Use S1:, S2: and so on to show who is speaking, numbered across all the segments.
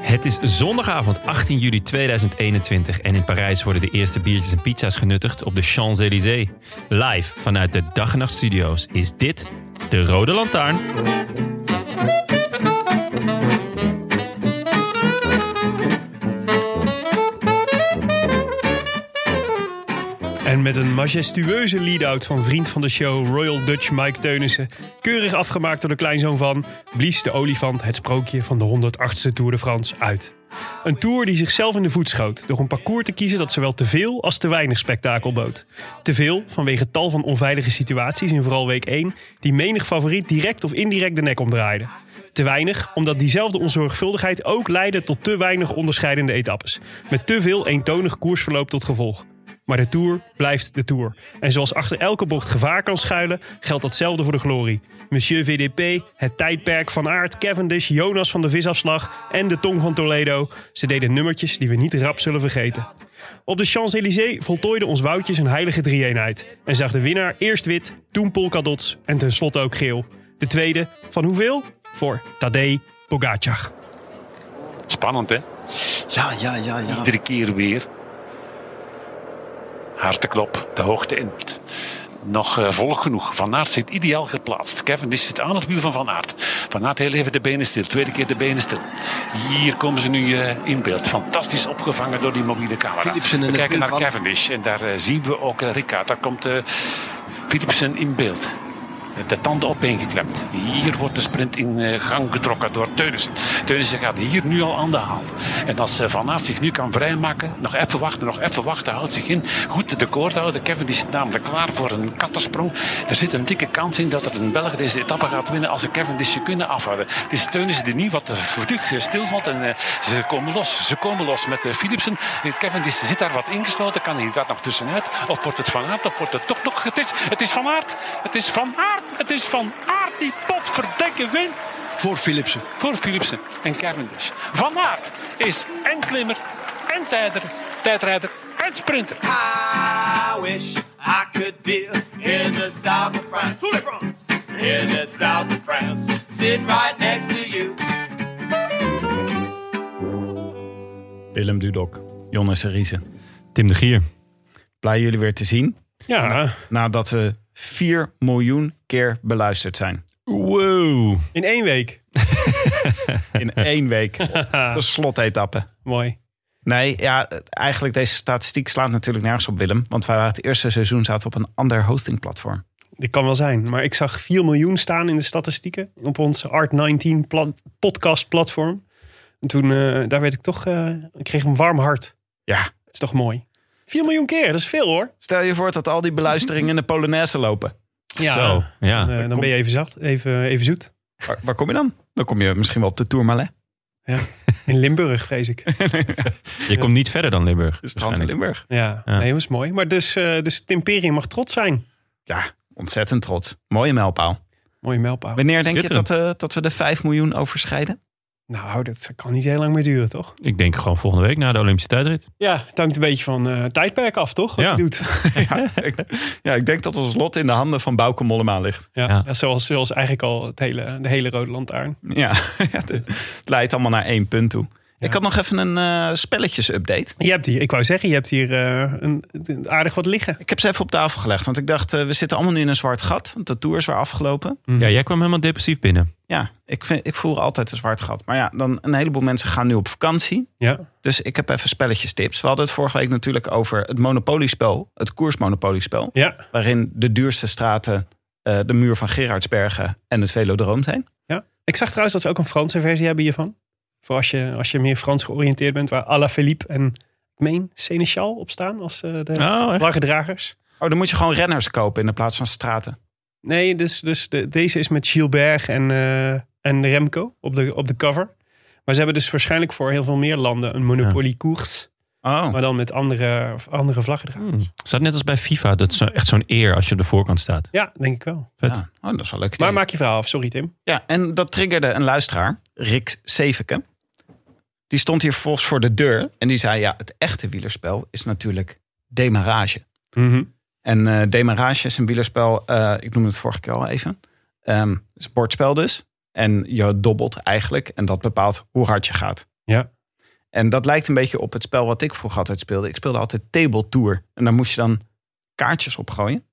S1: Het is zondagavond 18 juli 2021 en in Parijs worden de eerste biertjes en pizza's genuttigd op de Champs-Élysées. Live vanuit de Dag en Nacht Studio's is dit de Rode Lantaarn.
S2: En met een majestueuze lead-out van vriend van de show Royal Dutch Mike Teunissen. Keurig afgemaakt door de kleinzoon van. blies de olifant het sprookje van de 108ste Tour de France uit. Een tour die zichzelf in de voet schoot. door een parcours te kiezen dat zowel te veel als te weinig spektakel bood. Te veel vanwege tal van onveilige situaties in vooral week 1. die menig favoriet direct of indirect de nek omdraaide. Te weinig, omdat diezelfde onzorgvuldigheid ook leidde tot te weinig onderscheidende etappes. Met te veel eentonig koersverloop tot gevolg. Maar de Tour blijft de Tour. En zoals achter elke bocht gevaar kan schuilen, geldt datzelfde voor de glorie. Monsieur VDP, het tijdperk van Aert, Cavendish, Jonas van de Visafslag en de Tong van Toledo. Ze deden nummertjes die we niet rap zullen vergeten. Op de Champs-Élysées voltooide ons Woutje zijn heilige drieënheid. En zag de winnaar eerst wit, toen polkadots en tenslotte ook geel. De tweede, van hoeveel? Voor Tadej Pogacar.
S3: Spannend, hè?
S4: Ja, ja, ja, ja.
S3: Iedere keer weer. Hartenklop, de hoogte in. Nog eh, vol genoeg. Van Aert zit ideaal geplaatst. Kevin die zit aan het wiel van Van Aert. Van Aert heel even de benen stil. Tweede keer de benen stil. Hier komen ze nu eh, in beeld. Fantastisch opgevangen door die mobiele camera.
S4: Philipsen in
S3: We
S4: het
S3: kijken naar
S4: wiel van-
S3: Cavendish. En daar eh, zien we ook eh, Ricard. Daar komt eh, Philipsen in beeld. Met De tanden opeengeklemd. Hier wordt de sprint in eh, gang getrokken door Teunissen. Teunissen gaat hier nu al aan de haal. En als eh, Van Aert zich nu kan vrijmaken, nog even wachten, nog even wachten, houdt zich in. Goed de koord houden. Kevin die zit namelijk klaar voor een kattensprong. Er zit een dikke kans in dat er een Belg deze etappe gaat winnen als de Kevin die ze kunnen afhouden. Het is Teunissen die nu wat eh, vlug eh, stilvalt en eh, ze komen los. Ze komen los met eh, Philipsen. Eh, Kevin die zit daar wat ingesloten. Kan hij daar nog tussenuit? Of wordt het Van Aert? Of wordt het toch nog... Het is, het is Van Aert. Het is Van Aert. Het is Van Aert die potverdekken wint
S4: Voor Philipsen.
S3: voor Philipsen en Cavendish. Van Aert is en klimmer en tijder, tijdrijder en sprinter.
S5: I wish I could be in the south of France. France. In the south of France. Sitting right next to you.
S6: Willem Dudok, Jonas Riese.
S1: Tim de Gier.
S6: Blij jullie weer te zien.
S2: Ja,
S6: Nadat we 4 miljoen keer beluisterd zijn.
S1: Wow.
S2: in één week.
S6: In één week. De slotetappe.
S2: Mooi.
S6: Nee, ja, eigenlijk deze statistiek slaat natuurlijk nergens op Willem. Want wij waren het eerste seizoen zaten op een ander hostingplatform.
S2: Dit kan wel zijn. Maar ik zag 4 miljoen staan in de statistieken op ons Art19 plat- podcast platform. En toen, eh, daar werd ik toch, eh, ik kreeg een warm hart.
S6: Ja.
S2: Dat is toch mooi. 4 miljoen keer, dat is veel hoor.
S6: Stel je voor dat al die beluisteringen in de Polonaise lopen.
S2: Ja.
S1: Zo, ja.
S2: Eh, dan ben je even zacht, even, even zoet.
S6: Waar, waar kom je dan? Dan kom je misschien wel op de Tourmalet.
S2: In Limburg, vrees ik.
S1: Je komt niet verder dan Limburg.
S6: De strand in
S1: waarschijnlijk.
S6: Limburg.
S2: Ja,
S1: Ja.
S2: Nee, dat is mooi. Maar dus, eh dus het imperium mag trots zijn.
S6: Ja, ontzettend trots. Mooie mijlpaal.
S2: Mooie mijlpaal.
S6: Wanneer denk je
S1: Schitterend.
S6: dat, eh, dat we de 5 miljoen overschrijden?
S2: Nou, dat kan niet heel lang meer duren, toch?
S1: Ik denk gewoon volgende week na de Olympische tijdrit.
S2: Ja, het hangt een beetje van eh, het tijdperk af, toch? Wat
S1: Ja.
S2: je doet.
S6: ja, ik, ja, ik denk dat ons lot in de handen van Bouke Mollema ligt.
S2: Ja,
S1: Ja.
S2: ja, zoals, zoals eigenlijk al het hele, de hele Rode Lantaarn.
S6: Ja, ja, de- het leidt allemaal naar één punt toe. Ik had nog even een eh, spelletjes-update.
S2: Je hebt hier, ik wou zeggen, je hebt hier eh, een, een- aardig wat liggen.
S6: Ik heb ze even op tafel gelegd, want ik dacht, eh, we zitten allemaal nu in een zwart gat. Want de tour is weer afgelopen.
S1: Ja, jij kwam helemaal depressief binnen.
S6: Ja, ik, vind, ik voel altijd een zwart gat. Maar ja, dan een heleboel mensen gaan nu op vakantie.
S2: Ja,
S6: Dus ik heb even spelletjes-tips. We hadden het vorige week natuurlijk over het monopoliespel, het koersmonopoliespel.
S2: ja.
S6: Waarin de duurste straten eh, de muur van Gerardsbergen en het Velodroom zijn.
S2: ja. Ik zag trouwens dat ze ook een Franse versie hebben hiervan. Voor als je, als je meer Frans georiënteerd bent, waar Alaphilippe en ik meen Seneschal op staan als eh, de
S1: Oh, echt?
S2: vlaggedragers.
S6: Oh, dan moet je gewoon renners kopen in de plaats van straten.
S2: Nee, dus, dus de, deze is met Gilbert en, eh, en Remco op de, op de cover. Maar ze hebben dus waarschijnlijk voor heel veel meer landen een monopoliekoers.
S6: Oh,
S2: Maar dan met andere, andere vlaggedragers.
S1: Hmm. Is dat net als bij FIFA? Dat is zo- echt zo'n eer als je op de voorkant staat.
S2: Ja, denk ik wel.
S1: Vet.
S6: ja. oh dat is wel leuk.
S2: Maar maak je verhaal af. Sorry Tim.
S6: Ja, en dat triggerde een luisteraar, Rick Seveke. Die stond hier volgens voor de deur en die zei: Ja, het echte wielerspel is natuurlijk demarage. En eh demarage is een wielerspel, eh, ik noemde het vorige keer al even. Ehm sportspel dus. En je dobbelt eigenlijk en dat bepaalt hoe hard je gaat.
S2: Ja.
S6: En dat lijkt een beetje op het spel wat ik vroeger altijd speelde. Ik speelde altijd Table Tour. En daar moest je dan kaartjes opgooien.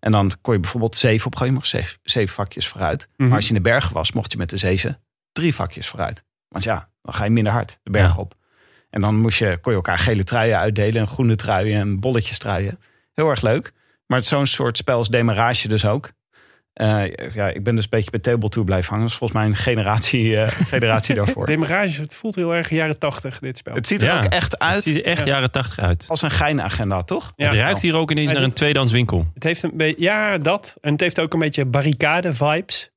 S6: En dan kon je bijvoorbeeld zeven opgooien. Je mocht zeven, zeven vakjes vooruit.
S2: Mhm.
S6: Maar als je in de bergen was, mocht je met de zeven drie vakjes vooruit. Want ja, dan ga je minder hard de berg
S1: Ja.
S6: op. En dan moest je, kon je elkaar gele truien uitdelen. En groene truien en bolletjes truien. Heel erg leuk. Maar het is zo'n soort spel als demarage dus ook. Eh, ja, ik ben dus een beetje bij Table Tour blijven hangen. Dat is volgens mij een generatie, eh, generatie daarvoor.
S2: Demarage, het voelt heel erg jaren tachtig dit spel.
S6: Het ziet er
S1: Ja.
S6: ook echt
S1: Het
S6: uit
S1: ziet er echt jaren tachtig uit.
S6: als een geinagenda, toch?
S2: Ja.
S1: het ruikt hier ook ineens
S2: Hij
S1: naar een
S2: zit-
S1: tweedehands winkel.
S2: Het heeft een beetje, ja, dat. En het heeft ook een beetje barricade vibes.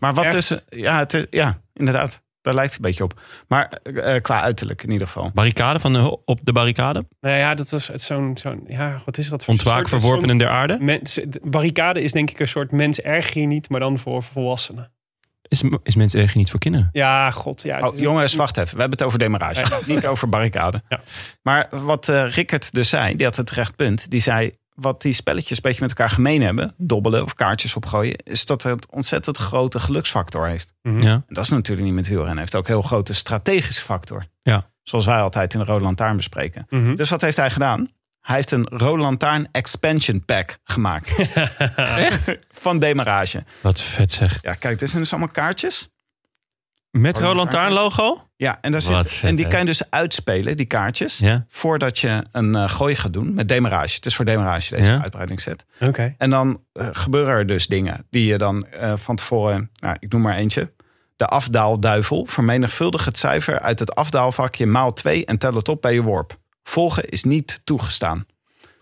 S6: Maar wat
S2: Echt?
S6: tussen... Ja, het is- ja, inderdaad. Daar lijkt het een beetje op. Maar eh, qua uiterlijk in ieder geval.
S1: Barricade van de, op de barricade.
S2: Nou ja, dat was het zo'n, zo'n, ja, wat is dat voor
S1: Ontwaak
S2: soort-
S1: verworpenen der aarde.
S2: zo'n mens- de barricade is denk ik een soort mens erg je niet, maar dan voor volwassenen.
S1: Is, is mensen eigenlijk niet voor kinderen?
S2: Ja, god. Ja, het
S6: Oh,
S2: is-
S6: jongens, wacht even. We hebben het over demarage, niet over barricade.
S2: Ja.
S6: Maar wat eh Rickert dus zei, die had het recht punt. Die zei, wat die spelletjes een beetje met elkaar gemeen hebben... dobbelen of kaartjes opgooien... is dat het een ontzettend grote geluksfactor heeft.
S2: Mhm.
S1: Ja.
S6: En dat is natuurlijk niet met wielrennen. Heeft ook een heel grote strategische factor.
S1: Ja.
S6: Zoals wij altijd in de Rode Lantaarn bespreken.
S2: Mhm.
S6: Dus wat heeft hij gedaan? Hij heeft een Rode Lantaarn Expansion Pack gemaakt. Echt? Van demarage.
S1: Wat vet zeg.
S6: Ja, kijk, dit zijn dus allemaal kaartjes.
S1: Met
S6: Rode
S1: Roland Taarn logo?
S6: Ja, en, daar
S1: Wat
S6: zit,
S1: vet,
S6: en die
S1: hè?
S6: kan je dus uitspelen, die kaartjes.
S1: Ja.
S6: Voordat je een eh, gooi gaat doen met demarage. Het is voor demarage deze
S1: Ja.
S6: uitbreidingsset.
S2: Oké.
S6: En dan eh, gebeuren er dus dingen die je dan eh, van tevoren... Nou, ik noem maar eentje. De afdaalduivel. Vermenigvuldig het cijfer uit het afdaalvakje maal 2 en tel het op bij je worp. Volgen is niet toegestaan.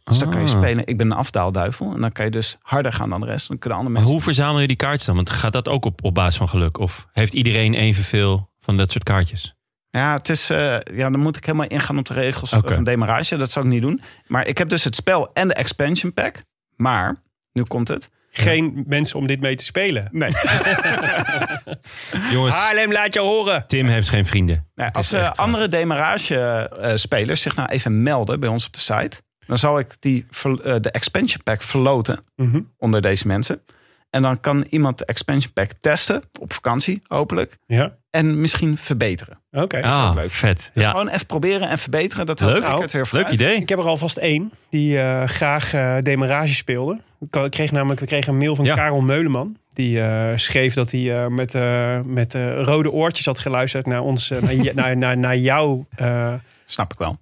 S6: Dus dan kan je
S1: Ah.
S6: spelen, ik ben een afdaalduivel. En dan kan je dus harder gaan dan de rest. Dan kunnen andere
S1: Maar
S6: mensen...
S1: hoe verzamel je die kaartjes dan? Want gaat dat ook op, op basis van geluk? Of heeft iedereen evenveel van dat soort kaartjes?
S6: Ja, het is, eh, ja, dan moet ik helemaal ingaan op de regels
S1: Oké.
S6: van demarage. Dat zou ik niet doen. Maar ik heb dus het spel en de expansion pack. Maar, nu komt het.
S2: Geen mensen om dit mee te spelen.
S6: Nee.
S1: Jongens,
S2: Haarlem, laat je horen.
S1: Tim heeft geen vrienden.
S6: Nou,
S1: is
S6: als eh,
S1: echt
S6: andere demarage-spelers zich nou even melden bij ons op de site... dan zal ik die, ver- eh, de expansion pack verloten
S2: Mhm.
S6: onder deze mensen. En dan kan iemand de expansion pack testen, op vakantie hopelijk...
S2: Ja,
S6: en misschien verbeteren.
S2: oké.
S1: Ah,
S6: leuk.
S1: vet.
S6: Dus
S1: Ja.
S6: gewoon even proberen en verbeteren. Dat helpt
S1: Leuk.
S6: ik het weer
S1: Leuk
S6: vooruit.
S1: idee.
S2: Ik heb er alvast één die eh, graag eh, demarage speelde. Ik ka- kreeg namelijk, we kregen een mail van
S1: Ja.
S2: Karel Meuleman. Die eh, schreef dat hij eh, met, eh, met eh, rode oortjes had geluisterd naar, ons, eh, naar, je- naar, naar, naar jouw eh,
S6: Snap ik wel.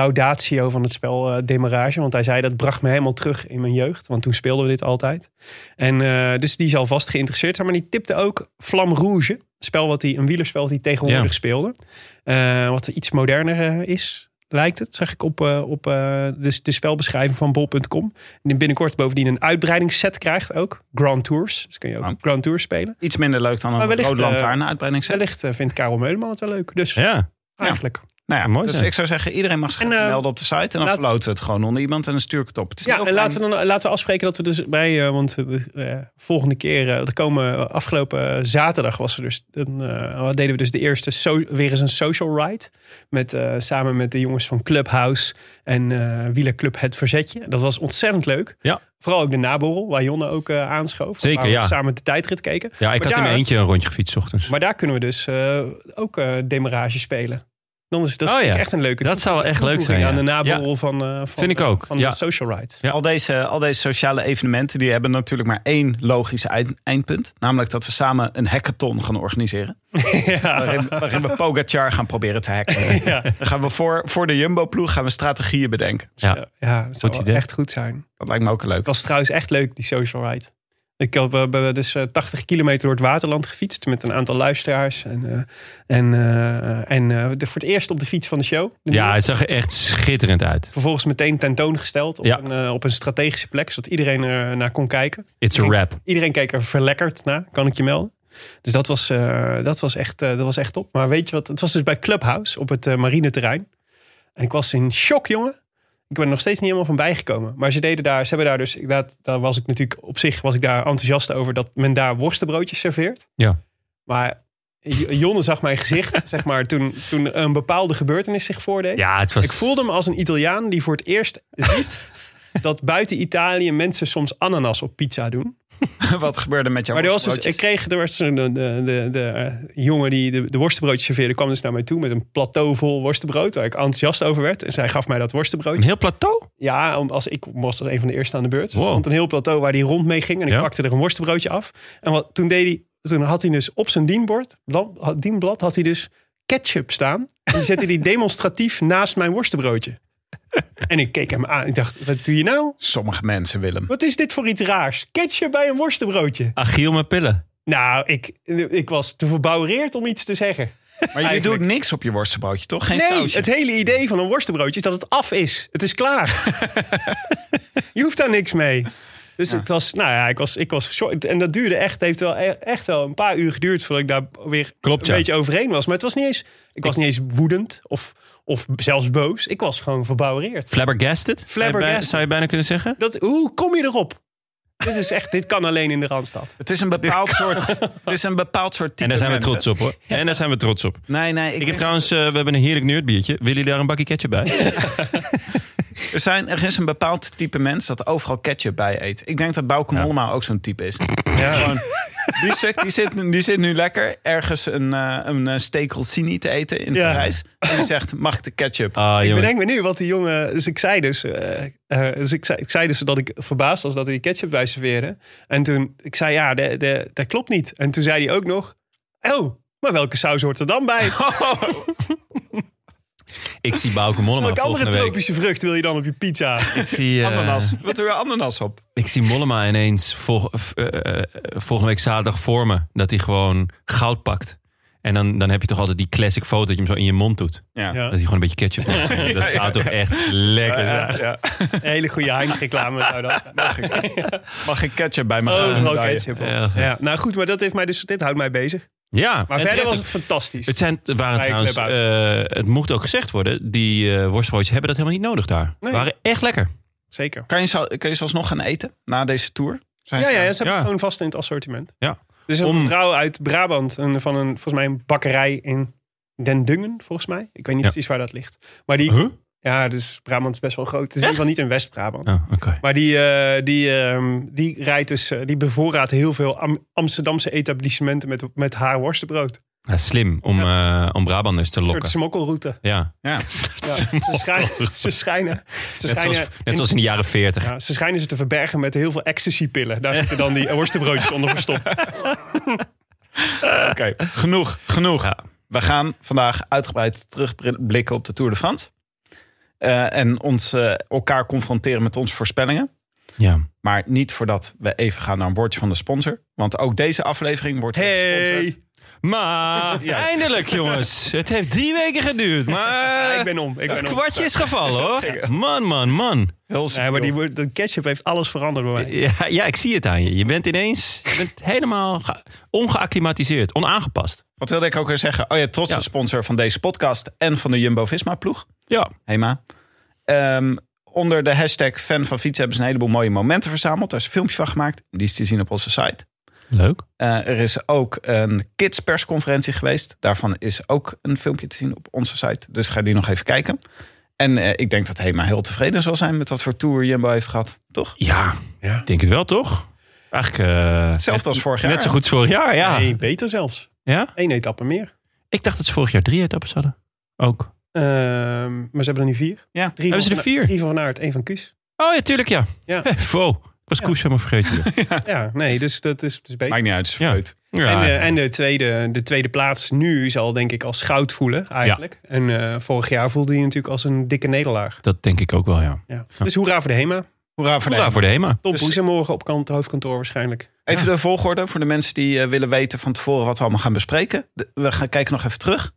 S2: laudatio van het spel eh, Demarage. Want hij zei dat bracht me helemaal terug in mijn jeugd. Want toen speelden we dit altijd. En eh, dus die zal vast geïnteresseerd zijn. Maar die tipte ook Flam Rouge. Een Spel wat hij, een wielerspel wat hij tegenwoordig
S1: Ja.
S2: speelde. Eh, wat iets moderner eh, is, lijkt het. Zeg ik op, eh, op eh, de, de spelbeschrijving van bol.com. En binnenkort bovendien een uitbreidingsset krijgt ook. Grand Tours. Dus kun je ook
S6: Ah.
S2: Grand Tours spelen.
S6: Iets minder leuk dan een
S2: Maar wellicht,
S6: rode
S2: eh,
S6: lantaarn-uitbreiding.
S2: Wellicht eh, vindt Karel Meuleman het wel leuk. Dus
S1: Ja.
S2: eigenlijk.
S6: Nou ja,
S1: Mooi
S6: dus
S1: zijn.
S6: ik zou zeggen, iedereen mag zich
S2: En,
S6: even
S2: eh,
S6: melden op de site. En dan
S2: laat-
S6: verloten we het gewoon onder iemand en dan stuur ik het op. Het is
S2: Ja,
S6: niet
S2: en
S6: ook
S2: laten we, dan, laten we afspreken dat we dus bij, eh, want eh, de eh, volgende keer, eh, er komen, eh, afgelopen zaterdag was er dus, een, eh, deden we dus de eerste, so- weer eens een social ride. Met, eh, samen met de jongens van Clubhouse en eh Wielerclub Het Verzetje. Dat was ontzettend leuk.
S1: Ja.
S2: Vooral ook de naborrel, waar Jonne ook eh, aanschoof.
S1: Zeker,
S2: Waar we
S1: ja.
S2: Samen de tijdrit keken.
S1: ja, ik
S2: Maar
S1: had in
S2: daar-
S1: mijn eentje een rondje gefietst 's ochtends.
S2: Maar daar kunnen we dus eh, ook eh, demarage spelen. Dan is dat
S1: Oh
S2: vind ik
S1: ja.
S2: echt een leuke
S1: Dat zou wel echt leuk
S2: toevoeging
S1: zijn,
S2: Aan
S1: ja.
S2: de naborrel van, eh, van,
S1: Vind ik
S2: eh,
S1: ook,
S2: van
S1: ja.
S2: de social ride.
S1: Ja.
S6: Al deze, al deze sociale evenementen die hebben natuurlijk maar één logisch eind- eindpunt. Namelijk dat we samen een hackathon gaan organiseren. Waarin, waarin we Pogachar gaan proberen te hacken. Dan gaan we voor, voor de Jumbo-ploeg gaan we strategieën bedenken.
S1: Ja.
S2: Dus, eh, Ja, ja dat zou wel
S1: idee.
S2: echt goed zijn.
S6: Dat lijkt me ook leuk.
S2: Het was trouwens echt leuk, die social ride. Ik heb eh, bij- dus eh, 80 kilometer door het waterland gefietst met een aantal luisteraars. En, eh, en, eh, en eh, de- voor het eerst op de fiets van de show. De
S1: Ja, het zag er echt schitterend uit.
S2: Vervolgens meteen tentoongesteld op,
S1: Ja.
S2: een, eh, op een strategische plek, zodat iedereen er naar kon kijken.
S1: It's a wrap.
S2: Iedereen keek er verlekkerd naar, kan ik je melden. Dus dat was, eh, dat was, echt, eh, dat was echt top. Maar weet je wat, het was dus bij Clubhouse op het eh, marineterrein. En ik was in shock, jongen. Ik ben er nog steeds niet helemaal van bijgekomen. Maar ze deden daar, ze hebben daar dus, dat, daar was ik natuurlijk op zich was ik daar enthousiast over dat men daar worstenbroodjes serveert.
S1: Ja.
S2: Maar J- Jonne zag mijn gezicht, zeg maar, toen, toen een bepaalde gebeurtenis zich voordeed.
S1: Ja, het was...
S2: Ik voelde me als een Italiaan die voor het eerst ziet dat buiten Italië mensen soms ananas op pizza doen.
S6: Wat gebeurde met jouw
S2: Maar er was dus,
S6: worstenbroodjes?
S2: ik kreeg er was een- de, de, de, de eh, jongen die de, de worstenbroodjes serveerde, kwam dus naar mij toe met een plateau vol worstenbrood, waar ik enthousiast over werd. En zij gaf mij dat
S1: Een
S2: worstenbroodje.
S1: heel plateau?
S2: Ja, om- als ik was als een van de eerste aan de beurt. Er
S1: Wow.
S2: stond een heel plateau waar hij rond mee ging en ik
S1: Ja.
S2: pakte er een worstenbroodje af. En wat, toen, deed hij, toen had hij dus op zijn dienbord, blad- had- dienblad, had hij dus ketchup staan. En die zette hij demonstratief naast mijn worstenbroodje. En ik keek hem aan. Ik dacht, wat doe je nou?
S6: Sommige mensen, Willem.
S2: Wat is dit voor iets raars? Ketchup bij een worstenbroodje.
S1: Achiel met pillen.
S2: Nou, ik, ik was te verbouwereerd om iets te zeggen.
S6: Maar je
S2: Eigenlijk.
S6: doet niks op je worstenbroodje, toch? Geen
S2: Nee,
S6: sausje?
S2: het hele idee van een worstenbroodje is dat het af is. Het is klaar. je hoeft daar niks mee. Dus het was, nou ja, ik was, ik was geschokt. En dat duurde echt, heeft wel e- echt wel een paar uur geduurd voordat ik daar weer
S1: Klopt,
S2: een
S1: ja.
S2: beetje overheen was. Maar het was niet eens, ik, was niet eens woedend of, of zelfs boos. Ik was gewoon verbouwereerd.
S1: Flabbergasted? Zou je bij-
S2: Flabbergasted.
S1: Zou je bijna kunnen zeggen?
S2: Dat, hoe kom je erop? dit is echt, dit kan alleen in de Randstad.
S6: Het is een bepaald soort, het is een bepaald soort type
S1: En daar zijn we
S6: mensen.
S1: trots op hoor. En daar zijn we trots op.
S6: Nee, nee. Ik
S1: Ik heb
S6: denk-
S1: trouwens, eh, we hebben een heerlijk nerdbiertje. Wil je daar een bakje ketchup bij?
S6: er, zijn, er is een bepaald type mens dat overal ketchup bij eet. Ik denk dat Bauke
S1: Ja.
S6: Mollema ook zo'n type is.
S2: Ja.
S6: Die, stuk, die, zit, die zit nu lekker ergens een, eh een eh, steak rossini te eten in
S2: Ja.
S6: Parijs. En die zegt, mag ik de ketchup?
S1: Ah,
S2: Ik
S1: jongen.
S2: bedenk me nu wat die jongen. Dus ik zei dus. eh, eh, dus ik zei, ik zei dus dat ik verbaasd was dat hij die ketchup bij serveren. En toen. Ik zei ja, de, de, dat klopt niet. En toen zei hij ook nog. Oh, maar welke saus hoort er dan bij?
S1: Ik zie Bauke Mollema
S2: welke andere
S1: volgende week.
S2: tropische vrucht wil je dan op je pizza?
S1: Ik zie, eh,
S6: Ananas. Wat doe je ananas op?
S1: ik zie Mollema ineens vol- eh, eh, volgende week zaterdag voor me. Dat hij gewoon goud pakt. En dan, dan heb je toch altijd die classic foto dat je hem zo in je mond doet.
S6: Ja.
S2: Ja.
S1: Dat hij gewoon een beetje ketchup op. Dat zou toch echt lekker zijn.
S6: Ja.
S2: Een hele goede Heinz reclame zou dat. zijn.
S6: Mag ik ketchup bij me
S2: Oh,
S6: gaan?
S2: vooral
S6: Ja, ja.
S2: ketchup. op.
S1: Ja, goed.
S2: Ja, nou goed, maar dat heeft mij dus. Dit houdt mij bezig.
S1: Ja, en
S2: Maar verder
S1: terecht
S2: was
S1: ook.
S2: het fantastisch.
S1: Het, zijn, het waren
S2: Bij
S1: trouwens,
S2: Clubhouse.
S1: eh, het mocht ook gezegd worden, die eh worstbroodjes hebben dat helemaal niet nodig daar.
S2: Nee.
S1: waren echt lekker.
S2: Zeker.
S6: Kan je, zo- kun je zelfs nog gaan eten na deze tour? Zijn
S2: Ja,
S6: ze-
S2: ja, ja, ze hebben
S1: Ja.
S2: het gewoon vast in het assortiment.
S1: Ja.
S2: Dus een
S1: Om-
S2: vrouw uit Brabant een, van een, volgens mij een bakkerij in Den Dungen, volgens mij. Ik weet niet
S1: Ja.
S2: precies waar dat ligt. Maar die, ja, dus Brabant is best wel groot. Het is in ieder geval niet in West-Brabant.
S1: Oh, oké.
S2: Maar die, eh, die, ehm, die rijdt dus, eh, die bevoorraadt heel veel Am- Amsterdamse etablissementen met, met haar worstenbrood. Een
S1: Ja, slim om, eh om Brabanders te
S2: soort
S1: lokken.
S2: smokkelroute.
S1: Ja.
S6: Ja.
S2: Ja, ze schijnen, ze schijnen, ze
S1: Net,
S2: schijnen
S1: zoals,
S2: in-
S1: net zoals in de jaren 40.
S2: ja, ze schijnen ze te verbergen met heel veel ecstasy-pillen. Daar zitten dan die worstenbroodjes onder verstopt.
S6: Oké, genoeg, genoeg. We gaan vandaag uitgebreid terugblikken op de Tour de France. Eh, en ons, eh, elkaar confronteren met onze voorspellingen.
S1: Ja.
S6: Maar niet voordat we even gaan naar een woordje van de sponsor. Want ook deze aflevering wordt weer gesponsord.
S1: Maar eindelijk jongens. Het heeft drie weken geduurd. Maar
S2: ik ben om. Ik
S1: het
S2: ben om.
S1: kwartje is gevallen hoor. Man, man, man.
S6: Huls-
S2: Nee, maar die, woord- dat ketchup heeft alles veranderd bij mij.
S1: Ja, ja, ik zie het aan je. Je bent ineens je bent helemaal ge- ongeacclimatiseerd, onaangepast.
S6: Wat wilde ik ook weer zeggen? Oh ja, trots de sponsor van deze podcast en van de Jumbo-Visma-ploeg.
S1: Ja.
S6: Hema. Ehm, onder de hashtag fan van fietsen hebben ze een heleboel mooie momenten verzameld. Daar is een filmpje van gemaakt. Die is te zien op onze site.
S1: Leuk.
S6: Eh, er is ook een kids persconferentie geweest. Daarvan is ook een filmpje te zien op onze site. Dus ga die nog even kijken. En eh, ik denk dat Hema heel tevreden zal zijn met wat voor tour Jumbo heeft gehad. Toch?
S1: Ja,
S2: Ja.
S1: ik denk het wel toch? Eigenlijk eh,
S6: Hetzelfde als vorig jaar.
S1: net zo goed als vorig jaar, ja.
S2: Nee, beter zelfs.
S1: ja.
S2: Eén etappe meer.
S1: Ik dacht dat ze vorig jaar drie etappes hadden. Ook.
S2: Ehm, maar ze hebben er nu vier.
S6: Ja.
S2: Drie
S1: Hebben
S2: van
S1: ze er vier?
S2: Drie van Van Aert, één van Kuus.
S1: Oh ja, tuurlijk ja.
S2: Ja.
S1: Wow, ik was
S2: Ja.
S1: Koes helemaal vergeten.
S2: Ja, nee, dus dat is, dat is beter.
S6: Maakt niet uit. ze
S1: Ja.
S6: vreut.
S1: Ja.
S2: En, eh, en de, tweede, de tweede plaats nu zal denk ik als goud voelen eigenlijk. En eh, vorig jaar voelde hij natuurlijk als een dikke nederlaag.
S1: Dat denk ik ook wel, ja.
S2: Ja. Dus hoera voor de HEMA.
S6: Hoera voor de
S1: Hoera voor de HEMA.
S2: Tom
S6: Dus-
S2: Poes morgen op kant, hoofdkantoor waarschijnlijk.
S6: Even de volgorde voor de mensen die eh, willen weten van tevoren wat we allemaal gaan bespreken. De- we gaan kijken nog even terug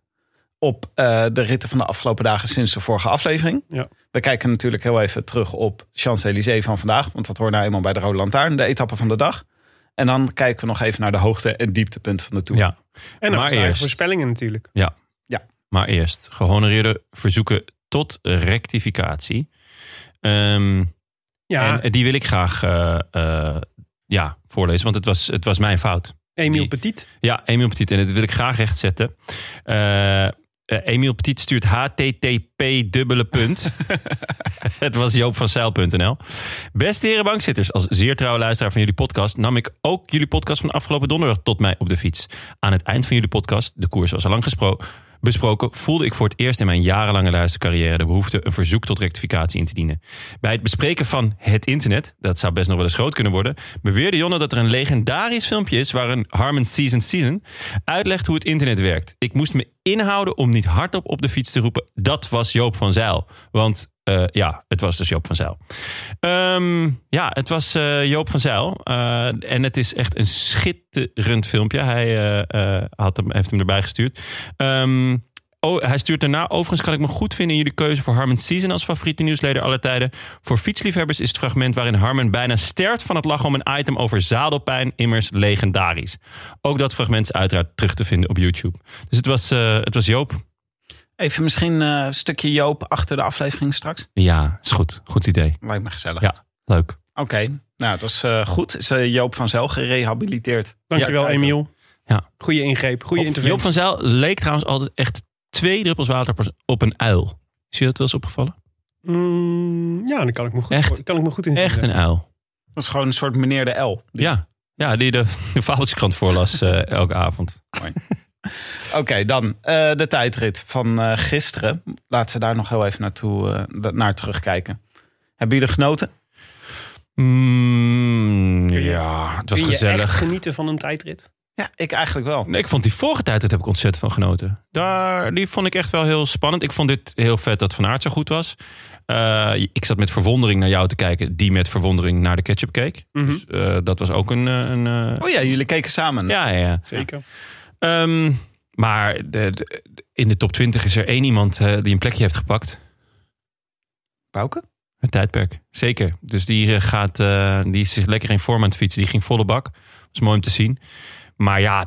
S6: op eh, de ritten van de afgelopen dagen sinds de vorige aflevering.
S2: Ja.
S6: We kijken natuurlijk heel even terug op Champs-Élysées van vandaag. Want dat hoort nou eenmaal bij de Rode Lantaarn, de etappe van de dag. En dan kijken we nog even naar de hoogte- en dieptepunten van de Tour.
S1: Ja, Maar
S2: En dan zijn eigen
S1: eerst.
S2: voorspellingen natuurlijk.
S1: maar eerst. Gehonoreerde verzoeken tot rectificatie. Ehm,
S2: Ja,
S1: En die wil ik graag eh, eh, ja, voorlezen, want het was, het was mijn fout.
S2: Emiel
S1: die-
S2: Petit.
S1: Ja, Emiel Petit. En dat wil ik graag rechtzetten. Eh eh, Emiel Petit stuurt http dubbele punt. het was joopvanzeil.nl. Beste heren bankzitters, als zeer trouwe luisteraar van jullie podcast... nam ik ook jullie podcast van afgelopen donderdag tot mij op de fiets. Aan het eind van jullie podcast, de koers was al lang gespro- besproken... voelde ik voor het eerst in mijn jarenlange luistercarrière... de behoefte een verzoek tot rectificatie in te dienen. Bij het bespreken van het internet, dat zou best nog wel eens groot kunnen worden, beweerde Jonne dat er een legendarisch filmpje is waarin Harmon Season Season uitlegt hoe het internet werkt. Ik moest me inhouden om niet hardop op de fiets te roepen: dat was Joop van Zijl. Want eh, ja, het was dus Joop van Zijl. Ehm, ja, het was eh, Joop van Zijl. Eh, en het is echt een schitterend filmpje. Hij eh, eh, had hem, heeft hem erbij gestuurd. Ehm, Oh, hij stuurt daarna. Overigens kan ik me goed vinden in jullie keuze voor Harmon Season als favoriete nieuwslezer aller tijden. Voor fietsliefhebbers is het fragment waarin Harmon bijna sterft van het lachen om een item over zadelpijn immers legendarisch. Ook dat fragment is uiteraard terug te vinden op YouTube. Dus het was, eh, het was Joop.
S6: Even misschien eh, een stukje Joop achter de aflevering straks.
S1: Ja, is goed. Goed idee.
S6: Lijkt me gezellig.
S1: Ja. Leuk.
S6: Oké, nou dat is eh, goed. Is eh, Joop van Zel gerehabiliteerd?
S2: Dankjewel,
S6: Ja, kijk
S2: Emiel.
S1: Ja.
S2: Goede ingreep, goede
S1: Op- Joop
S2: interventie.
S1: van Zijl leek trouwens altijd echt twee druppels water per- op een uil. Is je dat wel eens opgevallen?
S2: Mm, ja, dan kan ik me goed,
S1: Echt-
S2: kan ik me goed in
S1: Echt een uil.
S6: Dat is gewoon een soort meneer de L.
S1: Ja, ja die de, de Fabeltjeskrant voorlas eh, elke avond.
S6: Oké, dan eh, de tijdrit van eh, gisteren. Laten we daar nog heel even naartoe, eh, da- naar terugkijken. Hebben jullie genoten?
S1: Mm, ja, het was
S2: Kun je echt
S1: gezellig.
S2: genieten van een tijdrit?
S6: Ja, ik eigenlijk wel.
S1: Nee, ik vond die vorige tijd, dat heb ik ontzettend van genoten. Daar, die vond ik echt wel heel spannend. Ik vond dit heel vet dat Van Aert zo goed was. Eh, ik zat met verwondering naar jou te kijken. Die met verwondering naar de ketchup keek.
S2: Mhm.
S1: Dus eh, dat was ook een... eh, een eh,
S6: Oh ja, jullie keken samen.
S1: ja, ja, ja.
S2: Zeker.
S1: Ehm, maar de- de- in de top 20 is er één iemand eh, die een plekje heeft gepakt.
S6: Bouke?
S1: Het tijdperk, zeker. Dus die, eh, gaat, eh, die is zich lekker in vorm aan het fietsen. Die ging volle bak. Dat is mooi om te zien. Maar ja,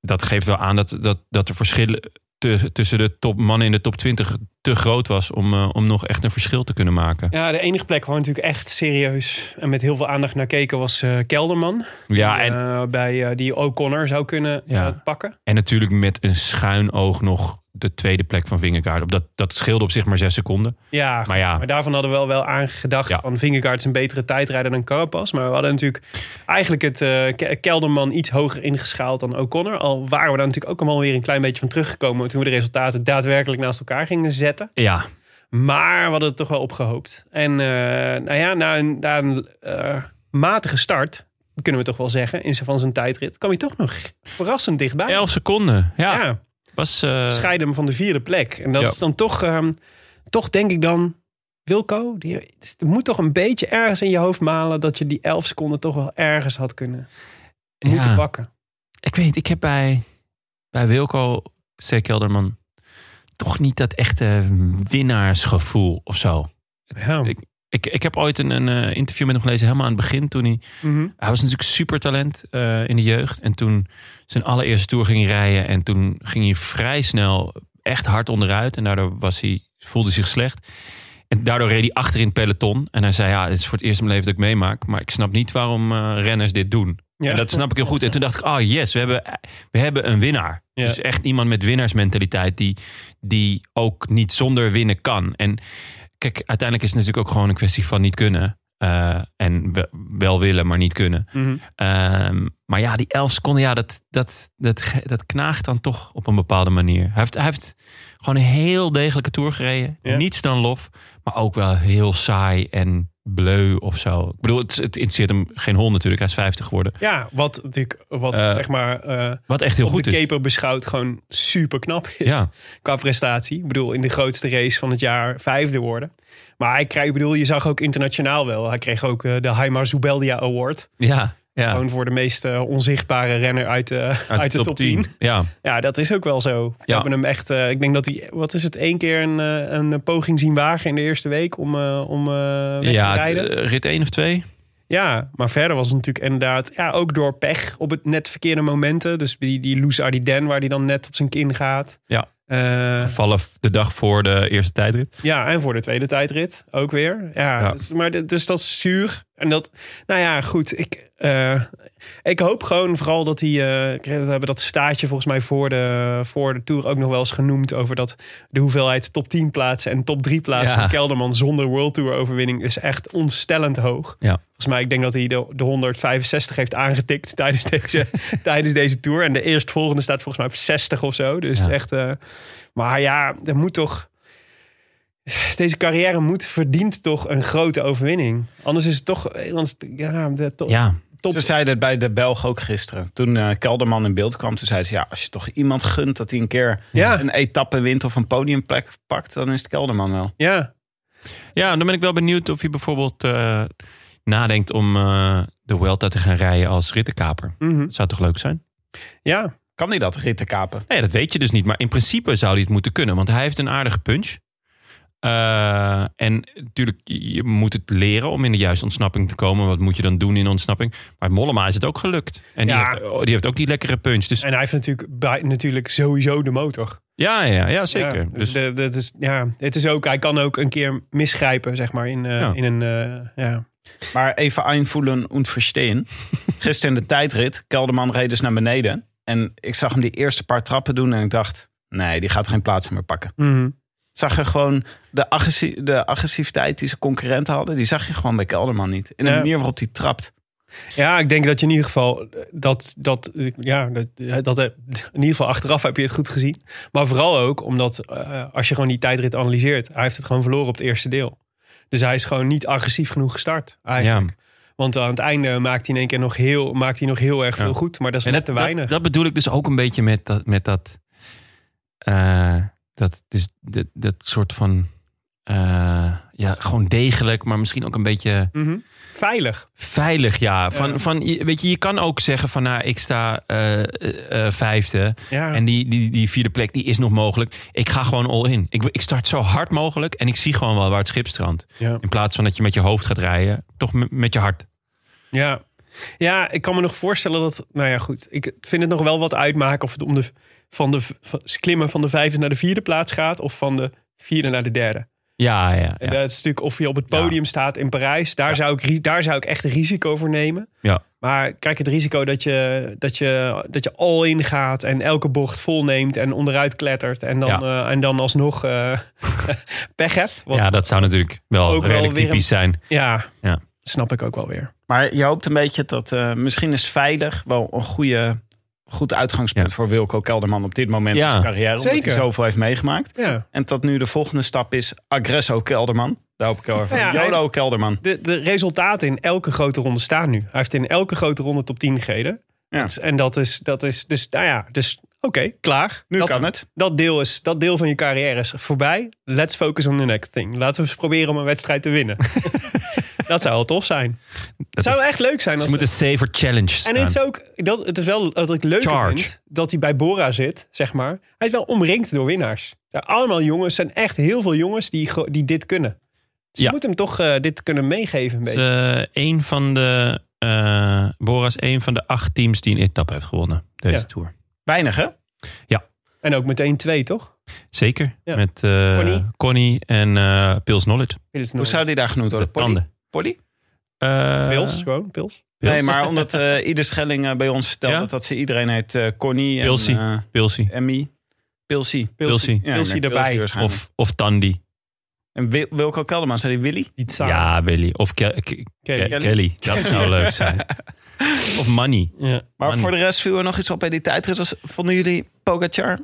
S1: dat geeft wel aan dat, dat, dat de verschillen te- tussen de top, mannen in de top 20 te groot was... om, eh, om nog echt een verschil te kunnen maken.
S2: Ja, de enige plek waar natuurlijk echt serieus en met heel veel aandacht naar keken was eh, Kelderman.
S1: Ja, en,
S2: Eh, bij, eh, die O'Connor zou kunnen
S1: Ja.
S2: eh, pakken.
S1: en natuurlijk met een schuin oog nog de tweede plek van Vingegaard. Op Dat, dat scheelde op zich maar zes seconden.
S2: Ja,
S1: Maar ja,
S2: Maar daarvan hadden we wel, wel aangedacht
S1: Ja.
S2: van Vingegaard is een betere tijdrijder dan Carapaz. Maar we hadden natuurlijk eigenlijk het eh, Ke- Kelderman iets hoger ingeschaald dan O'Connor. Al waren we daar natuurlijk ook allemaal weer een klein beetje van teruggekomen toen we de resultaten daadwerkelijk naast elkaar gingen zetten.
S1: ja,
S2: Maar we hadden het toch wel opgehoopt. En eh, nou ja, na een, na een eh, matige start, kunnen we toch wel zeggen, in zijn- van zijn tijdrit, kwam hij toch nog verrassend dichtbij.
S1: elf seconden. Ja,
S2: ja
S1: was... eh,
S2: scheiden hem van de vierde plek. En dat
S1: Ja.
S2: is dan toch, ehm, toch denk ik dan, Wilco, die, het moet toch een beetje ergens in je hoofd malen dat je die 11 seconden toch wel ergens had kunnen moeten
S1: ja.
S2: pakken.
S1: ik weet niet, ik heb bij, bij Wilco C. Kelderman toch niet dat echte winnaarsgevoel of zo.
S2: Ja.
S1: Ik, ik heb ooit een, een eh, interview met hem gelezen, helemaal aan het begin. Toen hij,
S2: Mhm.
S1: hij was natuurlijk supertalent eh, in de jeugd. En toen zijn allereerste tour ging hij rijden. En toen ging hij vrij snel echt hard onderuit. En daardoor was hij, voelde hij zich slecht. En daardoor reed hij achter in het peloton. En hij zei, ja, het is voor het eerst in mijn leven dat ik meemaak. Maar ik snap niet waarom eh, renners dit doen.
S2: Ja.
S1: En dat snap ik heel goed. En toen dacht ik, oh yes, we hebben, we hebben een winnaar.
S2: Ja.
S1: Dus echt iemand met winnaarsmentaliteit die, die ook niet zonder winnen kan. En kijk, uiteindelijk is het natuurlijk ook gewoon een kwestie van niet kunnen. Eh, en we- wel willen, maar niet kunnen.
S2: Mhm.
S1: Ehm, maar ja, die 11 seconden, ja, dat, dat, dat, ge- dat knaagt dan toch op een bepaalde manier. Hij heeft, hij heeft gewoon een heel degelijke tour gereden.
S2: Ja.
S1: Niets dan lof, maar ook wel heel saai en bleu of zo. Ik bedoel, het, het interesseert hem geen hond natuurlijk. Hij is 50 geworden.
S2: Ja, wat, natuurlijk- wat
S1: Eh,
S2: zeg maar eh,
S1: Wat echt heel
S2: op
S1: goed
S2: de
S1: is.
S2: keper beschouwd gewoon super knap is.
S1: Ja.
S2: Qua prestatie. Ik bedoel, in de grootste race van het jaar vijfde worden. Maar hij kreeg, ik bedoel, je zag ook internationaal wel. Hij kreeg ook eh, de Haimar Zubeldia Award.
S1: Ja, ja.
S2: Gewoon voor de meest eh, onzichtbare renner uit, de uit, de top 10.
S1: Ja,
S2: Ja, dat is ook wel zo. We
S1: Ja.
S2: hebben hem echt. eh, ik denk dat hij, wat is het, één keer een, eh, een poging zien wagen in de eerste week om, eh, om eh, weg
S1: ja
S2: te rijden.
S1: eh, rit 1 of 2.
S2: Ja, maar verder was het natuurlijk inderdaad, ja, ook door pech op het net verkeerde momenten. Dus die, die Loes Ardiden, waar hij dan net op zijn kin gaat.
S1: Ja.
S2: Eh,
S1: Vallen de dag voor de eerste tijdrit.
S2: ja, en voor de tweede tijdrit ook weer. Ja,
S1: Ja.
S2: Dus, maar dit- dus dat is zuur. En dat, nou ja, goed. Ik, eh, ik hoop gewoon vooral dat hij. eh, we hebben dat staartje volgens mij voor de, voor de tour ook nog wel eens genoemd. Over dat de hoeveelheid top 10 plaatsen en top 3 plaatsen
S1: Ja.
S2: van Kelderman zonder World Tour overwinning is echt ontstellend hoog.
S1: Ja.
S2: Volgens mij, ik denk dat hij de, de 165 heeft aangetikt tijdens deze, tijdens deze tour. En de eerstvolgende staat volgens mij op 60 of zo. Dus
S1: Ja.
S2: echt. eh, maar ja, er moet toch. Deze carrière moet verdient toch een grote overwinning. Anders is het toch. eh, Anders, ja, de to-
S1: Ja,
S2: top.
S6: Ze zeiden het bij de Belg ook gisteren. Toen eh, Kelderman in beeld kwam, toen zei ze... ja, als je toch iemand gunt dat hij een keer
S2: Ja.
S6: een etappe wint... of een podiumplek pakt, dan is het Kelderman wel.
S2: Ja,
S1: Ja, dan ben ik wel benieuwd of hij bijvoorbeeld eh, nadenkt om eh, de Welta te gaan rijden als rittenkaper.
S2: mhm.
S1: Dat zou toch leuk zijn?
S2: ja,
S6: Kan hij dat ritten kapen?
S1: Nee, dat weet je dus niet. Maar in principe zou hij het moeten kunnen, want hij heeft een aardige punch. Eh, en natuurlijk, je moet het leren om in de juiste ontsnapping te komen. Wat moet je dan doen in ontsnapping? Maar Mollema is het ook gelukt. En die,
S2: Ja.
S1: heeft, oh, die heeft ook die lekkere punch. Dus
S2: en hij heeft natuurlijk, bij, natuurlijk sowieso de motor.
S1: ja, ja, ja zeker.
S2: Ja,
S1: dus,
S2: dus de, dat is, ja, het is ook, hij kan ook een keer misgrijpen, zeg maar, in, eh,
S1: Ja.
S2: in een. eh, ja.
S6: Maar even einvoelen und verstehen. Gisteren in de tijdrit, Kelderman reed dus naar beneden. En ik zag hem die eerste paar trappen doen en ik dacht... nee, die gaat geen plaats meer pakken.
S2: Mhm.
S6: Zag je gewoon de, agressi- de agressiviteit die zijn concurrenten hadden... die zag je gewoon bij Kelderman niet. In de
S2: Ja.
S6: manier waarop hij trapt.
S2: Ja, ik denk dat je in ieder geval dat, dat, ja, dat, dat in ieder geval achteraf heb je het goed gezien. Maar vooral ook omdat eh, als je gewoon die tijdrit analyseert, hij heeft het gewoon verloren op het eerste deel. Dus hij is gewoon niet agressief genoeg gestart eigenlijk. Want aan het einde maakt hij in één keer nog heel, maakt hij nog heel erg veel
S1: Ja.
S2: goed. Maar dat is
S1: En
S2: net te
S1: dat-
S2: weinig.
S1: Dat, dat bedoel ik dus ook een beetje met dat. Met dat, eh, dat, dus, dat, dat soort van. eh, ja, gewoon degelijk, maar misschien ook een beetje
S2: Mhm. Veilig.
S1: veilig. Ja, van,
S2: Ja.
S1: van je- weet je, je kan ook zeggen van nou, ik sta eh, eh, eh, vijfde.
S2: Ja.
S1: En die, die, die vierde plek die is nog mogelijk. Ik ga gewoon all in. Ik, ik start zo hard mogelijk en ik zie gewoon wel waar het schip strandt.
S2: ja.
S1: In plaats van dat je met je hoofd gaat rijden, toch m- met je hart.
S2: Ja. ja, ik kan me nog voorstellen dat. Nou ja, goed. Ik vind het nog wel wat uitmaken of het om de, van de van, klimmen van de vijfde naar de vierde plaats gaat. Of van de vierde naar de derde.
S1: Ja, ja,
S2: En
S1: ja.
S2: Dat is natuurlijk of je op het podium staat in Parijs. Daar, zou ik, ri- daar zou ik echt een risico voor nemen.
S1: Ja.
S2: Maar kijk, het risico dat je, dat je, dat je al in gaat en elke bocht volneemt en onderuit klettert. En dan, eh, en dan alsnog eh, pech hebt. Want,
S1: ja,
S2: ja.
S1: dat zou natuurlijk wel
S2: Ook wel
S1: redelijk
S2: weer een-
S1: typisch zijn. Ja.
S2: snap ik ook wel weer.
S6: Maar je hoopt een beetje dat eh, misschien is veilig wel een goede, goed uitgangspunt
S1: Ja.
S6: voor Wilco Kelderman op dit moment
S1: Ja.
S6: in zijn carrière. Omdat
S2: Zeker.
S6: hij zoveel heeft meegemaakt.
S2: Ja.
S6: En dat nu de volgende stap is Agresso Kelderman. Daar hoop ik heel erg van.
S2: Ja, hij
S6: Jolo
S2: heeft-
S6: Kelderman.
S2: de, de resultaten in elke grote ronde staan nu. Hij heeft in elke grote ronde top 10 gereden.
S6: Ja.
S2: Dat is- en dat is, dat is, dus nou ja, dus oké, klaar.
S6: Nu
S2: dat,
S6: kan het.
S2: Dat deel, is, dat deel van je carrière is voorbij. Let's focus on the next thing. Laten we eens proberen om een wedstrijd te winnen. dat zou wel tof zijn.
S1: Dat
S2: Het zou
S1: is-
S2: echt leuk zijn.
S1: Ze
S2: Als,
S1: moeten Saver Challenge staan.
S2: en het is ook, dat, het is wel dat ik leuk
S1: Charge.
S2: vind dat hij bij Bora zit, zeg maar. Hij is wel omringd door winnaars. Ja, allemaal jongens, zijn echt heel veel jongens die, ge- die dit kunnen. Ze
S1: Ja.
S2: moeten hem toch eh, dit kunnen meegeven een beetje.
S1: Het is, eh, een van de, eh Boras, een van de acht teams die een etappe heeft gewonnen. Deze
S2: Ja.
S1: Tour.
S6: Weinig hè?
S2: En ook meteen twee, toch?
S1: Zeker.
S2: Ja.
S1: Met eh,
S2: Connie.
S1: Connie en eh Pils Knowledge.
S6: Hoe zou die daar genoemd worden?
S1: De
S6: Polly?
S1: tanden.
S6: Polly?
S1: Eh,
S2: Pils, gewoon, Pils.
S1: Pils.
S6: Nee, maar omdat eh, ieder Schelling eh, bij ons vertelde
S1: Ja?
S6: dat ze iedereen heet eh, Connie en
S1: Pilsie.
S6: eh,
S1: Pilsie.
S6: Emmy. Pilsie.
S1: Pilsie.
S6: Ja,
S2: Pilsie
S6: nee,
S2: erbij.
S6: waarschijnlijk.
S1: Of, of Tandy.
S6: En Wil- Wilco Kelderman, zei die Willy?
S2: Pizza.
S1: Ja, Willy. Of Ke- Ke- Ke-
S2: Kelly.
S1: Kelly. Dat zou leuk zijn. Of Money.
S2: Ja.
S6: Maar
S1: Manny.
S6: voor de rest viel er nog iets op bij die tijdrit. Was- Vonden jullie Pogacar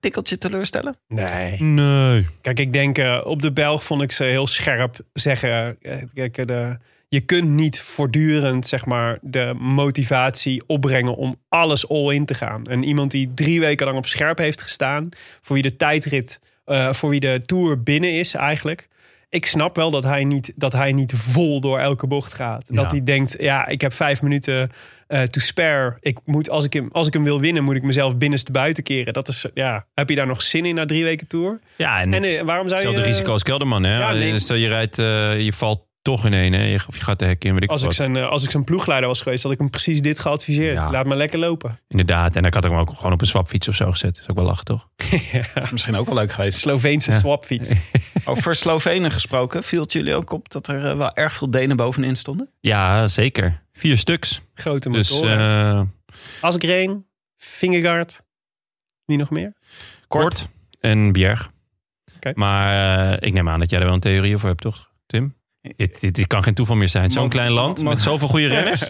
S6: tikkeltje teleurstellen?
S2: Nee.
S1: Nee.
S2: Kijk, ik denk eh, op de Belg vond ik ze heel scherp zeggen. eh, Kijk, eh, de, je kunt niet voortdurend zeg maar, de motivatie opbrengen om alles all in te gaan. En iemand die drie weken lang op scherp heeft gestaan, voor wie de tijdrit, eh, voor wie de tour binnen is eigenlijk. Ik snap wel dat hij niet, dat hij niet vol door elke bocht gaat.
S1: Ja.
S2: Dat hij denkt, ja, ik heb vijf minuten eh, to spare. Ik moet, als, ik hem, als ik hem wil winnen, moet ik mezelf binnenste buiten keren. Dat is, ja, heb je daar nog zin in na drie weken tour?
S1: Ja, en,
S2: En
S1: het-
S2: eh, waarom zou je...
S1: Hetzelfde risico als Kelderman, hè?
S2: Ja, nee.
S1: Stel je rijdt, eh, je valt toch in één, hè? Je- Of je gaat de hek in, weet ik
S2: Als ik,
S1: wat.
S2: zijn, eh, als ik zijn ploegleider was geweest, had ik hem precies dit geadviseerd.
S1: Ja.
S2: Laat maar lekker lopen.
S1: Inderdaad, en dan had ik hem ook gewoon op een swapfiets of zo gezet. Dat is ook wel lachen, toch?
S6: Is misschien ook wel leuk geweest.
S2: Sloveense
S1: Ja.
S2: swapfiets.
S6: Over Slovenen gesproken, viel het jullie ook op dat er eh, wel erg veel Denen bovenin stonden?
S1: Ja, zeker. Vier stuks.
S2: Grote
S1: Dus
S2: motoren.
S1: eh,
S2: Asgreen, Vingegaard. Wie nog meer?
S1: kort. en Bjerg.
S2: Oké.
S1: Maar eh, ik neem aan dat jij er wel een theorie over hebt, toch? Tim? Dit, dit, dit kan geen toeval meer zijn. Zo'n
S6: Mag-
S1: klein land
S6: mag-
S1: met zoveel goede renners.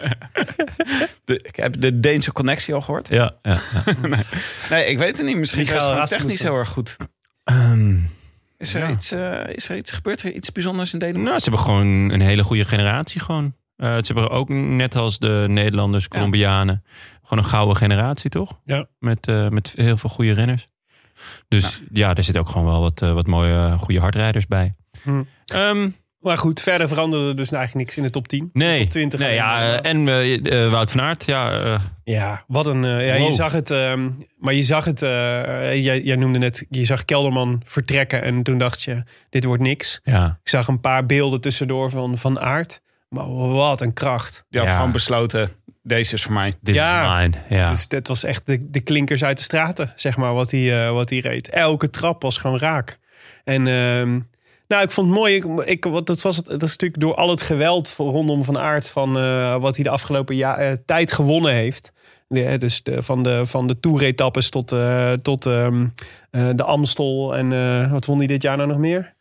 S6: De, ik heb de Deense connectie al gehoord.
S1: Ja, ja.
S6: Nee, ik weet het niet. Misschien
S2: Michael
S6: gaat het
S2: Rasmussen.
S6: gewoon technisch heel erg goed.
S1: Ehm,
S6: Is er,
S1: Ja.
S6: iets, eh, is er iets gebeurd? Er iets bijzonders in Denemarken?
S1: nou, ze hebben gewoon een hele goede generatie gewoon. Eh, ze hebben ook net als de Nederlanders, Colombianen, gewoon een gouden generatie, toch?
S2: Ja. Nou.
S1: Met, eh, met heel veel goede renners. Dus ja, er zit ook gewoon wel wat, eh, wat mooie, eh, goede hardrijders bij.
S2: Hm.
S1: Ehm,
S2: Maar goed, verder veranderde er dus eigenlijk niks in de top 10.
S1: nee.
S2: Top 20
S1: nee
S2: alleen
S1: ja,
S2: maar.
S1: eh, en eh, eh, Wout van Aert, ja, eh,
S2: Ja, wat een. eh, ja,
S1: Wow.
S2: Je zag het. ehm, maar je zag het. eh, jij, jij noemde net. Je zag Kelderman vertrekken. En toen dacht je: dit wordt niks.
S1: ja.
S2: Ik zag een paar beelden tussendoor van Van Aert. Maar wat een kracht.
S6: Die had
S1: Ja.
S6: gewoon besloten, deze is voor mij.
S1: This
S2: Ja.
S1: is mine. Ja.
S2: Dus dat was echt de, de klinkers uit de straten, zeg maar, wat hij, eh, wat hij reed. Elke trap was gewoon raak. En ehm, nou, ik vond het mooi. Ik, ik, wat, dat, was het, dat is natuurlijk door al het geweld voor- rondom Van Aert... van eh, wat hij de afgelopen ja, eh, tijd gewonnen heeft. Ja, dus de, van de, van de toeretappes tot, eh, tot ehm, eh, de Amstel. En eh, wat won hij dit jaar nou nog meer?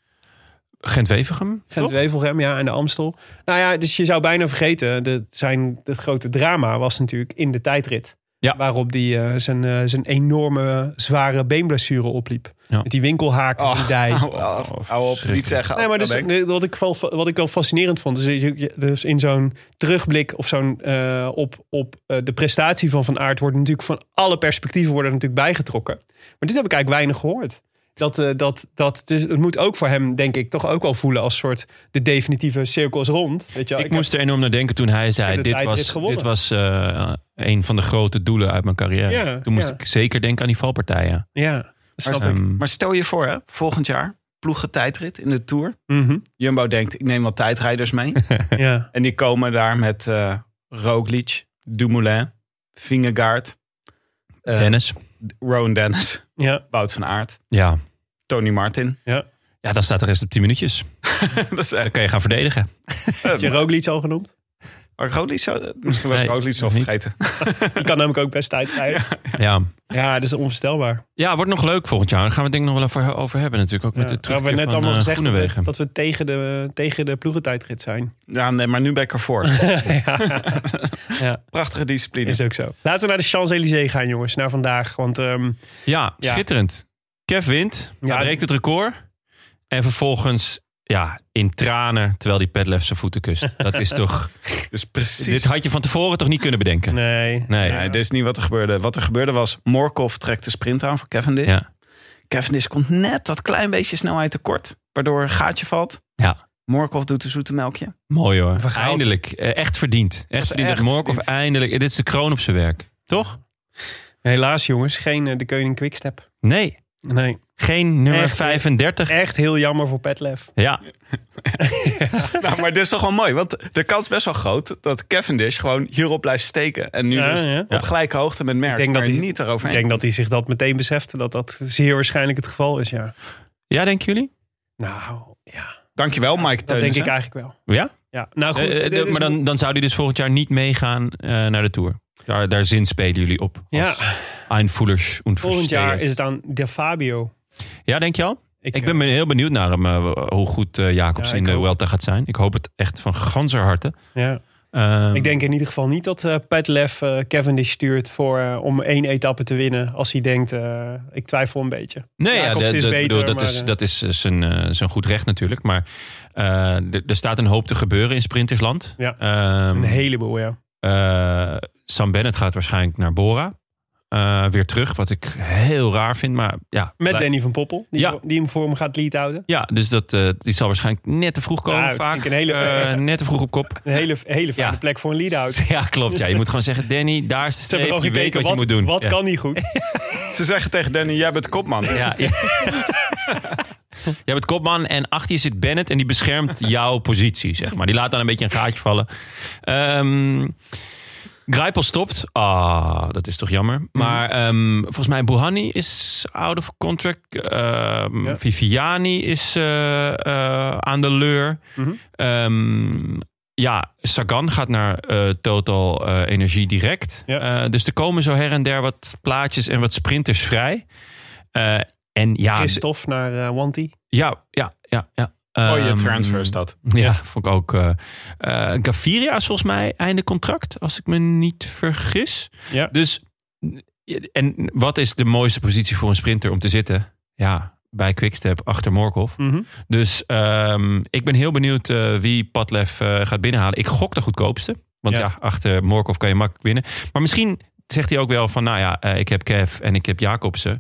S1: Gent-Wevergem, toch?
S2: Gent-Wevelgem, ja, en de Amstel. Nou ja, dus je zou bijna vergeten, dat zijn, het grote drama was natuurlijk in de tijdrit.
S1: Ja.
S2: Waarop hij eh, zijn, eh, zijn enorme, zware beenblessure opliep.
S1: Ja. Oh.
S2: Met die winkelhaak op die dij.
S6: Oh, Hou op, niet zeggen. Als
S2: Nee, maar
S6: ik
S2: dus,
S6: dat denk.
S2: eh, wat, ik wel, wat ik wel fascinerend vond, is dat je- dus in zo'n terugblik of zo'n eh, op, op eh, de prestatie van Van Aert wordt natuurlijk van alle perspectieven worden er natuurlijk bijgetrokken. Maar dit heb ik eigenlijk weinig gehoord. Dat, eh, dat, dat, het, is, het moet ook voor hem, denk ik, toch ook wel voelen als soort de definitieve cirkel is rond. Weet je, wel.
S1: Ik,
S2: heb-
S1: moest er enorm naar denken toen hij
S2: heb
S1: zei:
S2: de
S1: Dit
S2: tijdrit
S1: was,
S2: gewonnen.
S1: dit was eh, een van de grote doelen uit mijn carrière.
S2: Ja,
S1: toen moest
S2: ja.
S1: ik zeker denken aan die valpartijen.
S2: ja, dat snap ik.
S1: Ehm,
S6: Maar stel je voor, hè, volgend jaar ploegen tijdrit in de Tour.
S2: Mhm,
S6: Jumbo denkt, ik neem wat tijdrijders mee.
S2: ja.
S6: en die komen daar met eh Roglic, Dumoulin, Vingegaard, eh,
S1: Dennis.
S6: Rowan Dennis,
S2: Ja,
S6: Wout van Aert,
S1: Ja.
S6: Tony Martin.
S1: ja, dan staat de rest op 10 minuutjes.
S6: dat is
S1: Dan
S6: echt...
S1: kan je gaan verdedigen.
S2: heb je Roglic al genoemd?
S6: Maar Roglic zou- misschien was
S1: Nee,
S6: ik Roglic al
S1: nog niet.
S6: vergeten.
S2: Die kan namelijk ook best tijd rijden.
S1: Ja.
S2: Ja, dat is onvoorstelbaar.
S1: ja, wordt nog leuk volgend jaar. Daar gaan we het denk ik nog wel over, over hebben. Natuurlijk ook met
S2: Ja.
S1: de
S2: We hebben
S1: terugkeer
S2: net
S1: van
S2: allemaal
S1: eh,
S2: gezegd dat we,
S1: Groenewegen.
S2: dat we tegen de, tegen de ploegentijdrit zijn.
S6: Ja, nee, maar nu ben ik ervoor.
S2: Ja.
S6: Prachtige discipline.
S2: Is ook zo. Laten we naar de Champs-Élysées gaan, jongens. Naar vandaag. Want ehm,
S1: Ja,
S2: Ja.
S1: schitterend. Kev wint.
S2: Ja.
S1: Hij breekt het record. En vervolgens ja, in tranen terwijl die Petlef zijn voeten kust. Dat is toch...
S6: Dus precies.
S1: Dit had je van tevoren toch niet kunnen bedenken?
S2: nee.
S1: Nee.
S6: Nee, dit is niet wat er gebeurde. Wat er gebeurde was, Morkov trekt de sprint aan voor Cavendish.
S1: Ja.
S6: Cavendish komt net dat klein beetje snelheid tekort, waardoor een gaatje valt.
S1: Ja.
S6: Morkov doet een zoete melkje.
S1: Mooi hoor.
S2: Vergaald.
S1: Eindelijk. Eh, Echt verdiend. Echt verdiend dat
S6: echt
S1: Morkov
S6: verdiend.
S1: eindelijk... eh, Dit is de kroon op zijn werk. Toch?
S2: Helaas, jongens. Geen eh, de koning Quickstep.
S1: Nee.
S2: Nee.
S1: Geen nummer
S2: Echt, eh,
S1: 35.
S2: Echt heel jammer voor Petlef.
S1: Ja.
S6: nou, maar dit is toch wel mooi, want de kans is best wel groot dat Cavendish gewoon hierop blijft steken. En nu
S2: Ja,
S6: dus
S2: ja.
S6: op gelijke hoogte met Merck,
S2: Ik denk
S6: maar
S2: dat hij-
S6: niet
S2: Ik
S6: eroverheen.
S2: denk dat hij zich dat meteen beseft. Dat dat zeer waarschijnlijk het geval is, ja.
S1: Ja, denken jullie?
S2: Nou, ja.
S6: Dankjewel, Mike
S2: Dat denk
S6: Teunissen.
S2: ik eigenlijk wel.
S1: Ja?
S2: Ja, nou goed.
S1: Eh, eh,
S2: dit
S1: de-
S2: is-
S1: maar dan, dan zou die dus volgend jaar niet meegaan eh, naar de Tour. Daar, daar zin spelen jullie op.
S2: Ja,
S1: Als Einvoelers und
S2: volgend jaar
S1: Verstehers.
S2: is het aan De Fabio.
S1: Ja, denk je al? Ik,
S2: eh,
S1: ben me heel benieuwd naar hem, eh, hoe goed eh, Jacobs
S2: Ja,
S1: in
S2: ik
S1: de
S2: ook.
S1: Welta gaat zijn. Ik hoop het echt van ganser harte.
S2: Ja.
S1: Ehm,
S2: Ik denk in ieder geval niet dat eh Petlev eh, Cavendish stuurt voor, eh, om één etappe te winnen. Als hij denkt, eh, ik twijfel een beetje.
S1: Nee, ja,
S2: Jacobs
S1: dat,
S2: is
S1: dat-
S2: beter,
S1: bedoel, dat,
S2: maar,
S1: is,
S2: eh,
S1: dat is eh, zijn, eh, zijn goed recht natuurlijk. Maar eh, d- er staat een hoop te gebeuren in sprintersland.
S2: Ja.
S1: Ehm,
S2: Een heleboel, ja.
S1: eh, Sam Bennett gaat waarschijnlijk naar Bora. Eh, weer terug, wat ik heel raar vind. Maar ja,
S2: Met
S1: blij-
S2: Danny van Poppel, die,
S1: Ja.
S2: die hem voor hem gaat lead houden.
S1: ja dus dat, eh, die zal waarschijnlijk net te vroeg komen
S2: Ja, Nou, dat
S1: vaak.
S2: vind ik een hele-
S1: Eh, net te vroeg op kop.
S2: Een hele, hele fijne
S1: Ja.
S2: plek voor een lead out.
S1: Ja, klopt. Ja. Je moet gewoon zeggen, Danny, daar is de
S2: Ze hebben
S1: streep.
S2: gewoon
S1: Je weet
S2: gekeken,
S1: wat,
S2: wat,
S1: je moet doen.
S2: wat
S1: Ja.
S2: kan niet goed?
S6: Ze zeggen tegen Danny, jij bent kopman.
S1: Ja, ja. Jij bent kopman en achter je zit Bennett en die beschermt jouw positie, zeg maar. Die laat dan een beetje een gaatje vallen. Ehm Grijpel stopt. Ah, dat is toch
S2: Mhm.
S1: jammer. Maar ehm, volgens mij Buhani is out of contract. Ehm,
S2: Ja.
S1: Viviani is eh, eh, aan de leur.
S2: Mhm.
S1: Ehm, ja, Sagan gaat naar eh, Total eh, Energie direct.
S2: Ja.
S1: Eh, dus er komen zo her en der wat plaatjes en wat sprinters vrij. Eh, en ja, d-
S2: Christophe naar eh, Wanty.
S1: ja, ja, ja. ja.
S6: Mooie
S2: Oh,
S1: Ehm,
S6: transfer is dat.
S1: Ja, vond ik ook. eh eh, Gaviria is volgens mij einde contract, als ik me niet vergis.
S2: Ja.
S1: Dus, en wat is de mooiste positie voor een sprinter om te zitten? Ja, bij Quickstep achter Morkov.
S2: Mhm.
S1: Dus ehm, ik ben heel benieuwd eh, wie Padlef eh, gaat binnenhalen. Ik gok de goedkoopste. Want
S2: Ja.
S1: ja, achter Morkov kan je makkelijk winnen. Maar misschien zegt hij ook wel van... nou ja, eh, ik heb Kev en ik heb Jacobsen.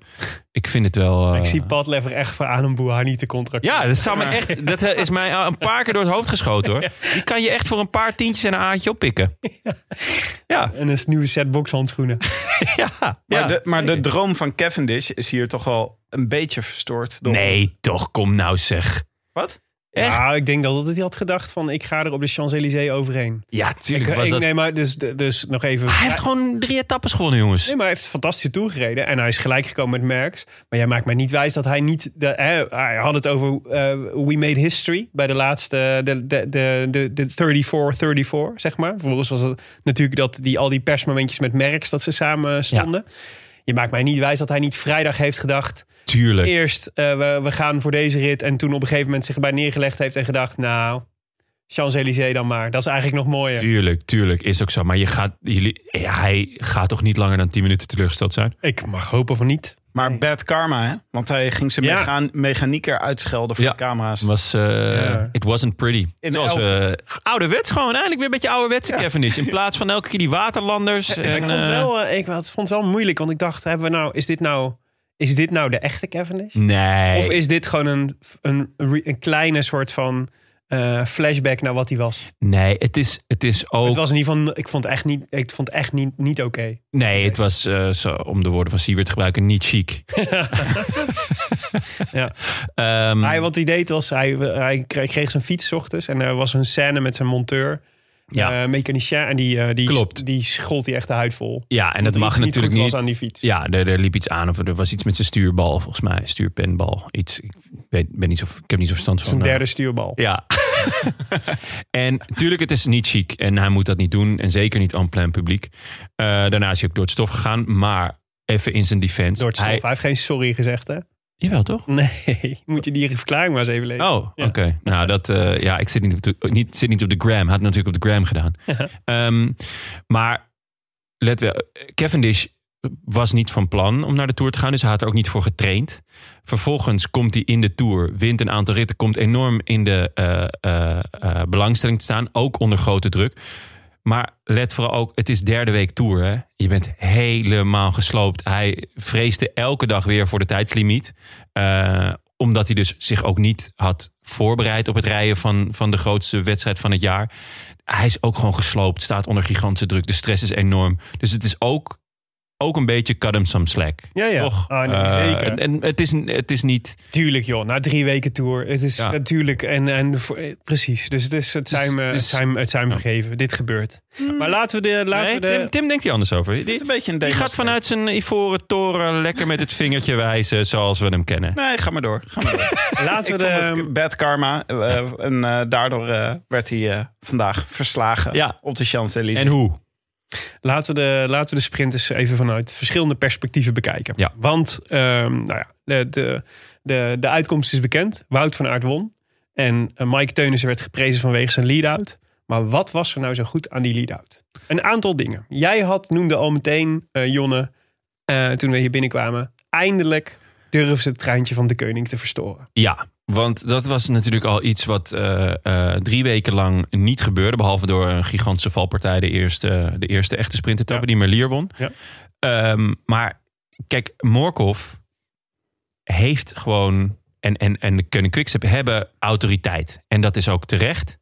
S1: Ik vind het wel... eh,
S2: Ik zie Pat Lever echt voor aan een Buhani te contracteren.
S1: ja, dat, zou me echt, dat eh, is mij al een paar keer door het hoofd geschoten hoor. Die kan je echt voor een paar tientjes en een aantje oppikken. Ja,
S2: En een nieuwe set bokshandschoenen.
S1: ja.
S6: Maar,
S1: ja.
S6: de, maar de droom van Cavendish is hier toch wel een beetje verstoord. Door ons.
S1: Nee, toch, kom nou zeg.
S6: Wat?
S1: Echt?
S2: Nou, ik denk dat het hij had gedacht van ik ga er op de Champs-Élysées overheen.
S1: Ja,
S2: Ik,
S1: tuurlijk was
S2: ik,
S1: dat... Ah,
S2: nee, maar dus, dus nog even...
S1: Hij heeft gewoon drie etappes gewonnen, jongens.
S2: Nee, maar hij heeft fantastisch toegereden. En hij is gelijk gekomen met Merckx. Maar jij maakt mij niet wijs dat hij niet... De, hè, hij had het over eh, We Made History. Bij de laatste... De, de, de, de, de 34, 34, zeg maar. Vervolgens was het natuurlijk dat die, al die persmomentjes met Merckx... dat ze samen stonden. Je maakt mij niet wijs dat hij niet vrijdag heeft gedacht...
S1: Tuurlijk.
S2: Eerst, eh, we, we gaan voor deze rit. En toen op een gegeven moment zich erbij neergelegd heeft en gedacht... Nou, Champs-Élysées dan maar. Dat is eigenlijk nog mooier.
S1: Tuurlijk, tuurlijk, is ook zo. Maar je gaat, jullie, ja, hij gaat toch niet langer dan 10 minuten teleurgesteld zijn?
S2: Ik mag hopen van niet.
S6: Maar bad karma, hè? Want hij ging zijn
S2: Ja.
S6: mega- mechanieker uitschelden voor
S1: Ja.
S6: de camera's.
S1: Was, eh,
S2: Ja.
S1: It wasn't pretty.
S6: In
S1: Zoals
S6: elk-
S1: we ouderwets gewoon, eigenlijk weer een beetje ouderwetse Cavendish. In plaats van elke keer die waterlanders. en,
S2: ik, vond
S1: eh,
S2: wel, eh, ik het vond het wel moeilijk, want ik dacht, hebben we nou, is, dit nou, is dit nou de echte Cavendish?
S1: Nee.
S2: Of is dit gewoon een, een, re- een kleine soort van eh, flashback naar wat hij was?
S1: Nee, het is, het is ook. Mm.
S2: Het was in ieder geval, ik vond het echt niet, ik vond het echt niet, niet oké.
S1: nee, het was, eh, zo, om de woorden van Siewert te gebruiken, niet chic.
S2: Ja.
S1: Ehm,
S2: Hij, wat hij deed was, hij, hij kreeg, kreeg zijn fiets 's ochtends en er was een scène met zijn monteur,
S1: ja,
S2: eh, mechanicien, en die, eh, die,
S1: Klopt.
S2: die schold hij echt de huid vol.
S1: ja, en dat
S2: er
S1: mag
S2: iets niet
S1: natuurlijk
S2: goed
S1: niet.
S2: was aan die fiets.
S1: Ja, er, er liep iets aan of er was iets met zijn stuurbal, volgens mij. Stuurpenbal. Iets. Ik, weet, ben niet zo, ik heb niet zo verstand van.
S2: Zijn
S1: eh,
S2: derde stuurbal.
S1: Ja. en natuurlijk, het is niet chic. En hij moet dat niet doen. En zeker niet aan plein publiek. Eh, daarna is hij ook door het stof gegaan. Maar even in zijn defense.
S2: Door het stof.
S1: Hij,
S2: Hij heeft geen sorry gezegd, hè?
S1: jawel, toch?
S2: Nee, moet je die verklaring maar eens even lezen.
S1: Oh,
S2: Ja.
S1: oké. Nou, dat, eh, ja, ik zit niet, op de, niet, zit niet op de gram. Had het natuurlijk op de gram gedaan. Ehm, maar let wel, Cavendish was niet van plan om naar de Tour te gaan. Dus hij had er ook niet voor getraind. Vervolgens komt hij in de Tour, wint een aantal ritten... komt enorm in de eh, eh, eh, belangstelling te staan. Ook onder grote druk. Maar let vooral ook, het is derde week Tour. Hè? Je bent helemaal gesloopt. Hij vreesde elke dag weer voor de tijdslimiet. Eh, omdat hij dus zich ook niet had voorbereid op het rijden van, van de grootste wedstrijd van het jaar. Hij is ook gewoon gesloopt, staat onder gigantische druk. De stress is enorm. Dus het is ook, ook een beetje cut him some slack.
S2: Ja, ja.
S1: Toch?
S2: Ah, nee,
S1: Eh,
S2: zeker.
S1: En, en het, is, het is niet...
S2: Tuurlijk joh, na drie weken tour. Het is
S1: Ja.
S2: natuurlijk, en, en voor- eh, precies. Dus het, is, het
S1: Dus-
S2: zijn me, het
S1: dus-
S2: zijn, het zijn me vergeven. Dit gebeurt. Maar laten we de... Laten
S1: Nee,
S2: we de
S1: Tim, Tim denkt hier anders over.
S6: Het
S1: Die,
S6: is een beetje een
S1: die gaat
S6: demonstratie.
S1: vanuit zijn ivoren toren lekker met het vingertje wijzen zoals we hem kennen.
S6: Nee, ga maar door. Ga maar door.
S2: laten we
S6: Ik vond
S2: de
S6: het bad karma. eh, en eh, daardoor eh, werd hij eh, vandaag verslagen
S1: Ja.
S6: op de Champs-Élysées.
S1: En hoe?
S2: Laten we de, laten we de sprinters even vanuit verschillende perspectieven bekijken.
S1: Ja.
S2: Want ehm, nou ja, de, de, de, de uitkomst is bekend. Wout van Aert won. En eh, Mike Teunissen werd geprezen vanwege zijn lead-out. Maar wat was er nou zo goed aan die lead-out? Een aantal dingen. Jij had, noemde al meteen, eh, Jonne, eh, toen we hier binnenkwamen, eindelijk durven ze het treintje van de koning te verstoren.
S1: Ja, want dat was natuurlijk al iets wat eh, eh, drie weken lang niet gebeurde. Behalve door een gigantische valpartij, de eerste, de eerste echte sprintetappe
S2: Ja.
S1: die Merlier won.
S2: Ja.
S1: Ehm, maar kijk, Morkov heeft gewoon, en, en, en de Koning Quickstep hebben autoriteit. En dat is ook terecht.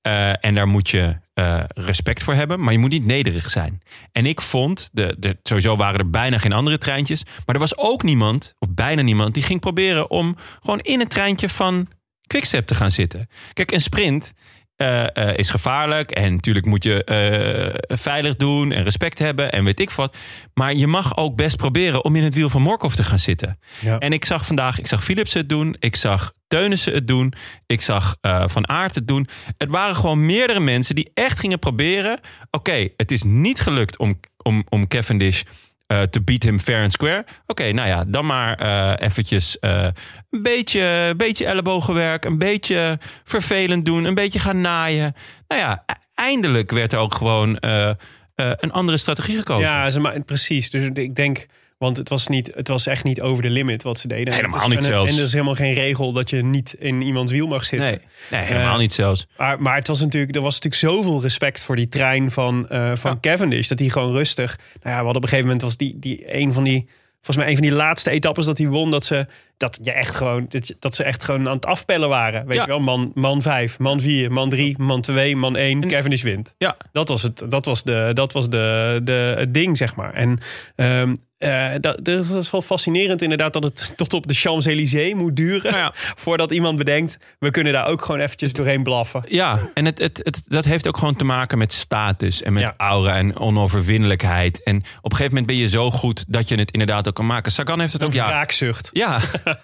S1: Eh, en daar moet je eh, respect voor hebben, maar je moet niet nederig zijn. En ik vond, de, de, sowieso waren er bijna geen andere treintjes, maar er was ook niemand, of bijna niemand, die ging proberen om gewoon in het treintje van Quickstep te gaan zitten. Kijk, een sprint eh, eh, is gevaarlijk en natuurlijk moet je eh, veilig doen en respect hebben en weet ik wat. Maar je mag ook best proberen om in het wiel van Morkov te gaan zitten.
S2: Ja.
S1: En ik zag vandaag, ik zag Philips het doen. Ik zag Teunissen het doen. Ik zag eh, Van Aert het doen. Het waren gewoon meerdere mensen die echt gingen proberen. Oké, het is niet gelukt om, om, om Cavendish eh, te beat him fair and square. Oké, nou ja, dan maar eh, eventjes eh, een beetje, beetje ellebogenwerk. Een beetje vervelend doen. Een beetje gaan naaien. Nou ja, e- eindelijk werd er ook gewoon eh, eh, een andere strategie gekozen.
S2: Ja, ze ma- precies. Dus ik denk, want het was, niet, het was echt niet over de limit wat ze deden.
S1: Helemaal
S2: Het is-
S1: niet
S2: en,
S1: zelfs.
S2: En er is helemaal geen regel dat je niet in iemands wiel mag zitten.
S1: Nee, nee, helemaal
S2: Eh,
S1: niet zelfs.
S2: Maar, maar het was natuurlijk, er was natuurlijk zoveel respect voor die trein van, eh, van Cavendish. Dat hij gewoon rustig. Nou ja, we hadden op een gegeven moment was die, die een van die. Volgens mij een van die laatste etappes dat hij won. Dat ze, dat je echt, gewoon, dat, je- dat ze echt gewoon aan het afpellen waren. Weet
S1: Ja.
S2: je wel, man, man 5, man 4, man 3, man 2, man 1.
S1: En-
S2: Cavendish wint.
S1: Ja.
S2: Dat was, het, dat was, de, dat was de, de, het ding, zeg maar. En ehm, eh, dat, dat was wel fascinerend inderdaad dat het tot op de Champs-Élysées moet duren.
S1: Nou ja.
S2: Voordat iemand bedenkt, we kunnen daar ook gewoon eventjes doorheen blaffen.
S1: Ja, en het, het, het, dat heeft ook gewoon te maken met status en met
S2: Ja.
S1: aura en onoverwinnelijkheid. En op een gegeven moment ben je zo goed dat je het inderdaad ook kan maken. Sagan heeft het ook
S2: Een
S1: jaren.
S2: wraakzucht.
S1: Ja.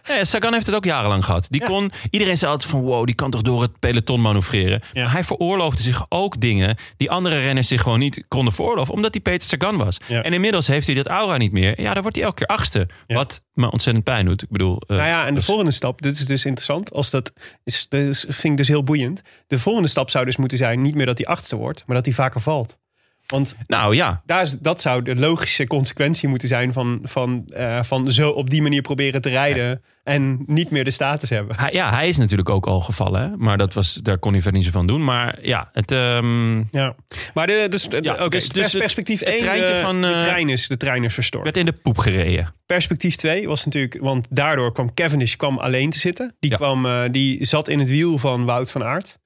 S1: ja, Sagan heeft het ook jarenlang gehad. Die kon, iedereen zei altijd van wow, die kan toch door het peloton manoeuvreren.
S2: Ja.
S1: Maar hij veroorloofde zich ook dingen die andere renners zich gewoon niet konden veroorloven. Omdat hij Peter Sagan was.
S2: Ja.
S1: En inmiddels heeft hij dat aura niet meer. Ja, dan wordt hij elke keer achtste.
S2: Ja.
S1: Wat me ontzettend pijn doet. Ik bedoel, eh,
S2: Nou ja, en de
S1: dus-
S2: volgende stap, dit is dus interessant, als dat is, dus, vind ik dus heel boeiend. De volgende stap zou dus moeten zijn, niet meer dat hij achtste wordt, maar dat hij vaker valt. Want
S1: nou ja,
S2: daar is, dat zou de logische consequentie moeten zijn van, van, eh, van zo op die manier proberen te rijden en niet meer de status hebben.
S1: Hij- ja, hij is natuurlijk ook al gevallen. Hè? Maar dat was, daar kon hij verder niet zo van doen. Maar ja, het, ehm,
S2: Ja, maar de, dus, ja,
S1: dus- dus het-
S2: perspectief
S1: het
S2: 1,
S1: treintje van,
S2: de,
S1: eh,
S2: trein is, de trein is verstoord.
S1: werd in de poep gereden.
S2: Perspectief 2 was natuurlijk, want daardoor kwam Cavendish kwam alleen te zitten. Die,
S1: Ja.
S2: kwam, eh, die zat in het wiel van Wout van Aert.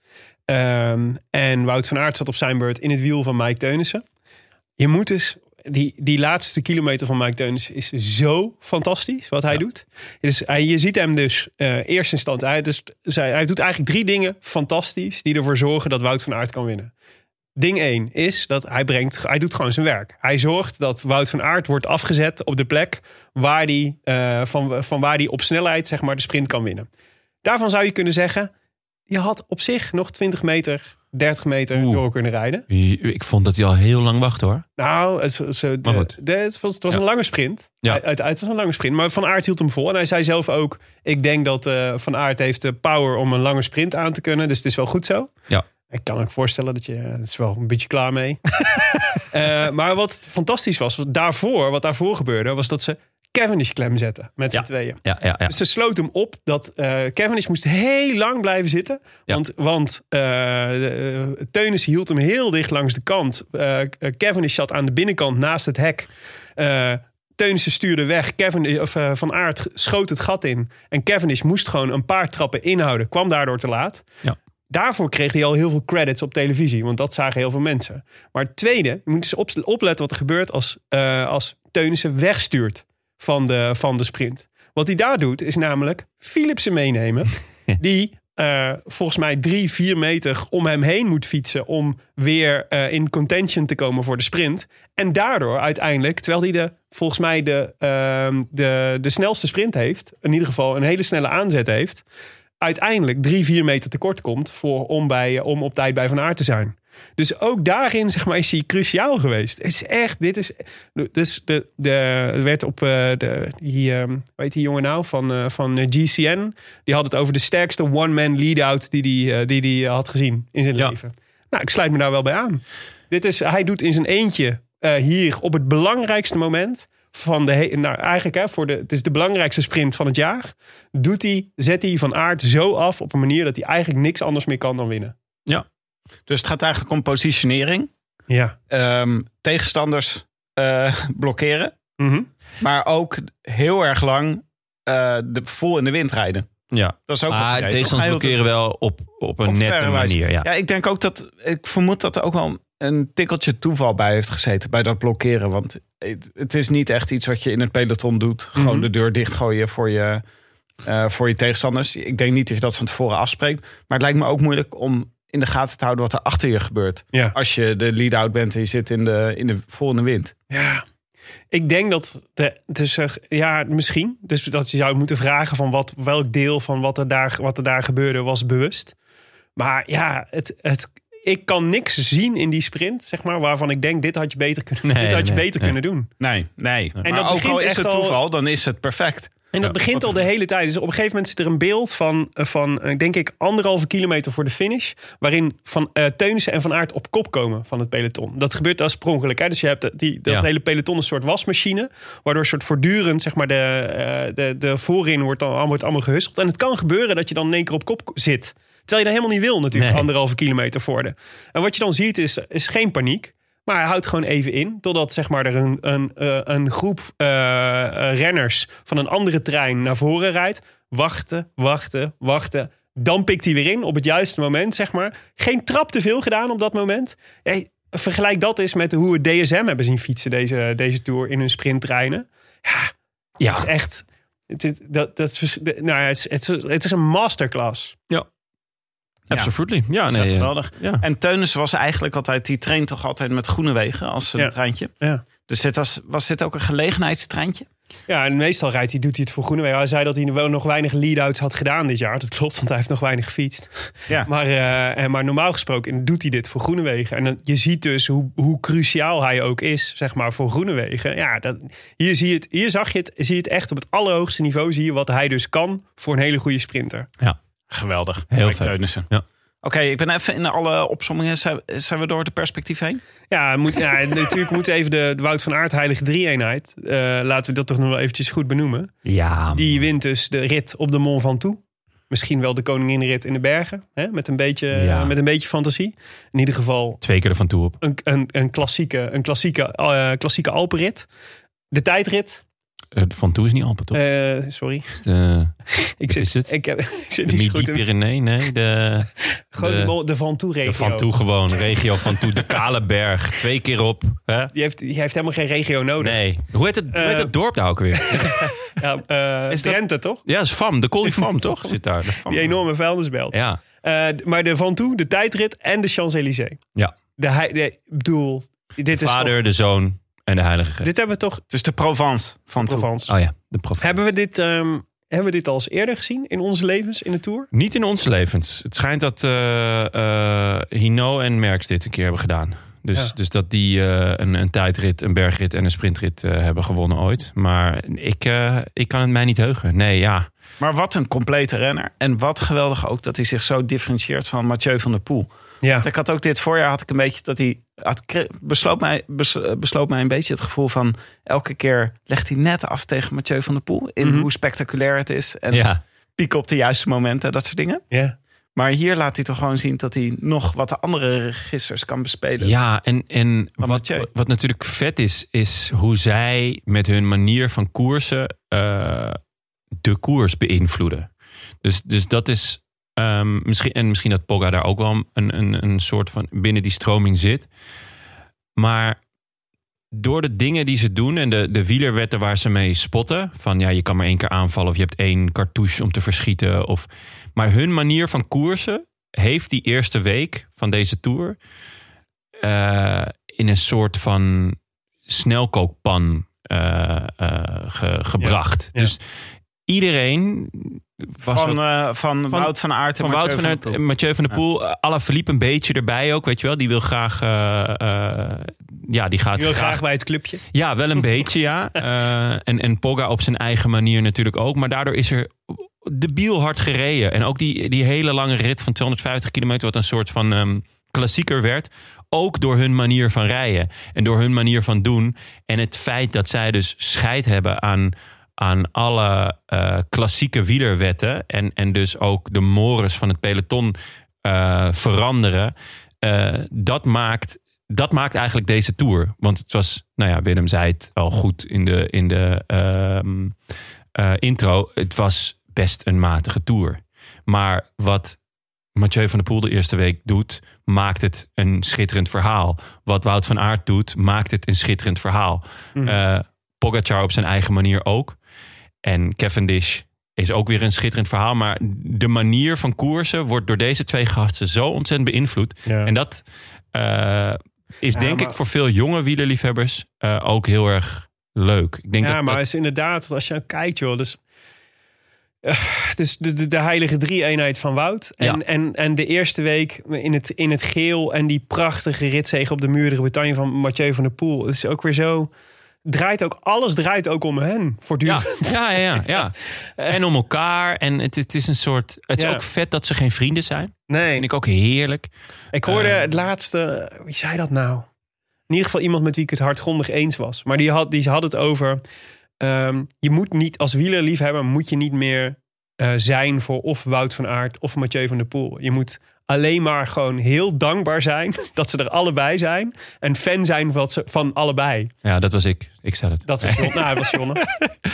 S2: Ehm, en Wout van Aert zat op zijn beurt in het wiel van Mike Teunissen. Je moet dus, die, die laatste kilometer van Mike Teunissen is zo fantastisch wat hij doet. Dus hij, je ziet hem dus eh eerst instantie, hij, dus, zij, hij doet eigenlijk drie dingen fantastisch die ervoor zorgen dat Wout van Aert kan winnen. Ding 1 is dat hij brengt, hij doet gewoon zijn werk. Hij zorgt dat Wout van Aert wordt afgezet op de plek waar die, eh, van, van waar hij op snelheid zeg maar, de sprint kan winnen. Daarvan zou je kunnen zeggen, je had op zich nog 20 meter, 30 meter
S1: Oeh.
S2: door kunnen rijden.
S1: Ik vond dat hij al heel lang wachtte hoor.
S2: Nou, het, het- het-
S1: Maar goed.
S2: de- het was, het was
S1: Ja.
S2: een lange sprint.
S1: Ja.
S2: Uit, uit- het was een lange sprint, maar Van Aert hield hem vol. En hij zei zelf ook, ik denk dat eh, Van Aert heeft de power om een lange sprint aan te kunnen. Dus het is wel goed zo.
S1: Ja.
S2: Ik kan me ook voorstellen dat je eh, het is wel een beetje klaar mee. Eh, maar wat fantastisch was, wat daarvoor, wat daarvoor gebeurde, was dat ze Cavendish klem zetten met z'n
S1: Ja.
S2: tweeën.
S1: Ja, ja, ja.
S2: Dus ze sloot hem op dat eh Cavendish moest heel lang blijven zitten.
S1: Ja.
S2: Want, want eh de- eh, Teunis hield hem heel dicht langs de kant. Eh Cavendish zat aan de binnenkant naast het hek. Eh Teunissen stuurde weg. Kevin, of, eh, van Aert schoot het gat in. En Cavendish moest gewoon een paar trappen inhouden. Kwam daardoor te laat.
S1: Ja.
S2: Daarvoor kreeg hij al heel veel credits op televisie. Want dat zagen heel veel mensen. Maar het tweede, je moet eens op- opletten wat er gebeurt als, eh als Teunissen wegstuurt van de, van de sprint. Wat hij daar doet, is namelijk Philipsen meenemen. die eh, volgens mij drie, vier meter om hem heen moet fietsen. om weer eh, in contention te komen voor de sprint. En daardoor uiteindelijk, terwijl hij de, volgens mij de, ehm, de, de snelste sprint heeft. in ieder geval een hele snelle aanzet heeft. uiteindelijk drie, vier meter tekort komt. Voor, om, bij, eh, om op tijd bij Van Aert te zijn. Dus ook daarin zeg maar, is hij cruciaal geweest. Het is echt, dit is. Dus de, de, er werd op. eh, de, die, ehm, hoe heet die jongen nou? Van, eh, van eh, GCN. Die eh, had het over de sterkste one-man lead-out die hij die, die die had gezien in zijn
S1: Ja.
S2: leven. Nou, ik sluit me daar wel bij aan. Dit is, hij doet in zijn eentje eh, hier op het belangrijkste moment van de. he- Nou, eigenlijk hè, voor de, het is de belangrijkste sprint van het jaar. Doet hij, zet hij van aard zo af op een manier dat hij eigenlijk niks anders meer kan dan winnen.
S6: Dus het gaat eigenlijk om positionering.
S2: Ja.
S6: ehm, tegenstanders eh, blokkeren.
S2: Mhm.
S6: Maar ook heel erg lang eh, de, vol in de wind rijden.
S1: Ja.
S6: Dat is ook wat hij
S1: Maar
S6: deed,
S1: tegenstanders
S6: toch? Hij hield
S1: blokkeren wel op, op een
S6: op
S1: nette
S6: verre wijze.
S1: manier. Ja.
S6: Ja, ik denk ook dat. Ik vermoed dat er ook wel een tikkeltje toeval bij heeft gezeten. Bij dat blokkeren. Want het, het is niet echt iets wat je in het peloton doet. Gewoon de deur dichtgooien voor je, eh, voor je tegenstanders. Ik denk niet dat je dat van tevoren afspreekt. Maar het lijkt me ook moeilijk om in de gaten te houden wat er achter je gebeurt.
S2: Ja.
S6: Als je de lead-out bent en je zit in de, in de volgende wind.
S2: Ja. Ik denk dat de, het is er- ja, misschien. Dus dat je zou moeten vragen van wat, welk deel van wat er daar, wat er daar gebeurde was bewust. Maar ja, het, het, ik kan niks zien in die sprint, zeg maar, waarvan ik denk: dit had je beter kunnen,
S1: Nee,
S2: dit had je
S1: nee,
S2: beter
S1: nee.
S2: kunnen doen.
S6: Nee, nee. En
S2: dat
S6: maar ook
S2: begint
S6: al is
S2: echt
S6: het
S2: al-
S6: toeval, dan is het perfect.
S2: En dat begint al de hele tijd. Dus op een gegeven moment zit er een beeld van, eh, van eh, denk ik, anderhalve kilometer voor de finish. Waarin van, eh Teunissen en Van Aert op kop komen van het peloton. Dat gebeurt als per ongeluk. Hè? Dus je hebt die, dat
S1: Ja.
S2: hele peloton een soort wasmachine. Waardoor soort voortdurend, zeg maar, de, eh, de, de voorin wordt, dan, wordt allemaal gehusteld. En het kan gebeuren dat je dan in één keer op kop zit. Terwijl je dat helemaal niet wil natuurlijk,
S1: Nee.
S2: anderhalve kilometer voor de. En wat je dan ziet is, is geen paniek. Maar hij houdt gewoon even in. Totdat zeg maar, er een, een, eh, een groep eh, eh, renners van een andere trein naar voren rijdt. Wachten, wachten, wachten. Dan pikt hij weer in op het juiste moment, zeg maar. Geen trap te veel gedaan op dat moment. Hey, vergelijk dat eens met hoe we DSM hebben zien fietsen deze, deze tour in hun sprinttreinen. Ja,
S1: Ja.
S2: het is echt... Het, is- dat, dat is, vers- de- nou, ja, het, is- het, is- het is een masterclass.
S1: Absolutely. Ja,
S6: is echt
S1: nee, eh,
S6: geweldig.
S1: ja.
S6: En Teunis was eigenlijk altijd, die traint toch altijd met Groenewegen als een
S2: Ja.
S6: treintje.
S2: Ja.
S6: Dus dit was, was dit ook een gelegenheidstreintje?
S2: Ja, en meestal rijdt hij, doet hij het voor Groenewegen. Hij zei dat hij wel nog weinig lead-outs had gedaan dit jaar. Dat klopt, want hij heeft nog weinig gefietst.
S6: Ja.
S2: Maar, eh, en- maar normaal gesproken doet hij dit voor Groenewegen. En dan, je ziet dus hoe, hoe cruciaal hij ook is, zeg maar, voor Groenewegen. Ja, dat, hier, zie je het, hier zag je het, zie je het echt op het allerhoogste niveau. Zie je wat hij dus kan voor een hele goede sprinter.
S6: Geweldig.
S1: Heel
S6: Mike
S1: vet.
S6: Teunissen.
S1: Ja.
S6: Oké, ik ben even in alle opsommingen. Zijn, zijn we door de perspectief heen?
S2: Ja, moet, ja natuurlijk moet even de, de Wout van Aert heilige drie-eenheid. eh, laten we dat toch nog wel eventjes goed benoemen.
S1: ja,
S2: Die wint dus de rit op de Mont Ventoux. Misschien wel de koninginrit in de bergen. Hè? Met, een beetje,
S1: Ja.
S2: eh, met een beetje fantasie. In ieder geval
S1: twee keer ervan toe op.
S2: een, een, een klassieke, een klassieke, eh, klassieke Alpenrit. De tijdrit.
S1: Eh, Van toe is niet Alpen, toch?
S2: eh, sorry.
S1: Is de,
S2: Ik
S1: wat is het?
S2: Ik, heb, ik zit
S1: de
S2: niet zo goed in.
S1: Midi-Pyrenee? Nee, de,
S2: Gewoon de,
S1: de-
S2: Mol- de Ventoux regio.
S1: de Van Toe gewoon. Regio Van Toe, de Kale Berg. Twee keer op. Hè?
S2: Die heeft, die heeft helemaal geen regio nodig.
S1: Nee. Hoe heet, het, hoe heet het dorp nou ook weer?
S2: Ja, eh,
S1: Is dat-
S2: Drenthe toch?
S1: Ja, is Fam. De Collie Fam, toch? Zit daar. De Fam.
S2: Die enorme vuilnisbelt.
S1: Ja.
S2: Eh, maar de Ventoux, de tijdrit en de Champs-Élysées.
S1: Ja.
S2: De, hei- de, ik bedoel, dit, is toch,
S1: Vader, de Zoon en de Heilige Geest.
S2: dit hebben we toch...
S6: Dus de Provence van toe.
S2: Provence.
S1: Oh ja, de profeet.
S2: Hebben we dit, ehm, hebben we dit al eens eerder gezien in onze levens, in de Tour?
S1: Niet in onze levens. Het schijnt dat eh, eh, Hino en Merckx dit een keer hebben gedaan. Dus,
S2: Ja.
S1: dus dat die eh, een, een tijdrit, een bergrit en een sprintrit eh, hebben gewonnen ooit. Maar ik, eh, ik kan het mij niet heugen. Nee, ja.
S6: Maar wat een complete renner. En wat geweldig ook dat hij zich zo differentieert van Mathieu van der Poel.
S2: Ja.
S6: Want ik had ook dit voorjaar had ik een beetje dat hij... Had, kre- besloot, mij, bes- besloot mij een beetje het gevoel van... elke keer legt hij net af tegen Mathieu van der Poel... in hoe spectaculair het is. En
S1: ja.
S6: pieken op de juiste momenten, dat soort dingen.
S2: Ja.
S6: Maar hier laat hij toch gewoon zien dat hij nog wat de andere registers kan bespelen.
S1: Ja, en, en
S6: Maar
S1: wat,
S6: Mathieu.
S1: wat natuurlijk vet is, is hoe zij met hun manier van koersen eh, de koers beïnvloeden. Dus, dus dat is ehm, misschien, en misschien dat Pogga daar ook wel een, een, een soort van binnen die stroming zit. Maar door de dingen die ze doen en de, de wielerwetten waar ze mee spotten, van ja, je kan maar één keer aanvallen of je hebt één cartouche om te verschieten. Of, maar hun manier van koersen heeft die eerste week van deze tour eh, in een soort van snelkookpan eh, eh, ge- gebracht.
S2: ja.
S1: Dus iedereen was
S6: van,
S1: ook-
S6: eh, van,
S1: van-
S6: Wout van Aert en
S1: van Wout van
S6: Mathieu
S1: Aert,
S6: van,
S1: eh, Mathieu van der
S6: Ja.
S1: Poel, eh, Alain Philippe een beetje erbij ook, weet je wel. Die wil graag, eh, eh, ja, die gaat
S2: Ik wil
S1: graag
S2: graag bij het clubje.
S1: ja, wel een beetje, ja. Eh, en, en Pogga op zijn eigen manier natuurlijk ook. Maar daardoor is er debiel hard gereden. En ook die, die hele lange rit van 250 kilometer, wat een soort van ehm, klassieker werd. Ook door hun manier van rijden en door hun manier van doen. En het feit dat zij dus scheid hebben aan, aan alle eh, klassieke wielerwetten. En, en dus ook de mores van het peloton eh, veranderen. eh, dat, maakt, dat maakt eigenlijk deze tour. Want het was, nou ja, Willem zei het al goed in de, in de ehm, eh, intro. Het was best een matige tour. Maar wat Mathieu van der Poel de eerste week doet, maakt het een schitterend verhaal. Wat Wout van Aert doet, maakt het een schitterend verhaal.
S2: Mhm.
S1: Eh, Pogacar op zijn eigen manier ook. En Cavendish is ook weer een schitterend verhaal. Maar de manier van koersen wordt door deze twee gasten zo ontzettend beïnvloed.
S2: Ja.
S1: En dat eh, is denk
S2: maar-
S1: ik voor veel jonge wielerliefhebbers eh, ook heel erg leuk. Ik denk
S2: Ja,
S1: dat,
S2: maar
S1: dat-
S2: het is inderdaad, want als je nou kijkt, joh, dus. eh, Het is de, de, de heilige drie-eenheid van Wout. En,
S1: Ja.
S2: en, en de eerste week in het, in het geel en die prachtige ritzege op de muur de Bretagne van Mathieu van der Poel. Het is ook weer zo. Draait ook, alles draait ook om hen
S1: Ja,
S2: voortdurend.
S1: ja, ja, ja, ja. En om elkaar. En het, het is een soort. Het
S2: Ja.
S1: is ook vet dat ze geen vrienden zijn.
S2: Nee,
S1: Vind
S2: ik,
S1: ik ook heerlijk.
S2: hoorde
S1: eh,
S2: het laatste. Wie zei dat nou? In ieder geval iemand met wie ik het hardgrondig eens was. Maar die had, die had het over. ehm, je moet niet als wielerliefhebber moet je niet meer eh, zijn voor of Wout van Aert of Mathieu van der Poel. Je moet alleen maar gewoon heel dankbaar zijn dat ze er allebei zijn. En fan zijn van, ze, van allebei.
S1: Ja, dat was ik. Ik zei het.
S2: Dat is Jon- Nou, dat was Jonne.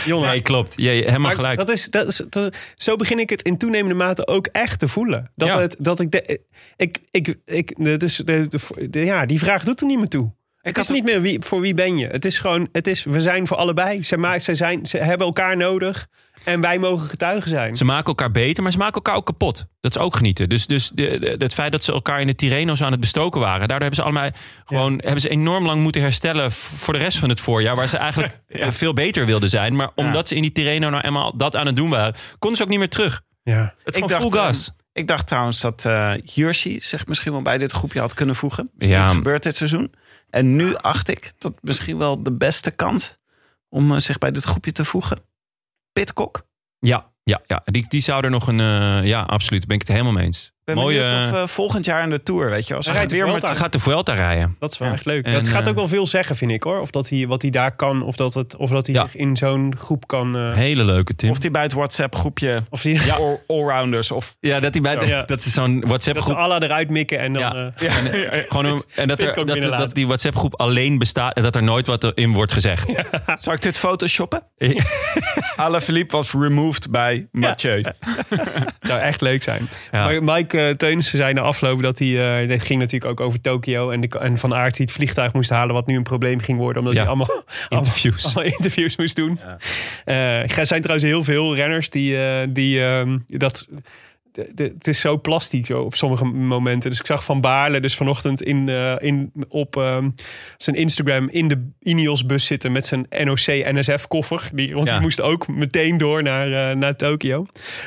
S2: Jonne.
S1: Nee, klopt. Je, je- helemaal
S2: Maar
S1: gelijk.
S2: Dat is, dat is, dat is- zo begin ik het in toenemende mate ook echt te voelen. Dat,
S1: Ja.
S2: het, dat ik, de, ik, ik, ik, het is, de, de- de- ja, die vraag doet er niet meer toe. het is niet meer wie, voor wie ben je. Het is gewoon, het is, we zijn voor allebei. Ze, ma- ze, zijn, ze hebben elkaar nodig en wij mogen getuigen zijn.
S1: Ze maken elkaar beter, maar ze maken elkaar ook kapot. Dat is ook genieten. Dus, dus de, de- het feit dat ze elkaar in de Tirreno's aan het bestoken waren, daardoor hebben ze allemaal gewoon hebben ze enorm lang moeten herstellen v- voor de rest van het voorjaar, waar ze eigenlijk eh, veel beter wilden zijn. Maar omdat ze in die Tirreno nou eenmaal dat aan het doen waren, konden ze ook niet meer terug.
S2: Ja.
S1: Het is
S6: Ik
S1: gewoon full
S6: dacht, ehm,
S1: gas.
S6: Ik dacht trouwens dat eh Hirschi zich misschien wel bij dit groepje had kunnen voegen. Is
S1: Ja.
S6: niet gebeurd dit seizoen. En nu acht ik dat misschien wel de beste kans om eh, zich bij dit groepje te voegen. Pitcock.
S1: Ja, ja, ja. Die, die zou er nog een. eh, ja, absoluut. Ben ik het helemaal mee eens.
S6: Ik ben
S1: Mooie.
S6: benieuwd of eh, volgend jaar in de Tour, weet je. Als
S2: Hij
S6: hij
S2: rijdt de
S6: weer
S2: Vuelta.
S6: met
S1: Hij gaat de Vuelta rijden.
S2: Dat is wel
S6: Ja.
S2: echt leuk.
S1: En,
S2: dat gaat
S1: eh,
S2: ook wel veel zeggen, vind ik hoor. Of dat hij, wat hij daar kan, of dat, het, of dat hij
S1: Ja.
S2: zich in zo'n groep kan. eh,
S1: Hele leuke Tim.
S6: Of die bij het WhatsApp groepje
S2: of die,
S6: all- allrounders of
S1: ja, dat, hij bij,
S2: Ja.
S1: dat ze zo'n WhatsApp
S2: dat ze
S1: groep.
S2: alle eruit mikken en dan.
S1: Ja.
S2: eh,
S1: En, gewoon een- en dat,
S2: vind
S1: er,
S2: ik
S1: dat,
S2: ook binnenlaten.
S1: dat die WhatsApp groep alleen bestaat en dat er nooit wat in wordt gezegd.
S6: Zal ik dit photoshoppen? Alain Philippe was removed bij Mathieu.
S2: zou echt leuk zijn.
S1: Ja.
S2: Maar Mike eh, Teunissen zei na afloop dat hij... eh, dit ging natuurlijk ook over Tokio. En, de, en Van Aert die het vliegtuig moest halen... wat nu een probleem ging worden. Omdat
S1: Ja.
S2: hij allemaal
S1: Interviews.
S2: allemaal, allemaal interviews moest doen. Eh, er zijn trouwens heel veel renners die, eh, die ehm, dat... de- de- het is zo plastiek joh, op sommige momenten. Dus ik zag Van Baarle dus vanochtend in, eh, in, op ehm, zijn Instagram in de Ineos-bus zitten... met zijn NOC-NSF-koffer. Die, want die
S1: Ja.
S2: moest ook meteen door naar, eh, naar Tokio.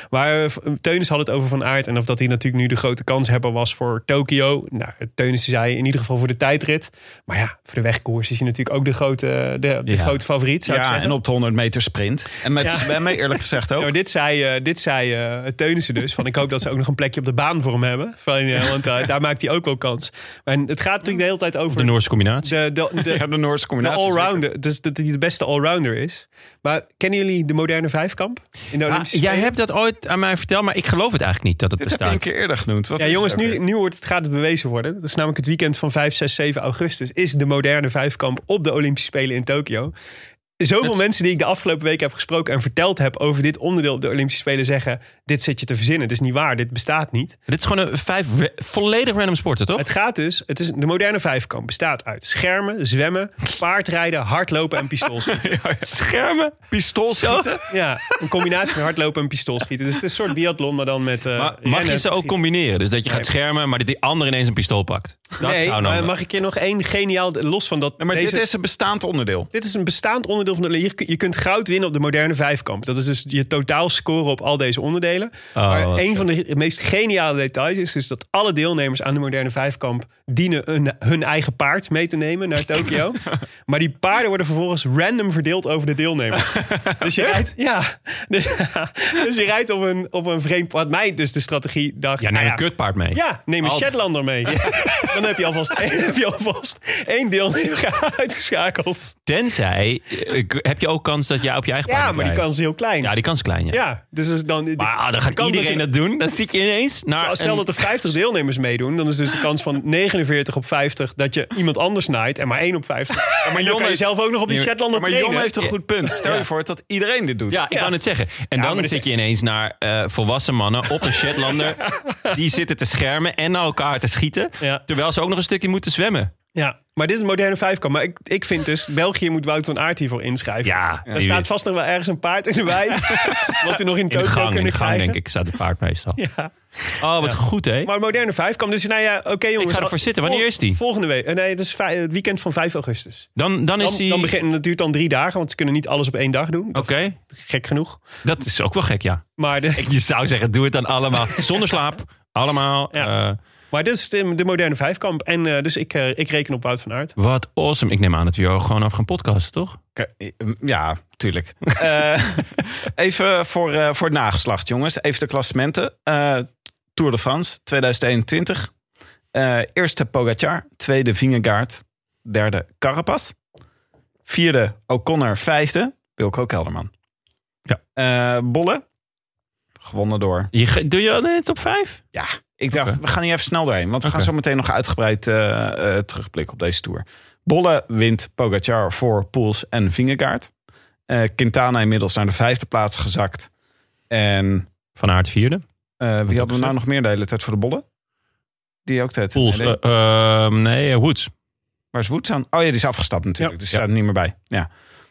S2: Maar eh, Teunis had het over Van Aert. En of dat hij natuurlijk nu de grote kanshebber was voor Tokio. Nou, Teunis zei in ieder geval voor de tijdrit. Maar ja, voor de wegkoers is hij natuurlijk ook de grote, de, de
S1: Ja.
S2: grote favoriet, zou ik
S6: Ja,
S2: zeggen.
S6: en op de 100 meter sprint. En met
S2: Ja.
S6: zwemmen, eerlijk gezegd ook.
S2: Nou, dit zei, eh, dit zei eh, Teunissen dus. Van ik hoop dat ze ook nog een plekje op de baan voor hem hebben. Van, eh, want eh, daar maakt hij ook wel kans. En het gaat natuurlijk de hele tijd over
S1: De Noorse combinatie.
S2: de, de, de,
S6: Ja, de Noorse
S2: de
S6: combinatie.
S2: allrounder. Dus dat hij de beste allrounder is. Maar kennen jullie de moderne vijfkamp? In de
S1: Ah,
S2: Olympische
S1: jij
S2: Spelen?
S1: hebt dat ooit aan mij verteld, maar ik geloof het eigenlijk niet dat het
S6: Dit heb je
S1: bestaat.
S6: een keer eerder genoemd. Wat
S2: Ja,
S6: is het
S2: jongens,
S6: ook
S2: nu,
S6: weer?
S2: nu wordt het, gaat het bewezen worden. Dat is namelijk het weekend van 5, 6, 7 augustus. Is de moderne vijfkamp op de Olympische Spelen in Tokio. Zoveel mensen die ik de afgelopen weken heb gesproken en verteld heb over dit onderdeel op de Olympische Spelen zeggen: Dit zit je te verzinnen. Dit is niet waar. Dit bestaat niet.
S1: Dit is gewoon een vijf ra- volledig random sporten, toch?
S2: Het gaat dus, het is, de moderne vijfkamp bestaat uit schermen, zwemmen, paardrijden, hardlopen en pistoolschieten.
S6: Schermen, pistool schieten.
S2: Ja, een combinatie van hardlopen en pistoolschieten. Dus het is een soort biathlon, maar dan met. eh,
S1: Maar mag je
S2: rennen,
S1: ze ook
S2: schieten.
S1: combineren? Dus dat je gaat schermen, maar dat die ander ineens een pistool pakt. Dat
S2: Nee, eh,
S1: zou
S2: maar
S1: nou.
S2: mag ik je nog één geniaal, los van dat.
S6: Ja, maar
S2: deze-
S6: dit is een bestaand onderdeel.
S2: Dit is een bestaand gemiddeld van de, hier- je kunt goud winnen op de moderne vijfkamp. Dat is dus je totaal scoren op al deze onderdelen.
S1: Oh,
S2: maar
S1: wat
S2: een
S1: vet.
S2: van de meest geniale details is dus dat alle deelnemers aan de moderne vijfkamp dienen een, hun eigen paard mee te nemen naar Tokio. maar die paarden worden vervolgens random verdeeld over de deelnemers. dus je rijdt, ja, dus, dus je rijdt op een, op een vreemd Wat mij dus de strategie dacht.
S1: Ja,
S2: nou
S1: neem een kutpaard mee.
S2: ja, neem een
S1: Al-
S2: Shetlander mee. Dan heb je alvast, heb je alvast één deelnemer uitgeschakeld.
S1: Tenzij, eh, ik- heb je ook kans dat jij op je eigen
S2: Ja,
S1: paard
S2: maar die
S1: rijdt?
S2: kans is heel klein.
S1: Ja,
S2: Ja,
S1: die kans is klein, ja.
S2: dus is dan... die-
S1: Maar ah, dan
S2: de
S1: gaat
S2: kans
S1: iedereen
S2: dat- Nou,
S1: dat doen. Dan zit je ineens naar
S2: Stel
S1: een-
S2: dat er 50 deelnemers meedoen, dan is dus de kans van 49 op 50 dat je iemand anders naait en maar 1 op 50. maar Jon
S6: kan
S2: is
S6: je-
S2: zelf ook nog op die Shetlander
S6: maar
S2: trainen.
S6: Jon heeft een goed punt. Stel je voor dat iedereen dit doet.
S1: Ja, ik wou het zeggen. En
S2: maar
S1: dan
S2: dit-
S1: zit je ineens naar eh, volwassen mannen op een Shetlander. die zitten te schermen en naar elkaar te schieten.
S2: Ja.
S1: Terwijl ze ook nog een stukje moeten zwemmen.
S2: Ja, maar dit is een moderne vijfkamp. Maar ik, ik vind dus, België moet Wouter van Aert hiervoor inschrijven.
S1: Ja,
S2: Er staat vast nog wel ergens een paard in de wei. wat u nog in
S1: in
S2: Tokio
S1: de gang, in
S2: kunnen
S1: de gang
S2: krijgen.
S1: denk ik, staat het paard meestal.
S2: Ja.
S1: Oh, wat goed hè.
S2: Maar moderne vijfkamp. Dus nou ja, oké jongens.
S1: Ik ga ervoor zitten. Wanneer is die?
S2: Volgende week. Eh, Nee, dat is vij- het weekend van 5 augustus.
S1: Dan, dan
S2: Dan,
S1: is Oh, hij...
S2: dan begin, dat duurt dan drie dagen, want ze kunnen niet alles op één dag doen.
S1: Oké,
S2: Dat is gek genoeg.
S1: dat is ook wel gek, ja.
S2: Maar, de,
S1: Ik, je zou zeggen, doe het dan allemaal. Zonder slaap. Allemaal.
S2: Ja.
S1: eh,
S2: maar dit is de, de moderne vijfkamp. En eh, dus ik, eh, ik reken op Wout van Aert.
S1: wat awesome. Ik neem aan dat we jou gewoon af gaan podcasten, toch?
S6: Ja, tuurlijk. Eh, even voor, eh, voor het nageslacht, jongens. Even de klassementen. Eh, Tour de France 2021. Eh, eerste Pogacar. Tweede Vingegaard. Derde Carapaz. Vierde O'Connor. Vijfde Wilco Kelderman.
S1: Ja.
S6: Eh, Bolle. Gewonnen door.
S1: Je, ge- doe je dat in de top 5?
S6: Ja, ik dacht, we gaan hier even snel doorheen. Want we gaan
S1: Oké.
S6: zo meteen nog uitgebreid eh, eh, terugblikken op deze tour. Bolle wint Pogacar voor Poels en Vingegaard. Eh, Quintana inmiddels naar de vijfde plaats gezakt. En
S1: Van Aert vierde.
S6: eh, wie hadden we
S1: gezegd?
S6: nou nog meer de hele tijd voor de Bolle? Die ook de hele tijd.
S1: Poels.
S6: Nee,
S1: eh, ehm, nee, eh, Woods.
S6: Waar is Woods aan? Oh ja, die is afgestapt natuurlijk.
S2: Ja.
S6: Dus die staat er niet meer bij. Ja.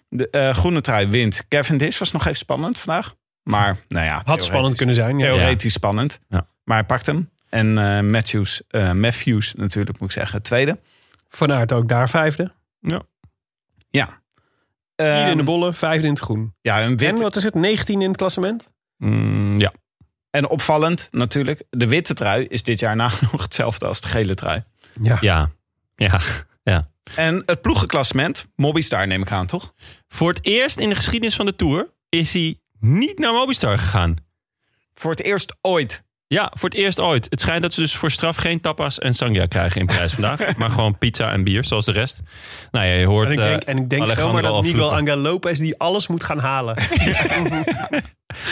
S6: De eh, groene trui wint. Cavendish was nog even spannend vandaag. Maar nou ja.
S2: Had spannend
S6: theoretisch-
S2: kunnen zijn. Ja.
S6: Theoretisch spannend.
S1: Ja.
S6: Maar hij pakt hem. En eh, Matthews, eh, Matthews natuurlijk moet ik zeggen. Tweede.
S2: Van Aert ook daar vijfde. Vierde in de
S6: Ehm,
S2: bollen, vijfde in het groen.
S6: Ja, een wit.
S2: En
S6: En,
S2: wat is het? 19 in het klassement?
S1: Mm, ja.
S6: opvallend natuurlijk. De witte trui is dit jaar nagenoeg hetzelfde als de gele trui.
S1: Ja. Ja. Ja.
S6: En het ploegenklassement. Mobbystar neem ik aan, toch?
S1: Voor het eerst in de geschiedenis van de Tour is hij niet naar Mobistar gegaan.
S6: Voor het eerst ooit.
S1: Ja, voor het eerst ooit. Het schijnt dat ze dus voor straf geen tapas en sangria krijgen in prijs vandaag. maar gewoon pizza en bier, zoals de rest. Nou ja, je hoort...
S2: En ik denk,
S1: eh,
S2: en ik denk
S1: Alejandro
S2: zomaar dat
S1: al
S2: Miguel
S1: vloeken.
S2: Angel Lopez die alles moet gaan halen.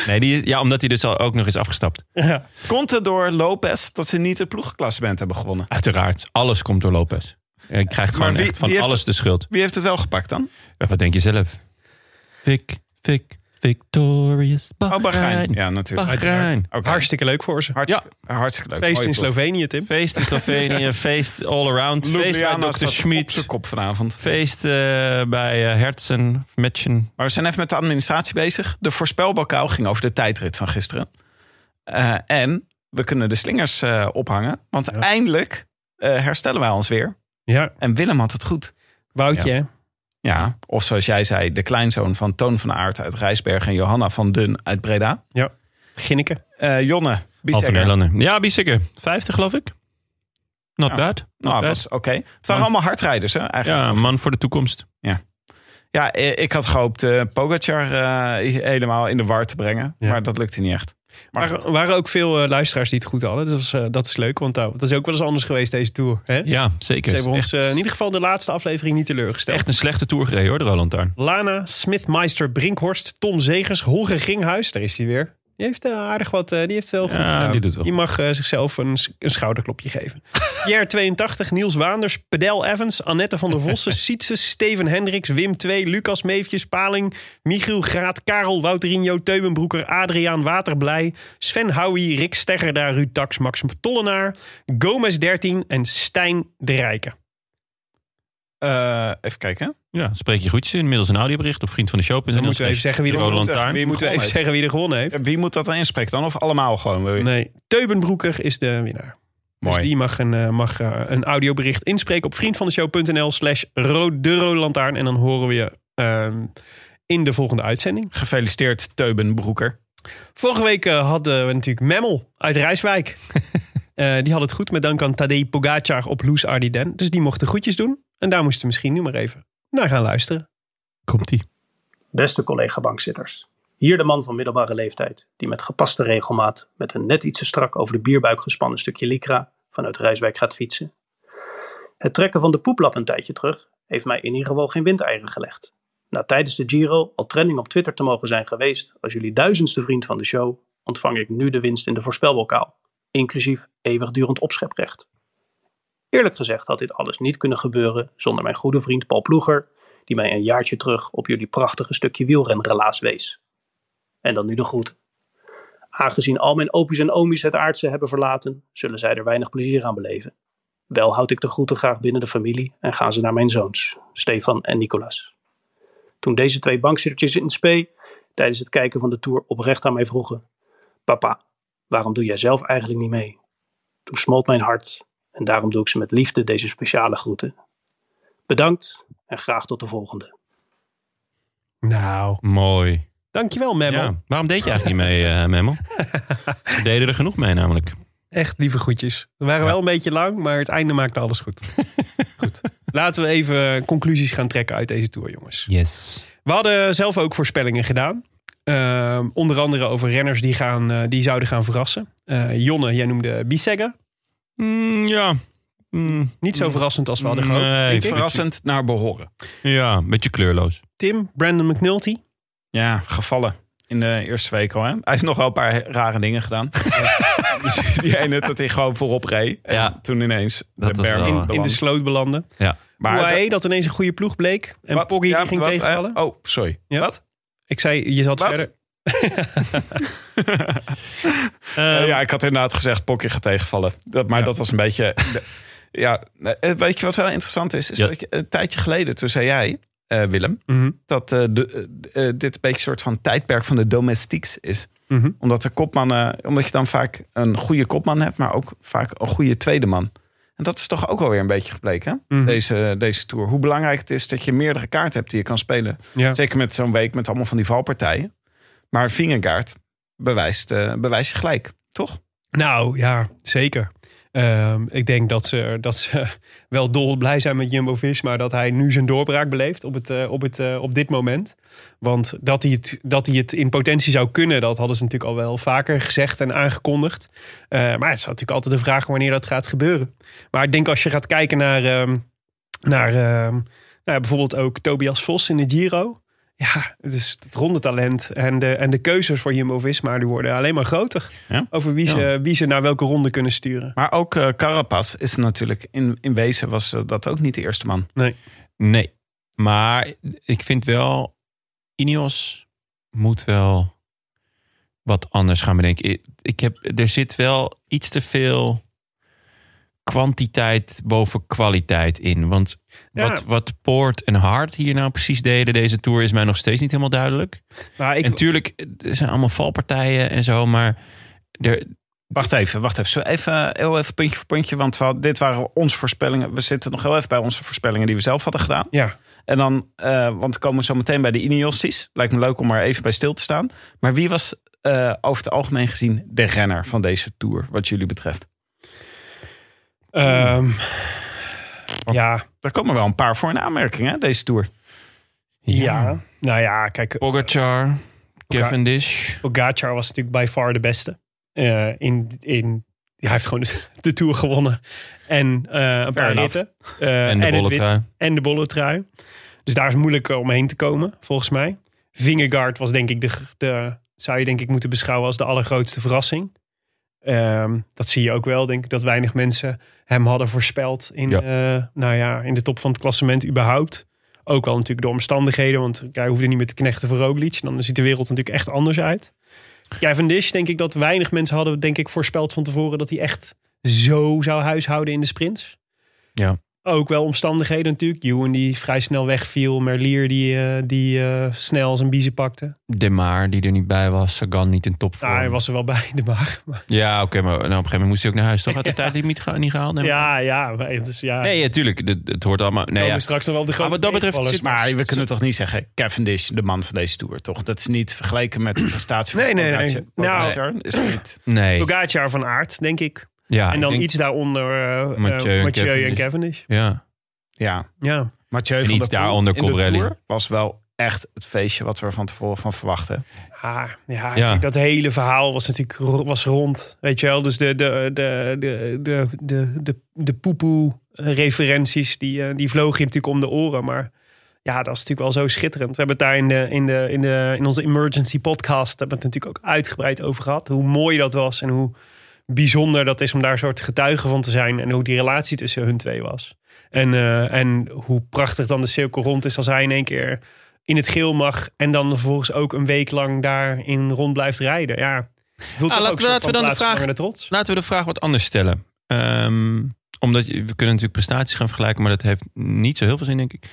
S1: Nee, die, ja, omdat hij dus al ook nog is afgestapt.
S2: ja.
S6: Komt het door Lopez dat ze niet het ploegenklassement hebben gewonnen?
S1: Uiteraard. Alles komt door Lopez. Hij krijgt gewoon
S6: wie-
S1: echt van
S6: wie heeft-
S1: alles de schuld.
S6: Wie heeft het wel gepakt dan?
S1: Ja, Wat denk je zelf? Vic, Vic, Victorious
S6: Oh,
S1: Bahrein.
S6: Bahrein.
S2: eh,
S6: Ja, natuurlijk.
S1: Bahrein.
S6: Oké.
S2: Hartstikke leuk voor ze.
S6: Hartstikke, hartstikke leuk.
S2: Feest
S6: Mooie
S2: in
S6: ploeg.
S2: Slovenië, Tim.
S1: Feest in Slovenië, feest all around. Feest bij
S6: Ljubljana
S1: Dr.
S6: staat op zijn
S1: Schmid.
S6: kop vanavond.
S1: Feest eh, bij eh, Hertzen, Matchen.
S6: Maar we zijn even met de administratie bezig. De voorspelbokaal ging over de tijdrit van gisteren. Eh, en we kunnen de slingers eh, ophangen. Want eindelijk eh, herstellen wij ons weer.
S2: Ja,
S6: En Willem had het goed.
S2: Woutje. hè?
S6: Ja, of zoals jij zei, de kleinzoon van Toon van Aert uit Rijsberg en Johanna van Dun uit Breda.
S2: Ginneke.
S6: Eh, Jonne,
S1: Halve
S6: Biesegger. Nou,
S1: Nederlander. Ja, Biesikker. 50 geloof ik. Not
S6: Ja.
S1: bad. Not bad.
S6: Nou, was oké. Het waren allemaal hardrijders, hè? Eigenlijk.
S1: Ja, een man voor de toekomst.
S6: Ja, eh, ik had gehoopt eh Pogacar eh, helemaal in de war te brengen.
S2: Ja.
S6: Maar dat lukte niet echt. Maar
S2: Er waren ook veel eh, luisteraars die het goed hadden. Dus dat is, eh, dat is leuk, want eh, dat is ook wel eens anders geweest deze tour. Hè?
S1: Ja, zeker.
S2: Ze hebben ons
S1: echt,
S2: eh, in ieder geval de laatste aflevering niet teleurgesteld.
S1: echt een slechte tour gereden hoor, de Roland Taarn.
S2: Lana, Smithmeister, Brinkhorst, Tom Zegers, Holger Gringhuis. Daar is hij weer. Die heeft eh, aardig wat, eh, die heeft wel goed
S1: Ja,
S2: gedaan.
S1: die doet wel
S2: Je mag eh, zichzelf een, s- een schouderklopje geven. Pierre 82, Niels Waanders, Pedel Evans, Annette van der Vossen, Sietse, Steven Hendricks, Wim 2, Lucas Meefjes, Paling, Michiel Graat, Karel Wouterino, Teubenbroeker, Adriaan Waterblij, Sven Houwie, Rick Steggerda, Ruud Dax, Max Tollenaar, Gomez 13 en Stijn de Rijke.
S6: eh, even kijken.
S1: Ja, spreek je groetjes in. Middels een audiobericht op vriend van de show.
S2: Dan moeten we even zeggen wie
S1: de
S2: er
S1: Roland
S2: gewonnen
S6: zeggen
S1: Taarn.
S6: wie-
S2: Moeten we even zeggen wie er gewonnen heeft?
S6: Wie moet dat dan inspreken dan? Of allemaal gewoon? wil je?
S2: Nee, Teubenbroeker is de winnaar. Dus
S6: Mooi.
S2: die mag een, eh, mag, eh, een audiobericht inspreken op vriendvandeshow.nl slash ro- de rode lantaarn. En dan horen we je ehm, in de volgende uitzending.
S6: Gefeliciteerd, Teuben Broeker.
S2: Vorige week eh, hadden we natuurlijk Memmel uit Rijswijk. Eh, die had het goed met dank aan Tadej Pogacar op Loes Ardiden. Dus die mocht de groetjes doen. En daar moesten we misschien nu maar even naar gaan luisteren.
S1: Komt-ie.
S7: Beste collega-bankzitters. Hier de man van middelbare leeftijd, die met gepaste regelmaat met een net iets te strak over de bierbuik gespannen stukje lycra vanuit Rijswijk gaat fietsen. Het trekken van de poeplap een tijdje terug heeft mij in ieder geval geen windeieren gelegd. Na tijdens de Giro al trending op Twitter te mogen zijn geweest als jullie duizendste vriend van de show, ontvang ik nu de winst in de voorspelbokaal, inclusief eeuwigdurend opscheprecht. Eerlijk gezegd had dit alles niet kunnen gebeuren zonder mijn goede vriend Paul Ploeger, die mij een jaartje terug op jullie prachtige stukje wielrenrelaas wees. En dan nu de groet. Aangezien al mijn opies en omies het aardse hebben verlaten, zullen zij er weinig plezier aan beleven. Wel houd ik de groeten graag binnen de familie en gaan ze naar mijn zoons, Stefan en Nicolas. Toen deze twee bankzittertjes in Spee tijdens het kijken van de tour oprecht aan mij vroegen: Papa, waarom doe jij zelf eigenlijk niet mee? Toen smolt mijn hart en daarom doe ik ze met liefde deze speciale groeten. Bedankt en graag tot de volgende.
S2: Nou,
S1: Mooi.
S2: dankjewel Memmel.
S1: Ja. Waarom deed je eigenlijk niet mee, eh Memmel? We deden er genoeg mee namelijk.
S2: Echt lieve groetjes. We waren
S1: Ja.
S2: wel een beetje lang, maar het einde maakte alles goed. goed. Laten we even conclusies gaan trekken uit deze tour, jongens.
S1: Yes.
S2: We hadden zelf ook voorspellingen gedaan. Ehm, onder andere over renners die, gaan, eh, die zouden gaan verrassen. Eh, Jonne, jij noemde Bissegger.
S1: Mm, ja.
S6: Hm.
S1: Mm,
S2: Niet zo verrassend als we hadden gehoopt.
S1: Nee,
S2: denk ik.
S6: Verrassend naar behoren.
S1: ja, een beetje kleurloos.
S2: Tim, Brandon McNulty.
S6: Ja, gevallen. In de eerste week al. Hè? Hij heeft nog wel een paar rare dingen gedaan. Dus die ene dat hij gewoon voorop reed. En
S1: Ja.
S6: toen ineens
S1: Dat
S6: de
S1: was
S6: berm
S1: wel,
S6: in,
S1: eh,
S2: In de sloot belanden.
S1: Ja.
S6: Oh. Maar
S2: UAE,
S6: dat-
S2: dat, ineens een goede ploeg bleek. En
S6: Wat?
S2: Poggi die
S6: Ja,
S2: ging
S6: wat, hè?
S2: tegenvallen.
S6: Oh, sorry.
S2: Ja.
S6: Wat?
S2: Ik zei, je zat
S6: Wat?
S2: verder. Ehm,
S6: Eh, ja, ik had inderdaad gezegd, Pokje gaat tegenvallen. Dat, maar dat was een beetje... ja, eh, weet je wat wel interessant is? is
S1: Ja.
S6: dat je- een tijdje geleden, toen zei jij, eh, Willem...
S2: Mhm.
S6: dat eh, de, eh, eh, dit een beetje een soort van tijdperk van de domestieks is.
S2: Mhm.
S6: Omdat de kopmannen, omdat je dan vaak een goede kopman hebt, maar ook vaak een goede tweede man. En dat is toch ook alweer een beetje gebleken, hè?
S2: Mhm.
S6: deze, deze tour. Hoe belangrijk het is dat je meerdere kaarten hebt die je kan spelen.
S2: Ja.
S6: Zeker met zo'n week met allemaal van die valpartijen. Maar Vingegaard bewijst, eh bewijst je gelijk, toch?
S2: Nou ja, zeker. Ehm, ik denk dat ze, dat ze wel dol blij zijn met Jumbo Visma dat hij nu zijn doorbraak beleeft op, het, eh, op, het, eh, op dit moment. Want dat hij, het, dat hij het in potentie zou kunnen, dat hadden ze natuurlijk al wel vaker gezegd en aangekondigd. Eh, maar het is natuurlijk altijd de vraag wanneer dat gaat gebeuren. Maar ik denk als je gaat kijken naar, ehm, naar ehm, nou ja, bijvoorbeeld ook Tobias Vos in de Giro. Ja, het is het rondetalent en de, en de keuzes voor Jumbo-Visma die worden alleen maar groter.
S6: Ja.
S2: Over wie, ze, wie ze naar welke ronde kunnen sturen.
S6: Maar ook eh Carapaz is natuurlijk, in, in wezen was eh, dat ook niet de eerste man.
S1: Nee. Maar ik vind wel, Ineos moet wel wat anders gaan bedenken. Ik- Ik heb, er zit wel iets te veel kwantiteit boven kwaliteit in. Want
S2: Ja.
S1: wat, wat Poort en Hart hier nou precies deden deze Tour... is mij nog steeds niet helemaal duidelijk.
S2: Maar ik,
S1: En tuurlijk, er zijn allemaal valpartijen en zo, maar... Er,
S6: Wacht even, wacht even. Zullen we even, heel even puntje voor puntje? Want we had- dit waren onze voorspellingen. We zitten nog heel even bij onze voorspellingen die we zelf hadden gedaan.
S2: ja,
S6: En dan, eh, want dan komen we zo meteen bij de Ineosties. Lijkt me leuk om maar even bij stil te staan. Maar wie was eh, over het algemeen gezien de renner van deze Tour, wat jullie betreft?
S2: ehm, ja,
S6: Daar komen wel een paar voor in aanmerking, hè, deze Tour.
S2: ja. Nou ja, kijk,
S1: Pogacar, Cavendish.
S2: Pogacar was natuurlijk by far de beste. Eh, in, in, ja, hij heeft gewoon de, de Tour gewonnen. En eh, een paar
S6: enough.
S2: ritten. Eh,
S1: En de
S2: het wit.
S1: bolletrui.
S2: En de bolletrui. Dus daar is moeilijk omheen te komen, volgens mij. Vingegaard was denk ik de, de... Zou je denk ik moeten beschouwen als de allergrootste verrassing. Ehm, dat zie je ook wel, denk ik. Dat weinig mensen hem hadden voorspeld in,
S1: Ja.
S2: eh, nou ja, in de top van het klassement überhaupt. Ook al natuurlijk de omstandigheden, want hij hoefde niet meer te knechten voor Roglic. Dan ziet de wereld natuurlijk echt anders uit. Kevin Dish, denk ik dat weinig mensen hadden, denk ik, voorspeld van tevoren dat hij echt zo zou huishouden in de sprints.
S1: Ja.
S2: Ook wel omstandigheden natuurlijk. Juwen die vrij snel wegviel. Merlier die, eh, die eh, snel zijn biezen pakte.
S1: De Maar, die er niet bij was. Sagan niet in topvorm.
S2: Nou, hij was er wel bij, de maar. maar-
S1: Ja, oké, maar nou, op een gegeven moment moest hij ook naar huis. Toch had de tijdlimiet ge- niet gehaald? Nee,
S2: Ja, ja. maar Het is, ja
S1: nee ja, tuurlijk. Het, het hoort allemaal... Nee,
S2: komen
S1: ja.
S2: straks nog wel op de
S1: Maar
S2: grote
S1: wat dat betreft...
S2: tegenvallers,
S1: zit-
S6: Maar we kunnen toch niet zeggen, Cavendish, de man van deze tour, toch? Dat is niet vergeleken met de prestatie van
S2: Nee, nee, nee.
S6: Pogacar.
S2: Nou-
S6: Pogacar is niet.
S1: Nee.
S2: Pogacar van aard, denk ik.
S1: Ja,
S2: en
S1: ik
S2: dan
S1: denk-
S2: iets daaronder eh, eh,
S1: Mathieu
S2: Mathieu,
S1: en
S2: en
S1: Cavendish.
S2: Cavendish.
S1: Ja.
S6: Ja,
S2: Ja.
S6: Mathieu
S1: En
S6: van
S1: iets
S6: der Poel
S1: daaronder
S6: in de
S1: Cobrelli.
S6: Tour was wel echt het feestje wat we er van tevoren van verwachten.
S2: Ah, ja,
S1: Ja.
S2: kijk, dat hele verhaal was natuurlijk ro- was rond. Weet je wel, dus de, de, de, de, de, de, de, de poepoe-referenties, die, eh, die vlogen je natuurlijk om de oren. Maar ja, dat is natuurlijk wel zo schitterend. We hebben het daar in, de, in, de, in, de, in onze emergency podcast hebben we het natuurlijk ook uitgebreid over gehad. Hoe mooi dat was en hoe bijzonder dat is om daar soort getuige van te zijn. En hoe die relatie tussen hun twee was. En, eh, en hoe prachtig dan de cirkel rond is als hij in één keer in het geel mag. En dan vervolgens ook een week lang daarin rond blijft rijden. Ja, voelt
S1: Ah, laten we- laten we dan de vraag-
S2: trots.
S1: Laten we de vraag wat anders stellen. Ehm, omdat je- we kunnen natuurlijk prestaties gaan vergelijken, maar dat heeft niet zo heel veel zin, denk ik.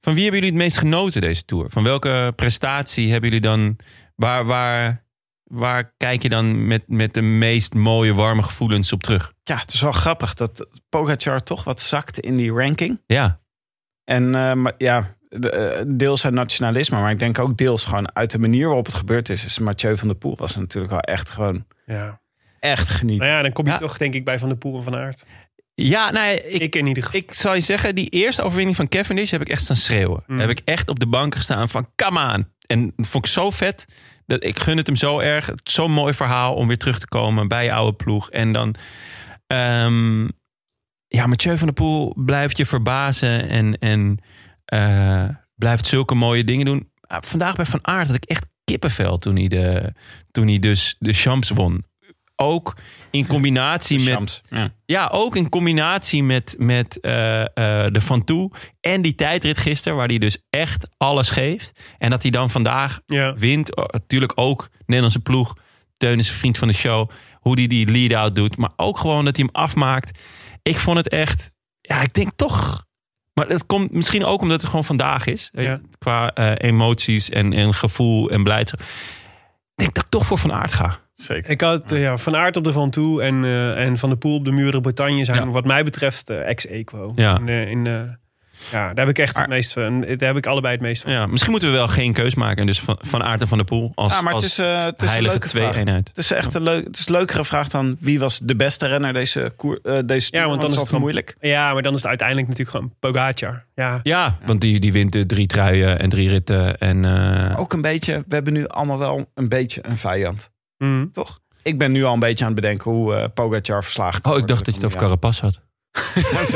S1: Van wie hebben jullie het meest genoten deze tour? Van welke prestatie hebben jullie dan? Waar, waar, waar kijk je dan met, met de meest mooie, warme gevoelens op terug?
S6: Ja, het is wel grappig dat Pogacar toch wat zakte in die ranking.
S1: Ja,
S6: En eh, maar ja, de- eh, deels uit nationalisme, maar ik denk ook deels gewoon uit de manier waarop het gebeurd is. is Mathieu van der Poel was natuurlijk wel echt gewoon
S2: Ja.
S6: echt genieten.
S2: Nou ja, dan kom je
S1: Ja.
S2: toch denk ik bij Van der Poel en Van Aert.
S1: ja nou, ja,
S2: Ik,
S1: ik,
S2: in ieder geval.
S1: ik zal je zeggen, die eerste overwinning van Cavendish heb ik echt staan schreeuwen.
S2: Mm.
S1: Heb ik echt op de bank gestaan van, come on. En dat vond ik zo vet. Dat, ik gun het hem zo erg. Het is Zo'n mooi verhaal om weer terug te komen bij je oude ploeg. En dan... ehm, ja, Mathieu van der Poel blijft je verbazen. En, en eh, blijft zulke mooie dingen doen. Ah, vandaag bij Van Aert had ik echt kippenvel toen hij, de, toen hij dus de Champs won. Ook in combinatie met...
S6: Champs. Ja.
S1: Ja, ook in combinatie met, met eh, eh, de Van Toe en die tijdrit gisteren, waar hij dus echt alles geeft. En dat hij dan vandaag
S2: Ja.
S1: wint. Oh, Natuurlijk ook Nederlandse ploeg. Teun is een vriend van de show. Hoe hij die lead-out doet. Maar ook gewoon dat hij hem afmaakt. Ik vond het echt... Ja, ik denk toch... Maar dat komt misschien ook omdat het gewoon vandaag is. Weet je,
S2: Ja.
S1: Qua eh, emoties en, en gevoel en blijdschap. Ik denk dat ik toch voor Van Aert ga.
S6: Zeker.
S2: Ik had eh, ja, Van Aert op de Van Toe en, eh, en Van de Poel op de Muren Bretagne zijn
S1: Ja.
S2: wat mij betreft eh, ex-equo.
S1: Ja.
S2: In, eh, in, eh, ja, daar heb ik echt het meest van. Daar heb ik allebei het meest van.
S1: Ja, misschien moeten we wel geen keus maken. En dus Van, van Aert en Van der Poel als,
S6: Ja, maar het
S1: als
S6: is, eh, het is een
S1: heilige
S6: leuke vraag.
S1: twee-eenheid.
S6: Het is echt een, leuk, het is een leukere vraag dan wie was de beste renner deze, koer, eh, deze tour,
S2: want dan is
S6: dat
S2: het
S6: wel
S2: dan-
S6: moeilijk.
S2: Ja, maar dan is het uiteindelijk natuurlijk gewoon Pogacar. Ja.
S1: Ja, want die, die wint de drie truien en drie ritten. En, eh,
S6: Ook een beetje, we hebben nu allemaal wel een beetje een vijand,
S2: Mhm.
S6: toch? Ik ben nu al een beetje aan het bedenken hoe eh, Pogacar verslagen kan
S1: oh, ik
S6: worden
S1: dacht dat je het
S6: de
S1: over Carapaz had.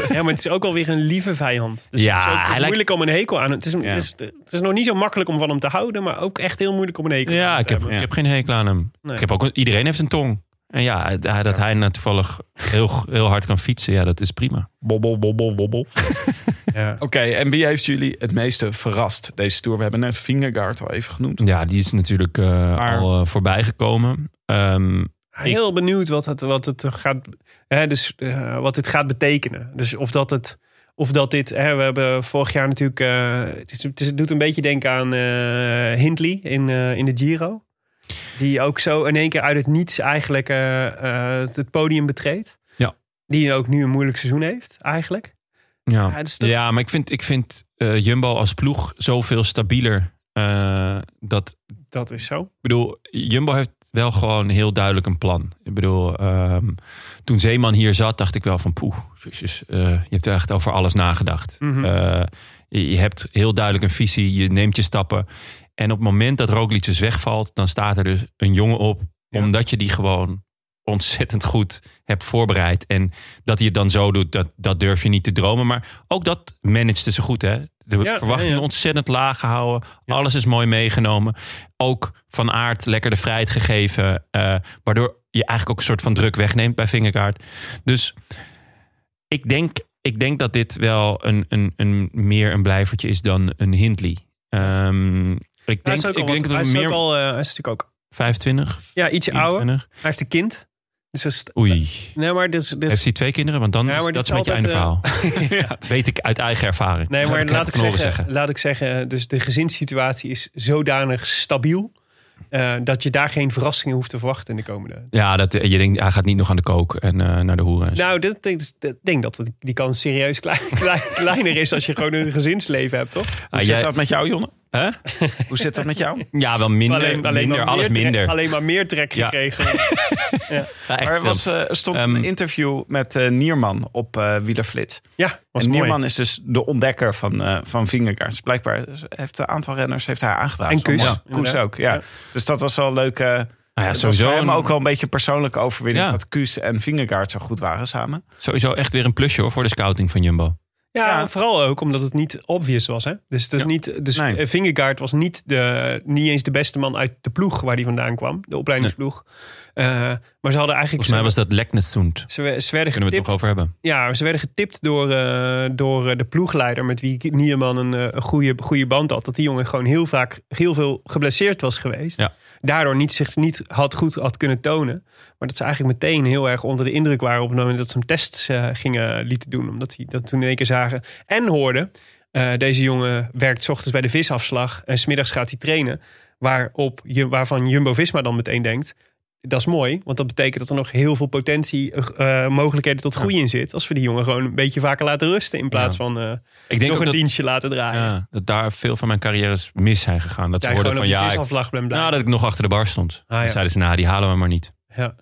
S2: ja, maar het is ook alweer een lieve vijand. Dus
S1: Ja,
S2: het is, ook, het is
S1: hij lijkt-
S2: moeilijk om een hekel aan het is,
S6: Ja.
S2: het, is, het is nog niet zo makkelijk om van hem te houden, maar ook echt heel moeilijk om een hekel aan
S1: Ja,
S2: hem
S1: ik
S2: te
S1: heb,
S2: hebben.
S1: ik heb geen hekel aan hem.
S2: Nee.
S1: Ik heb ook, een- iedereen heeft een tong. En ja, het- hij- dat hij nou toevallig heel, heel hard kan fietsen, ja, dat is prima.
S6: Bobbel, bobbel, bobbel.
S2: Ja.
S6: Oké, en wie heeft jullie het meeste verrast deze tour? We hebben net Vingegaard al even genoemd.
S1: Ja, die is natuurlijk eh,
S6: Maar-
S1: al eh, voorbijgekomen. Ehm,
S2: Heel benieuwd wat het, wat het gaat, hè, dus, eh, wat dit gaat betekenen. Dus of dat het. Of dat dit, hè, we hebben vorig jaar natuurlijk. eh, het, is, het, is- het doet een beetje denken aan eh, Hindley in, eh, in de Giro. Die ook zo in één keer uit het niets eigenlijk eh, eh, het podium betreedt.
S1: Ja.
S2: Die ook nu een moeilijk seizoen heeft, eigenlijk.
S1: ja.
S2: Ja,
S1: Ja,
S2: het
S6: dus
S2: is toch-
S1: maar ik vind, ik vind eh, Jumbo als ploeg zoveel stabieler. eh, dat,
S2: Dat is zo.
S1: Ik bedoel, Jumbo heeft wel gewoon heel duidelijk een plan. Ik bedoel, ehm, toen Zeeman hier zat, dacht ik wel van poeh, jezus, eh, je hebt echt over alles nagedacht.
S2: Mhm.
S1: Eh, je je hebt heel duidelijk een visie, je neemt je stappen. En op het moment dat Roglic dus wegvalt, dan staat er dus een jongen op,
S2: Ja.
S1: omdat je die gewoon ontzettend goed hebt voorbereid. En dat hij het dan zo doet, dat, dat durf je niet te dromen. Maar ook dat manageden ze goed, hè? De
S2: ja,
S1: verwachtingen
S2: ja.
S1: ontzettend laag gehouden. Alles is mooi meegenomen. Ook van aard lekker de vrijheid gegeven. eh, waardoor je eigenlijk ook een soort van druk wegneemt bij Vingerkaart. Dus ik denk, ik denk dat dit wel een, een, een, meer een blijvertje is dan een Hindley. Ehm, ik
S2: Hij
S1: denk,
S2: is ook al
S1: ik
S2: wat-
S1: denk
S2: hij
S1: dat
S2: is
S1: we
S2: ook
S1: meer...
S2: al, eh, hij is natuurlijk ook
S1: 25,
S2: ja, ietsje ouder.
S1: 24.
S2: Hij heeft een kind. Dus is,
S1: Oei.
S2: nee, maar dit is, dit is-
S1: Heeft hij twee kinderen? Want dan
S2: Dus- Ja,
S1: is,
S2: maar
S1: dat
S2: dit
S1: is met
S2: is
S1: je einde
S2: altijd, eh,
S1: verhaal.
S2: ja.
S1: Dat weet ik uit eigen ervaring.
S2: Nee,
S1: Dat
S2: maar
S1: heb
S2: laat ik,
S1: van horen
S2: zeggen, laat ik zeggen, dus de gezinssituatie is zodanig stabiel eh, dat je daar geen verrassingen hoeft te verwachten in de komende.
S1: Ja, dat, eh, je denkt, hij gaat niet nog aan de kook en eh, naar de hoeren. en zo.
S2: Nou, dat- dat- dat- ik denk dat het- die kans serieus klein- klein- kleiner is als je gewoon een gezinsleven hebt, toch?
S6: Hoe
S1: Ah,
S6: zit
S1: jij-
S6: dat met jou, Jonne?
S1: Hè?
S6: Hoe zit dat met jou?
S1: Ja, wel minder.
S2: maar
S1: minder,
S2: meer
S1: alles
S2: trek-
S1: minder.
S2: alleen maar meer trek
S1: Ja.
S2: gekregen.
S1: Ja, echt
S6: Er
S1: veel.
S6: was, eh, er stond
S1: Ehm,
S6: een interview met eh, Nierman op eh Wielerflits.
S2: Ja, was
S6: en
S2: mooi.
S6: Nierman is dus de ontdekker van, eh van Vingegaard. Dus blijkbaar heeft een aantal renners heeft hij aangedaan.
S2: En
S6: Zo
S2: Koes.
S6: mooi.
S2: Ja,
S6: Koes
S2: inderdaad.
S6: ook, ja.
S2: Ja.
S6: Dus dat was wel leuk. eh
S1: nou ja,
S6: het was
S1: sowieso,
S6: voor hem
S1: een-
S6: ook wel een beetje een persoonlijke overwinning...
S1: Ja.
S6: dat Koes en Vingegaard zo goed waren samen.
S1: sowieso echt weer een plusje hoor, voor de scouting van Jumbo.
S2: Ja,
S6: Ja.
S2: en vooral ook omdat het niet obvious was. Hè? Dus, dus, niet, dus
S6: Nee.
S2: eh, Vingegaard was niet, de, niet eens de beste man uit de ploeg waar hij vandaan kwam. De opleidingsploeg. Eh, maar ze hadden eigenlijk...
S1: Volgens mij was dat Leknessund.
S2: ze, we- ze werden
S1: Kunnen we het
S2: getipt,
S1: nog over hebben?
S2: ja, ze werden getipt door, eh, door eh, de ploegleider... met wie Nierman een, eh, een goede, goede band had. Dat die jongen gewoon heel vaak heel veel geblesseerd was geweest.
S1: Ja.
S2: Daardoor niet, zich niet had goed had kunnen tonen. Maar dat ze eigenlijk meteen heel erg onder de indruk waren... op het moment dat ze hem tests eh, gingen lieten doen. Omdat die dat toen in één keer zagen en hoorden... eh, deze jongen werkt 's ochtends bij de visafslag... en smiddags gaat hij trainen. Waarop, Ju- waarvan Jumbo-Visma dan meteen denkt... dat is mooi, want dat betekent dat er nog heel veel potentie... eh, mogelijkheden tot groei in zit... als we die jongen gewoon een beetje vaker laten rusten... in plaats van eh,
S1: Ik denk
S2: nog
S1: ook
S2: een
S1: dat,
S2: dienstje laten draaien.
S1: ja, dat daar veel van mijn carrières mis zijn gegaan. Dat
S2: Ja,
S1: ze hoorden
S2: gewoon
S1: van
S2: op
S1: ja,
S2: de
S1: ik-
S2: visafslag ben blij.
S1: nou, dat ik nog achter de bar stond.
S2: ja.
S1: Dan zeiden ze, nou die halen we maar niet.
S2: Ja.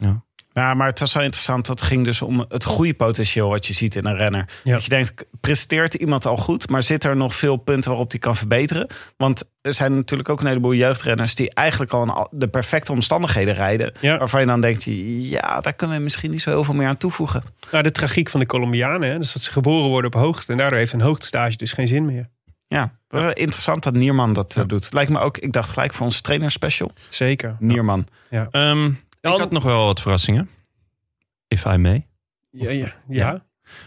S6: Ja, maar het was wel interessant. Dat ging dus om het groeipotentieel wat je ziet in een renner.
S2: Ja.
S6: Dat je denkt, presteert iemand al goed, maar zit er nog veel punten waarop die kan verbeteren? Want er zijn natuurlijk ook een heleboel jeugdrenners die eigenlijk al in al de perfecte omstandigheden rijden.
S2: Ja.
S6: Waarvan je dan denkt, ja, daar kunnen we misschien niet zo heel veel meer aan toevoegen.
S2: Nou, de tragiek van de Colombianen. Hè? Dus dat ze geboren worden op hoogte. En daardoor heeft een hoogtestage dus geen zin meer.
S6: Ja, wel interessant dat Nierman dat eh, doet. Lijkt me ook, ik dacht gelijk voor onze trainerspecial.
S2: Zeker. Nou,
S6: Nierman.
S1: Ehm, ik
S2: Dan-
S1: had nog wel wat verrassingen. If I may.
S2: Ja, ja, ja.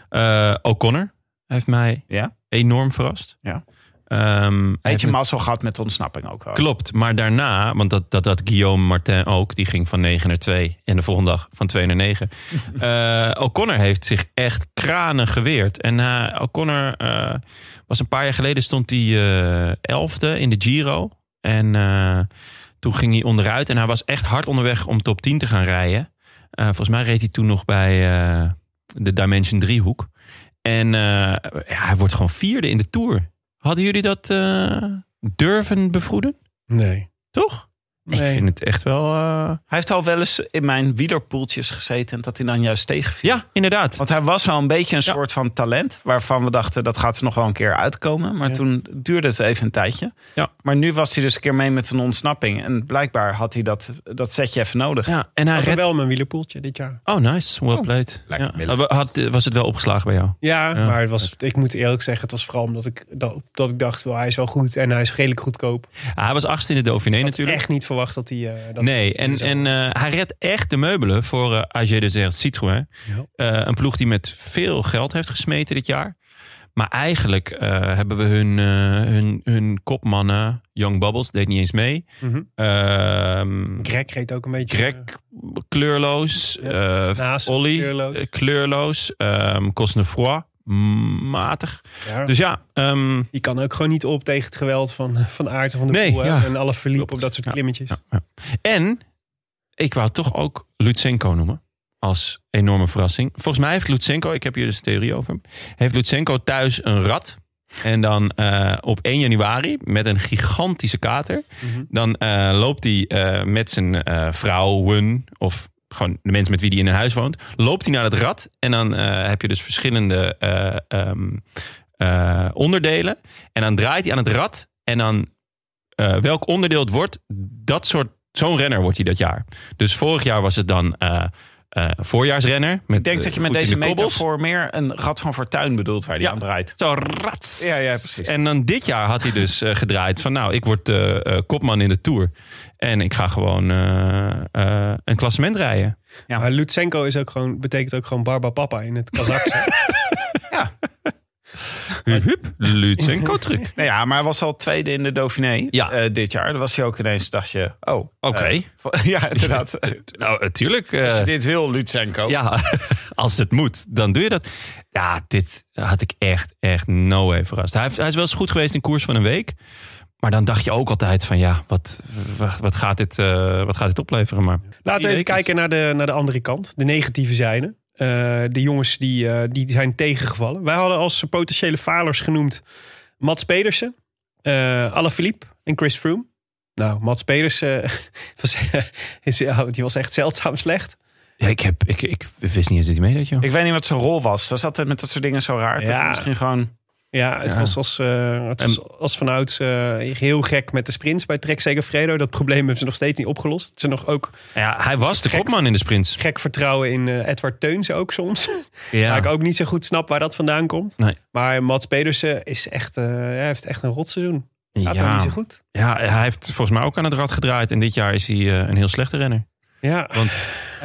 S1: Eh, O'Connor heeft mij
S6: Ja.
S1: enorm verrast.
S6: Ja.
S1: Ehm, hij heeft
S6: Beetje
S1: me-
S6: mazzel gehad met de ontsnapping ook wel.
S1: Klopt, maar daarna, want dat, dat, dat Guillaume Martin ook, die ging van 9 naar 2 en de volgende dag van 2 naar 9. Eh, O'Connor heeft zich echt kranen geweerd. En eh, O'Connor eh, was een paar jaar geleden, stond hij eh, 11e in de Giro. En eh, toen ging hij onderuit en hij was echt hard onderweg om top 10 te gaan rijden. Eh, volgens mij reed hij toen nog bij eh, de Dimension driehoek. En eh, ja, hij wordt gewoon vierde in de Tour. Hadden jullie dat eh, durven bevroeden?
S2: Nee.
S1: Toch?
S2: Nee.
S1: Ik vind het echt wel. eh,
S6: Hij heeft al wel eens in mijn wielerpoeltjes gezeten en dat hij dan juist tegenviel.
S1: Ja, inderdaad.
S6: Want hij was wel een beetje een
S1: Ja.
S6: soort van talent. Waarvan we dachten, dat gaat er nog wel een keer uitkomen. Maar
S2: Ja.
S6: toen duurde het even een tijdje.
S1: Ja.
S6: Maar nu was hij dus een keer mee met een ontsnapping. En blijkbaar had hij dat, dat setje even nodig.
S1: Ja, en hij
S2: Had
S1: redt...
S2: wel mijn wielerpoeltje dit jaar.
S1: Oh, nice. Well played.
S8: lekker
S1: Ja.
S8: middel.
S1: Had- Had, was het wel opgeslagen bij jou?
S2: Ja,
S1: Ja.
S2: maar het was, ik moet eerlijk zeggen, het was vooral omdat ik, dat, dat ik dacht, wel, hij is wel goed en hij is redelijk goedkoop. Ik
S1: Ah, hij was achtste in de Dauphiné
S2: had
S1: natuurlijk.
S2: echt niet verwacht dat hij... eh, dat
S1: nee,
S2: hij
S1: en,
S2: zo-
S1: en eh, hij redt echt de meubelen voor eh AG Desert Citroën.
S2: Ja.
S1: Eh, een ploeg die met veel geld heeft gesmeten dit jaar. Maar eigenlijk eh, hebben we hun, eh, hun, hun kopmannen, Young Bubbles, deed niet eens mee.
S2: Mhm.
S1: Ehm,
S2: Greg reed ook een beetje...
S1: Greg,
S2: eh,
S1: kleurloos.
S2: Ja.
S1: eh,
S2: Naast,
S1: Olly,
S2: kleurloos.
S1: eh, kleurloos. ehm Cosnefroid, mm, matig.
S2: ja.
S1: Dus ja, ehm,
S2: Die kan ook gewoon niet op tegen het geweld van, van Aert en van de
S1: Nee,
S2: Poel, hè,
S1: ja.
S2: en alle verliep
S1: Klopt.
S2: op dat soort
S1: Ja,
S2: klimmetjes.
S1: ja, ja. en ik wou toch ook Lutsenko noemen. Als enorme verrassing. Volgens mij heeft Lutsenko, ik heb hier dus een theorie over hem. Heeft Lutsenko thuis een rat. En dan eh, op 1 januari met een gigantische kater.
S2: Mhm.
S1: Dan eh, loopt hij eh, met zijn eh, vrouwen of gewoon de mensen met wie hij in een huis woont. Loopt hij naar het rad en dan eh, heb je dus verschillende eh, ehm, eh, onderdelen. En dan draait hij aan het rad en dan eh, welk onderdeel het wordt, dat soort, zo'n renner wordt hij dat jaar. Dus vorig jaar was het dan eh, eh, voorjaarsrenner. Met, eh,
S6: Ik denk dat je met
S1: goed in
S6: deze
S1: de kobbels.
S6: metafoor meer een gat van fortuin bedoelt waar hij
S1: Ja.
S6: aan draait.
S1: Zo rats.
S6: Ja, ja, precies.
S1: En dan dit jaar had hij dus eh, gedraaid van nou, ik word eh, eh, kopman in de Tour. En ik ga gewoon eh, eh, een klassement rijden.
S6: Ja.
S2: Maar Lutsenko is ook gewoon, betekent ook gewoon Barba Papa in het Kazakse.
S1: Hup, hup, Lutsenko-truc.
S6: Nou ja, maar hij was al tweede in de Dauphiné
S1: Ja.
S6: eh, dit jaar. Dan was hij ook ineens, dacht je, oh.
S1: Oké.
S6: eh, van- ja, inderdaad.
S1: Nou, natuurlijk.
S6: Als je dit wil,
S2: Oh.
S6: Lutsenko.
S1: ja, als het moet, dan doe je dat. Ja, dit had ik echt, echt no way verrast. Hij, heeft- hij is wel eens goed geweest in koers van een week. Maar dan dacht je ook altijd van ja, wat, wat, wat gaat, dit, eh, wat gaat dit opleveren? Maar
S2: Laten we even
S1: Iedereen
S2: kijken naar de, naar de andere kant. De negatieve zijde. Eh, de jongens die, eh, die zijn tegengevallen. Wij hadden als potentiële falers genoemd Mats Pedersen, eh Alaphilippe en Chris Froome. Nou, Mats Pedersen was, is- oh, die was echt zeldzaam slecht.
S1: Ja, ik, heb, ik, ik wist niet eens dat hij meedeed, joh.
S6: Ik weet niet wat zijn rol was. Dat is altijd met dat soort dingen zo raar. Dat
S2: Ja.
S6: hij misschien gewoon... eh,
S2: Ja, het
S1: Ja.
S2: was als, eh het was als vanouds eh, heel gek met de sprints bij Trek Segafredo. Dat probleem hebben ze nog steeds niet opgelost. Ze nog ook
S1: Ja, hij was de
S2: Gek.
S1: kopman in de sprints.
S2: gek vertrouwen in eh, Edward Teuns ook soms.
S1: Ja.
S2: Waar ik ook niet zo goed snap waar dat vandaan komt.
S1: Nee.
S2: Maar Mats Pedersen is echt, eh, hij heeft echt een rotseizoen. Gaat nog niet
S1: Ja.
S2: zo goed.
S1: ja, hij heeft volgens mij ook aan het rad gedraaid. En dit jaar is hij eh, een heel slechte renner.
S2: Ja,
S1: Want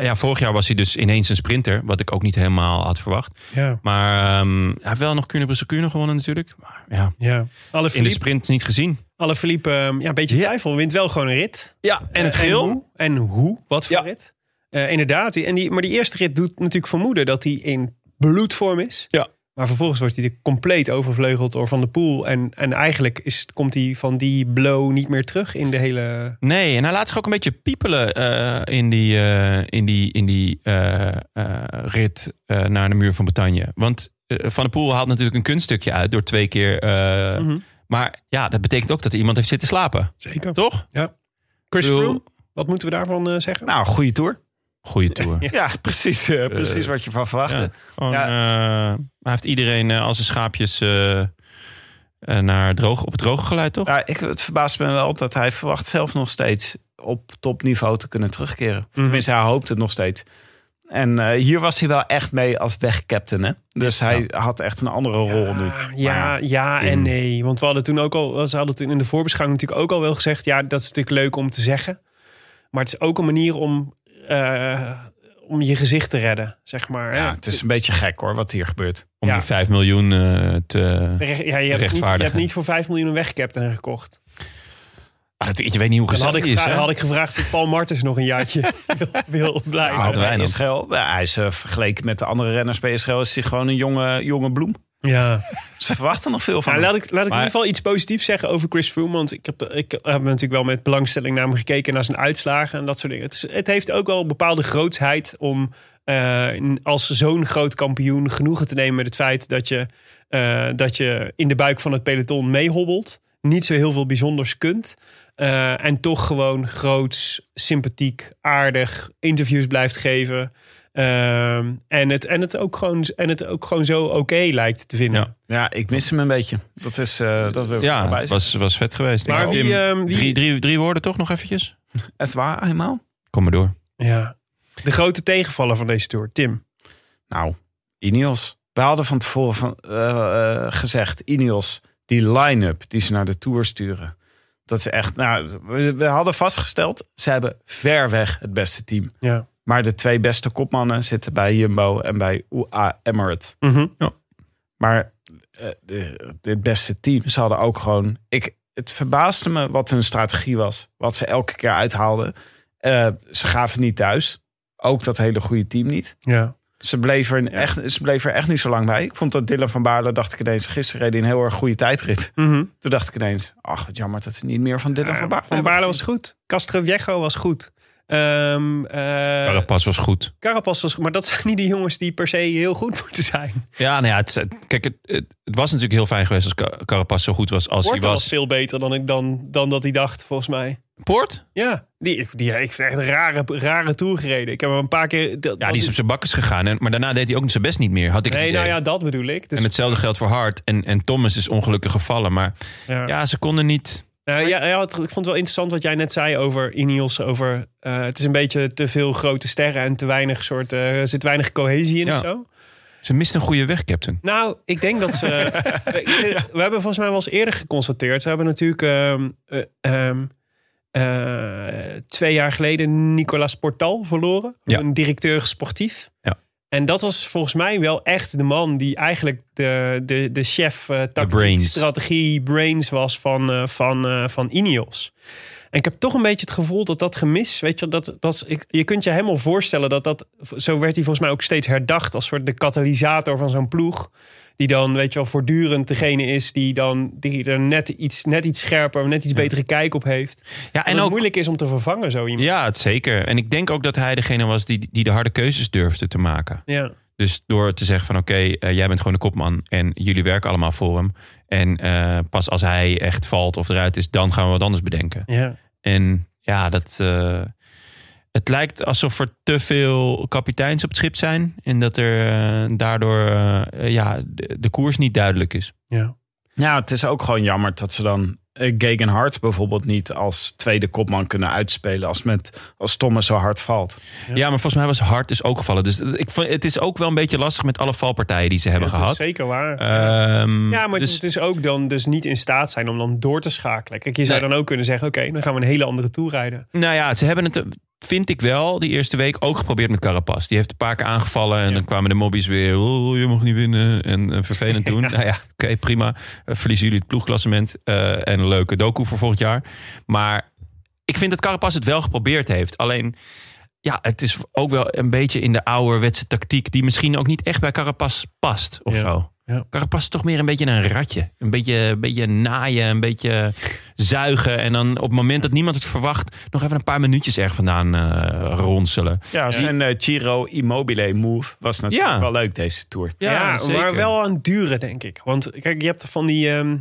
S1: ja, vorig jaar was hij dus ineens een sprinter. Wat ik ook niet helemaal had verwacht.
S2: ja,
S1: Maar ehm, hij heeft wel nog Kuurne-Brussel-Kuurne gewonnen natuurlijk. Maar ja,
S2: ja. Alle
S1: in de
S2: Philippe,
S1: sprint niet gezien.
S2: alle Philippe ja, een beetje twijfel. Wint wel gewoon een rit.
S1: Ja, en het
S2: Eh,
S1: geel.
S2: hoe? En hoe? Wat voor
S1: Ja.
S2: rit? Eh, inderdaad. die- En die, maar die eerste rit doet natuurlijk vermoeden dat hij in bloedvorm is.
S1: Ja.
S2: Maar vervolgens wordt hij er compleet overvleugeld door Van der Poel. En, en eigenlijk is, komt hij van die blow niet meer terug in de hele...
S1: Nee, en hij laat zich ook een beetje piepelen eh, in die, eh, in die, in die eh, eh, rit eh, naar de muur van Bretagne. Want eh, Van der Poel haalt natuurlijk een kunststukje uit door twee keer. eh,
S2: Mhm.
S1: Maar ja, dat betekent ook dat er iemand heeft zitten slapen.
S2: Zeker.
S1: Toch?
S2: Chris
S1: Ik bedoel-
S2: Froome, wat moeten we daarvan eh, zeggen?
S6: Nou, goede tour.
S1: Goeie tour.
S6: Ja, precies, eh, precies wat je van verwachtte.
S1: Ja, gewoon, eh, hij heeft iedereen eh, als zijn schaapjes eh, eh, naar droog, op het droge geleid, toch?
S6: Ja, ik, het verbaast me wel dat hij verwacht zelf nog steeds op topniveau te kunnen terugkeren. Of Tenminste, hij hoopt het nog steeds. En eh, hier was hij wel echt mee als wegcaptain. Hè? Dus hij had echt een andere rol nu.
S2: Ja, Ah, ja, ja en nee. Want we hadden toen ook al, ze hadden toen in de voorbeschouwing natuurlijk ook al wel gezegd: ja, dat is natuurlijk leuk om te zeggen. Maar het is ook een manier om, eh, om je gezicht te redden, zeg maar.
S6: Ja,
S2: Ja,
S6: het is een beetje gek hoor, wat hier gebeurt.
S1: Om
S2: ja.
S1: die 5 miljoen eh, te...
S2: De re- ja, je, hebt niet, je
S1: Rechtvaardigen.
S2: hebt niet voor 5 miljoen weggecapt en gekocht.
S1: Ah, dat, je weet niet hoe
S2: Dan
S1: gezellig
S2: had
S1: het
S2: ik,
S1: is,
S2: gevra-
S1: hè?
S2: had ik gevraagd of Paul Martens nog een jaartje wil, wil blijven.
S1: Ja, hadden wij
S6: Bij
S1: dan.
S6: Israël, ja, hij is eh, vergeleken met de andere renners bij Israël, is hij gewoon een jonge, jonge bloem.
S2: Ja.
S6: Ze verwachten nog veel van
S2: Nou,
S6: hem.
S2: laat ik, laat ik in
S1: Maar-
S2: ieder geval iets positiefs zeggen over Chris Froome. Want ik heb, ik heb natuurlijk wel met belangstelling naar hem gekeken. Naar zijn uitslagen en dat soort dingen. Het, is- het heeft ook wel een bepaalde grootsheid om eh, in- als zo'n groot kampioen genoegen te nemen met het feit dat je, eh, dat je in de buik van het peloton meehobbelt. Niet zo heel veel bijzonders kunt. eh, en toch gewoon groots, sympathiek, aardig interviews blijft geven. Ehm, en, het, en, het ook gewoon, en het ook gewoon zo oké lijkt te vinden.
S1: Ja.
S6: Ja, ik mis hem een beetje. Dat is, eh, dat wil ik
S1: Ja,
S6: erbij
S1: het
S6: zeggen.
S1: was, was vet geweest.
S2: Maar
S1: Ik-
S2: wie,
S1: Tim,
S2: ehm, wie-
S1: drie, drie, drie woorden toch nog eventjes?
S6: Is waar, helemaal?
S1: Kom maar door.
S2: Ja. De grote tegenvaller van deze tour, Tim.
S6: Nou, Ineos. We hadden van tevoren van, eh, eh, gezegd, Ineos, die line-up die ze naar de Tour sturen. Dat is echt, nou, we, we hadden vastgesteld, ze hebben ver weg het beste team.
S2: Ja.
S6: Maar de twee beste kopmannen zitten bij Jumbo en bij UAE Emirates.
S2: Mhm.
S6: Maar eh, de- dit beste team, ze hadden ook gewoon... Ik, het verbaasde me wat hun strategie was. Wat ze elke keer uithaalden. Eh, ze gaven niet thuis. Ook dat hele goede team niet.
S2: ja.
S6: Ze bleef, er echt, ze bleef er echt niet zo lang bij. Ik vond dat Dylan van Baarle, dacht ik ineens... Gisteren reed hij een heel erg goede tijdrit. Toen dacht ik ineens... Ach, wat jammer dat ze niet meer van Dylan van Baarle
S2: Mhm. Van Baarle was goed. Castro Viejo was goed. Ehm eh
S1: Carapaz was goed.
S2: Carapaz was goed. Maar dat zijn niet de jongens die per se heel goed moeten zijn.
S1: Ja, nou ja, het, het- kijk, het, het, het was natuurlijk heel fijn geweest als Ca- Carapaz zo goed was als
S2: Porto
S1: hij
S2: was,
S1: was.
S2: veel beter dan, ik, dan, dan dat hij dacht, volgens mij.
S1: Poort?
S2: Ja, die, die heeft echt een rare, rare tour gereden. Ik heb hem een paar keer... dat-
S1: Ja,
S2: dat-
S1: die is op zijn bakkes gegaan. En, maar daarna deed hij ook zijn best niet meer, had ik het
S2: Nee,
S1: idee.
S2: nou ja, dat bedoel ik. Dus,
S1: En hetzelfde geldt voor Hart. En, en Thomas is ongelukkig gevallen. Maar
S2: ja.
S1: ja, ze konden niet...
S2: Nou ja, ja, het- ik vond het wel interessant wat jij net zei over Ineos. Over, eh, het is een beetje te veel grote sterren en te weinig soort. eh, er zit weinig cohesie in
S1: Ja.
S2: of zo.
S1: Ze mist een goede weg, captain.
S2: Nou, ik denk dat ze. we, we hebben volgens mij wel eens eerder geconstateerd. Ze hebben natuurlijk ehm, eh, ehm, eh, twee jaar geleden Nicolas Portal verloren.
S1: Ja.
S2: Een directeur sportief.
S1: Ja.
S2: En dat was volgens mij wel echt de man die eigenlijk de, de, de chef eh tactiek,
S1: brains.
S2: strategie, brains was van, eh, van, eh, van Ineos. En ik heb toch een beetje het gevoel dat dat gemis, weet je, wel, dat, dat is, ik, je kunt je helemaal voorstellen dat dat, zo werd hij volgens mij ook steeds herdacht als soort de katalysator van zo'n ploeg. Die dan, weet je wel, voortdurend degene is die dan die er net iets, net iets scherper, net iets betere kijk op heeft.
S1: Ja,
S2: En
S1: en
S2: het
S1: ook,
S2: moeilijk is om te vervangen, zo iemand.
S1: ja, het zeker. En ik denk ook dat hij degene was die, die de harde keuzes durfde te maken.
S2: Ja.
S1: Dus door te zeggen van oké, eh, jij bent gewoon de kopman en jullie werken allemaal voor hem. En eh, pas als hij echt valt of eruit is, dan gaan we wat anders bedenken.
S2: ja.
S1: En ja, dat, eh, het lijkt alsof er te veel kapiteins op het schip zijn. En dat er eh, daardoor eh, ja, de, de koers niet duidelijk is.
S6: Ja, het is ook gewoon jammer dat ze dan eh, Gegen Hart bijvoorbeeld niet als tweede kopman kunnen uitspelen als, met, als Thomas zo hard valt.
S1: Ja, maar volgens mij was Hart dus ook gevallen. Dus ik vond, het is ook wel een beetje lastig met alle valpartijen die ze hebben
S2: Dat is
S1: gehad.
S2: zeker waar.
S1: Ehm,
S2: Ja, maar het
S1: dus-
S2: is dus ook dan dus niet in staat zijn om dan door te schakelen. Kijk, je zou
S1: Nee.
S2: dan ook kunnen zeggen, oké, dan gaan we een hele andere tour rijden.
S1: Nou ja, ze hebben het, vind ik wel, die eerste week ook geprobeerd met Carapaz. Die heeft een paar keer aangevallen en dan kwamen de mobbies weer. Oh, je mag niet winnen. En eh, vervelend doen. Nou ja, oké, prima. Eh, verliezen jullie het ploegklassement. eh, en een leuke docu voor volgend jaar. Maar ik vind dat Carapaz het wel geprobeerd heeft. Alleen, ja, het is ook wel een beetje in de ouderwetse tactiek... die misschien ook niet echt bij Carapaz past of
S2: Ja.
S1: zo.
S2: Ja.
S1: Carapaz is toch meer een beetje een ratje. Een beetje, een beetje naaien, een beetje zuigen. En dan op het moment dat niemand het verwacht, nog even een paar minuutjes erg vandaan eh, ronselen.
S6: Ja, zijn eh, Giro Immobile move was natuurlijk
S1: Ja.
S6: wel leuk deze Tour.
S2: Ja, maar wel aan het duren, denk ik. Want kijk, je hebt van die... ehm,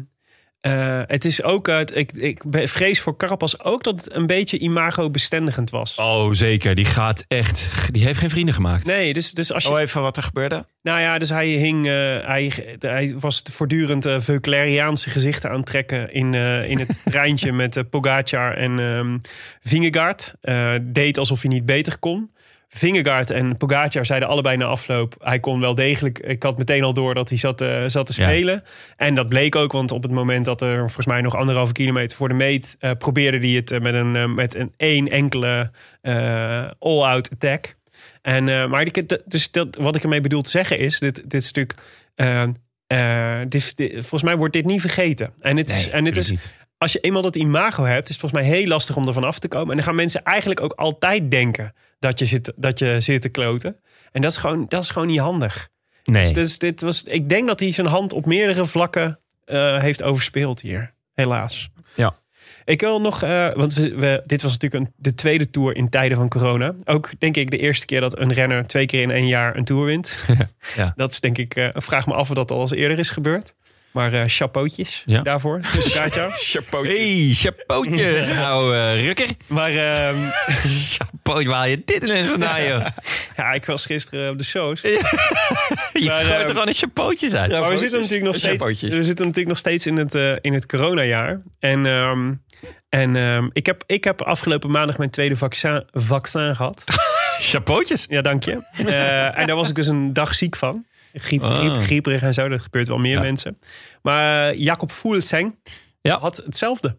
S2: eh, het is ook... uit ik, ik be- vrees voor Carapas ook dat het een beetje imago-bestendigend was.
S1: Oh, zeker. Die gaat echt. Die heeft geen vrienden gemaakt.
S2: Nee, dus, dus als je...
S6: Oh, even wat er gebeurde.
S2: Nou ja, dus hij hing... eh, hij, hij was voortdurend eh Veucleriaanse gezichten aantrekken... in, eh, in het treintje met eh, Pogacar en ehm Vingegaard. Eh, deed alsof hij niet beter kon. Vingegaard en Pogacar zeiden allebei na afloop... hij kon wel degelijk... Ik had meteen al door dat hij zat, eh, zat te
S1: Ja.
S2: spelen. En dat bleek ook, want op het moment dat er... volgens mij nog anderhalve kilometer voor de meet... eh, probeerde hij het eh, met, een, eh, met een één enkele eh, all-out attack... En, eh, maar die- dat- dus dat, wat ik ermee bedoel te zeggen is... dit, dit is natuurlijk... eh, eh, dit, dit- volgens mij wordt dit niet vergeten. En het is, en het is als je eenmaal dat imago hebt... is het volgens mij heel lastig om ervan af te komen. En dan gaan mensen eigenlijk ook altijd denken... dat je zit, dat je zit te kloten. En dat is gewoon, dat is gewoon niet handig. Dus, dit is- dit was, ik denk dat hij zijn hand op meerdere vlakken eh, heeft overspeeld hier. Helaas.
S6: Ja.
S2: Ik wil nog, eh, want we, we- dit was natuurlijk een, de tweede tour in tijden van corona. Ook denk ik de eerste keer dat een renner twee keer in één jaar een tour wint.
S1: Ja.
S2: Dat is denk ik, eh, vraag me af of dat al eens eerder is gebeurd. Maar eh chapeautjes
S1: Ja.
S2: daarvoor. Dus Katja.
S1: Hey, chapeautjes. Nou, eh Rukker.
S2: maar ehm,
S1: Chapeau, waar haal je dit ineens vandaan, joh?
S2: ja, ik was gisteren op de shows.
S1: Je
S2: Maar,
S1: gooit
S2: ehm,
S1: er gewoon een chapeautjes uit.
S2: Maar we zitten, natuurlijk nog steeds, we
S6: Chapeautjes.
S2: zitten natuurlijk nog steeds in het, eh, in het coronajaar. En, ehm, en ehm, ik, heb, ik heb afgelopen maandag mijn tweede vaccin, vaccin gehad.
S1: Chapeautjes.
S2: Ja, dank je. Eh, en daar was ik dus een dag ziek van. Griep,
S1: Ah.
S2: griep, grieperig en zo, dat gebeurt wel meer
S1: Ja.
S2: mensen. Maar eh, Jacob Fuglsang
S1: Ja.
S2: had hetzelfde.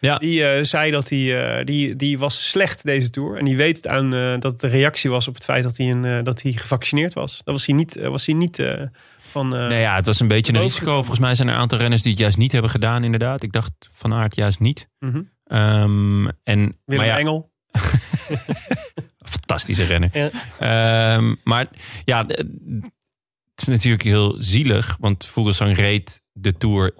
S1: Ja.
S2: Die eh, zei dat hij, eh, die, die was slecht deze tour. En die weet het aan eh, dat het de reactie was op het feit dat hij, een, eh, dat hij gevaccineerd was. Dat was hij niet, eh, was hij niet eh, van... eh,
S1: Nou ja, het was een beetje een risico. Volgens mij zijn er een aantal renners die het juist niet hebben gedaan, inderdaad. Ik dacht van aard juist niet.
S2: mhm.
S1: Ehm, en,
S2: Willem
S1: maar ja,
S2: Engel.
S1: fantastische renner.
S2: Ja.
S1: Ehm, maar ja, d- het is natuurlijk heel zielig. Want Vogelsang reed de Tour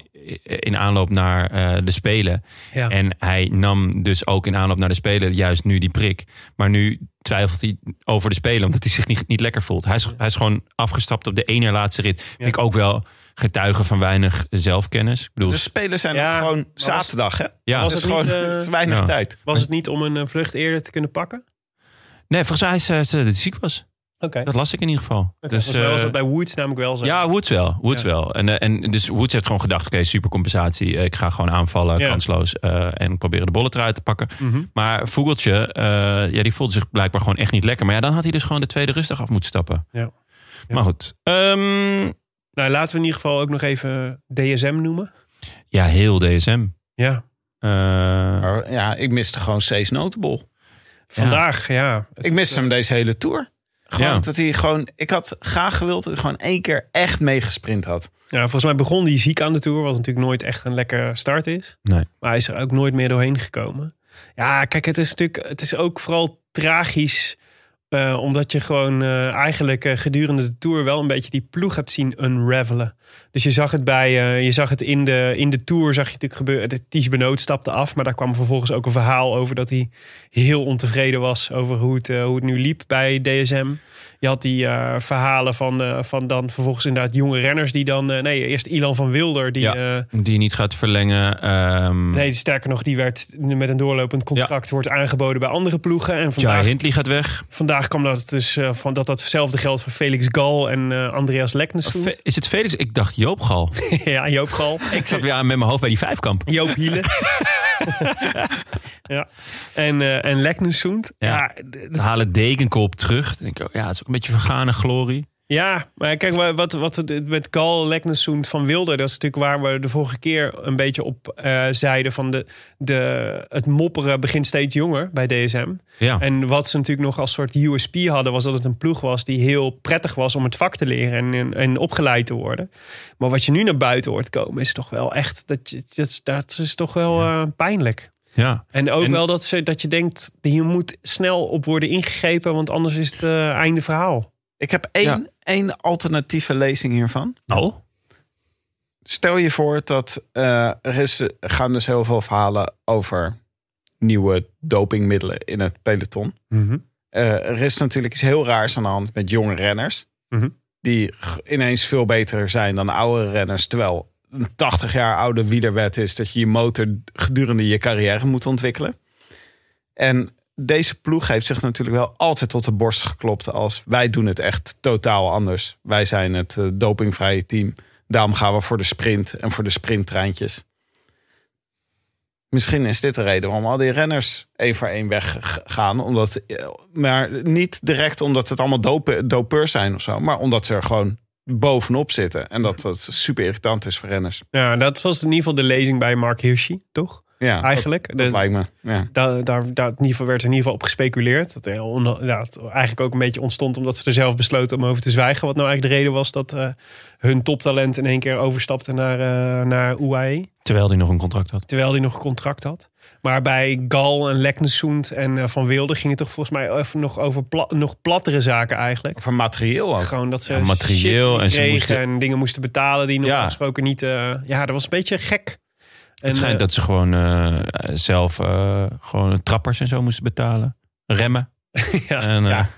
S1: in aanloop naar eh, de Spelen.
S2: Ja.
S1: En hij nam dus ook in aanloop naar de Spelen juist nu die prik. Maar nu twijfelt hij over de Spelen. Omdat hij zich niet, niet lekker voelt. Hij is, hij is gewoon afgestapt op de ene laatste rit. Vind ik ook wel getuige van weinig zelfkennis. Ik bedoel,
S6: De spelen zijn
S2: Ja,
S6: gewoon
S2: maar was-
S6: zaterdag, hè?
S1: ja.
S2: Dus- was
S6: Dus
S2: het
S6: gewoon
S2: niet, eh,
S6: het is weinig
S1: nou.
S6: tijd.
S2: Was het niet om een eh, vlucht eerder te kunnen pakken?
S1: Nee, volgens mij is eh, ze- dat hij ziek was.
S2: Oké.
S1: Dat las ik in ieder geval.
S2: Dus,
S1: Dus,
S2: was
S1: eh,
S2: dat bij Woods namelijk wel zo.
S1: Ja, Woods wel. Woods
S2: Ja.
S1: wel. En, eh, en dus Woods heeft gewoon gedacht: oké, supercompensatie. eh, Ik ga gewoon aanvallen,
S2: Ja.
S1: kansloos. eh, en proberen de bollet eruit te pakken.
S2: Mhm.
S1: Maar Vogeltje, eh, ja, die voelde zich blijkbaar gewoon echt niet lekker. Maar ja, dan had hij dus gewoon de tweede rustig af moeten stappen.
S2: Ja. Ja.
S1: Maar goed. Ehm,
S2: Nou, laten we in ieder geval ook nog even DSM noemen.
S1: ja, heel DSM.
S2: Ja.
S1: Eh,
S6: Maar ja, ik miste gewoon Cees Notable.
S2: Vandaag, ja. eh,
S6: Ik miste hem deze hele Tour. Gewoon
S1: Ja.
S6: dat hij gewoon... Ik had graag gewild dat hij gewoon één keer echt meegesprint had.
S2: Ja, volgens mij begon hij ziek aan de Tour, wat natuurlijk nooit echt een lekker start is.
S1: Nee.
S2: Maar hij is er ook nooit meer doorheen gekomen. Ja, kijk, het is natuurlijk, het is ook vooral tragisch. eh, omdat je gewoon eh, eigenlijk eh, gedurende de Tour wel een beetje die ploeg hebt zien unravelen. Dus je zag het, bij, eh, je zag het in, de, in de Tour, zag je natuurlijk gebeuren. De Ties Benoot stapte af, maar daar kwam vervolgens ook een verhaal over dat hij heel ontevreden was over hoe het, eh, hoe het nu liep bij DSM. Je had die eh, verhalen van, eh, van dan vervolgens inderdaad jonge renners die dan... eh, nee, eerst Ilan van Wilder die...
S1: Ja.
S2: eh,
S1: Die niet gaat verlengen. ehm
S2: Nee, sterker nog, die werd met een doorlopend contract wordt aangeboden bij andere ploegen. En
S1: Jai
S2: vandaag,
S1: Hindley gaat weg.
S2: vandaag kwam dat dus eh, van dat datzelfde geldt voor Felix Gal en eh, Andreas Leknesvoet.
S1: Fe- Is het Felix? Ik dacht Joop Gal.
S2: ja, Joop Gal,
S1: ik zat weer aan met mijn hoofd bij die vijfkamp.
S2: Joop Hielen. ja. En, eh en Leknesvoet.
S1: Ja.
S2: Ja. d- d-
S1: Ze halen Dekenkop terug. Dan Denk ik, oh, ja, het is ook een beetje vergane glorie.
S2: ja, maar kijk, wa- wat, wat het met Gal, Leknesvoet van Wilder, dat is natuurlijk waar we de vorige keer een beetje op eh, zeiden van de, de, het mopperen begint steeds jonger bij DSM.
S1: Ja.
S2: En wat ze natuurlijk nog als soort USP hadden, was dat het een ploeg was die heel prettig was om het vak te leren en, en, en opgeleid te worden. Maar wat je nu naar buiten hoort komen, is toch wel echt, dat, je- dat, is- dat is toch wel eh, pijnlijk.
S1: ja.
S2: En ook
S1: En-
S2: wel dat, ze, dat je denkt, hier moet snel op worden ingegrepen, want anders is het eh, einde verhaal.
S6: Ik heb één, één alternatieve lezing hiervan.
S1: Oh?
S6: Stel je voor dat eh, er is, er gaan dus heel veel verhalen over nieuwe dopingmiddelen in het peloton. Eh, er is natuurlijk iets heel raars aan de hand met jonge renners.
S2: Mhm.
S6: Die g- ineens veel beter zijn dan oude renners. Terwijl een 80 jaar oude wielerwet is dat je je motor gedurende je carrière moet ontwikkelen. En deze ploeg heeft zich natuurlijk wel altijd tot de borst geklopt als wij doen het echt totaal anders. Wij zijn het eh, dopingvrije team. Daarom gaan we voor de sprint en voor de sprinttreintjes. Misschien is dit de reden waarom al die renners één voor één weggaan. Omdat, eh, maar niet direct omdat het allemaal dope- dopeurs zijn of zo. Maar omdat ze er gewoon bovenop zitten. En dat dat super irritant is voor renners.
S2: Ja, dat was in ieder geval de lezing bij Mark Hirschi, toch?
S6: Ja,
S2: Eigenlijk.
S6: dat, dat
S2: Dus-
S6: lijkt me. Ja.
S2: daar, daar, daar in ieder geval werd er in ieder geval op gespeculeerd. Dat heel on- ja, het eigenlijk ook een beetje ontstond omdat ze er zelf besloten om over te zwijgen. Wat nou eigenlijk de reden was dat eh, hun toptalent in één keer overstapte naar, eh, naar UAE.
S1: Terwijl hij nog een contract had.
S2: Terwijl hij nog een contract had. Maar bij Gal en Leknesund en eh, Van Wilde ging het toch volgens mij even nog over pla- nog plattere zaken eigenlijk.
S6: Voor materieel ook.
S2: Gewoon dat ze
S1: Ja, materieel
S2: shit
S1: en ze
S2: kregen
S1: moesten-
S2: en dingen moesten betalen die nog
S1: Ja.
S2: gesproken niet... eh, ja, dat was een beetje gek. En,
S1: het schijnt
S2: eh,
S1: dat ze gewoon eh, zelf eh, gewoon trappers en zo moesten betalen. Remmen.
S2: ja,
S1: En, eh,
S2: ja.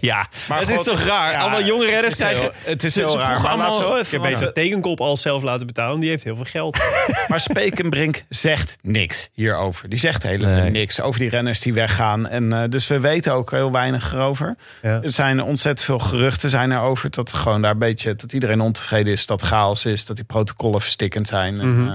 S1: ja.
S6: Maar
S1: het is
S6: God,
S1: toch raar?
S6: ja,
S1: Allemaal jonge redders
S6: het is heel-
S1: krijgen...
S6: Het is
S1: ze- ze
S6: heel raar.
S1: vroegen
S6: Maar, laten we
S1: allemaal-
S6: wel
S2: Ik heb
S6: even,
S2: beter de tekenkop al zelf laten betalen. Die heeft heel veel geld.
S6: maar Spekenbrink zegt niks hierover. Die zegt helemaal
S1: Nee.
S6: niks over die renners die weggaan. En, eh, dus we weten ook heel weinig erover.
S2: Ja.
S6: Er zijn ontzettend veel geruchten zijn erover. Dat gewoon daar een beetje dat iedereen ontevreden is, dat chaos is, dat die protocollen verstikkend zijn. En, eh,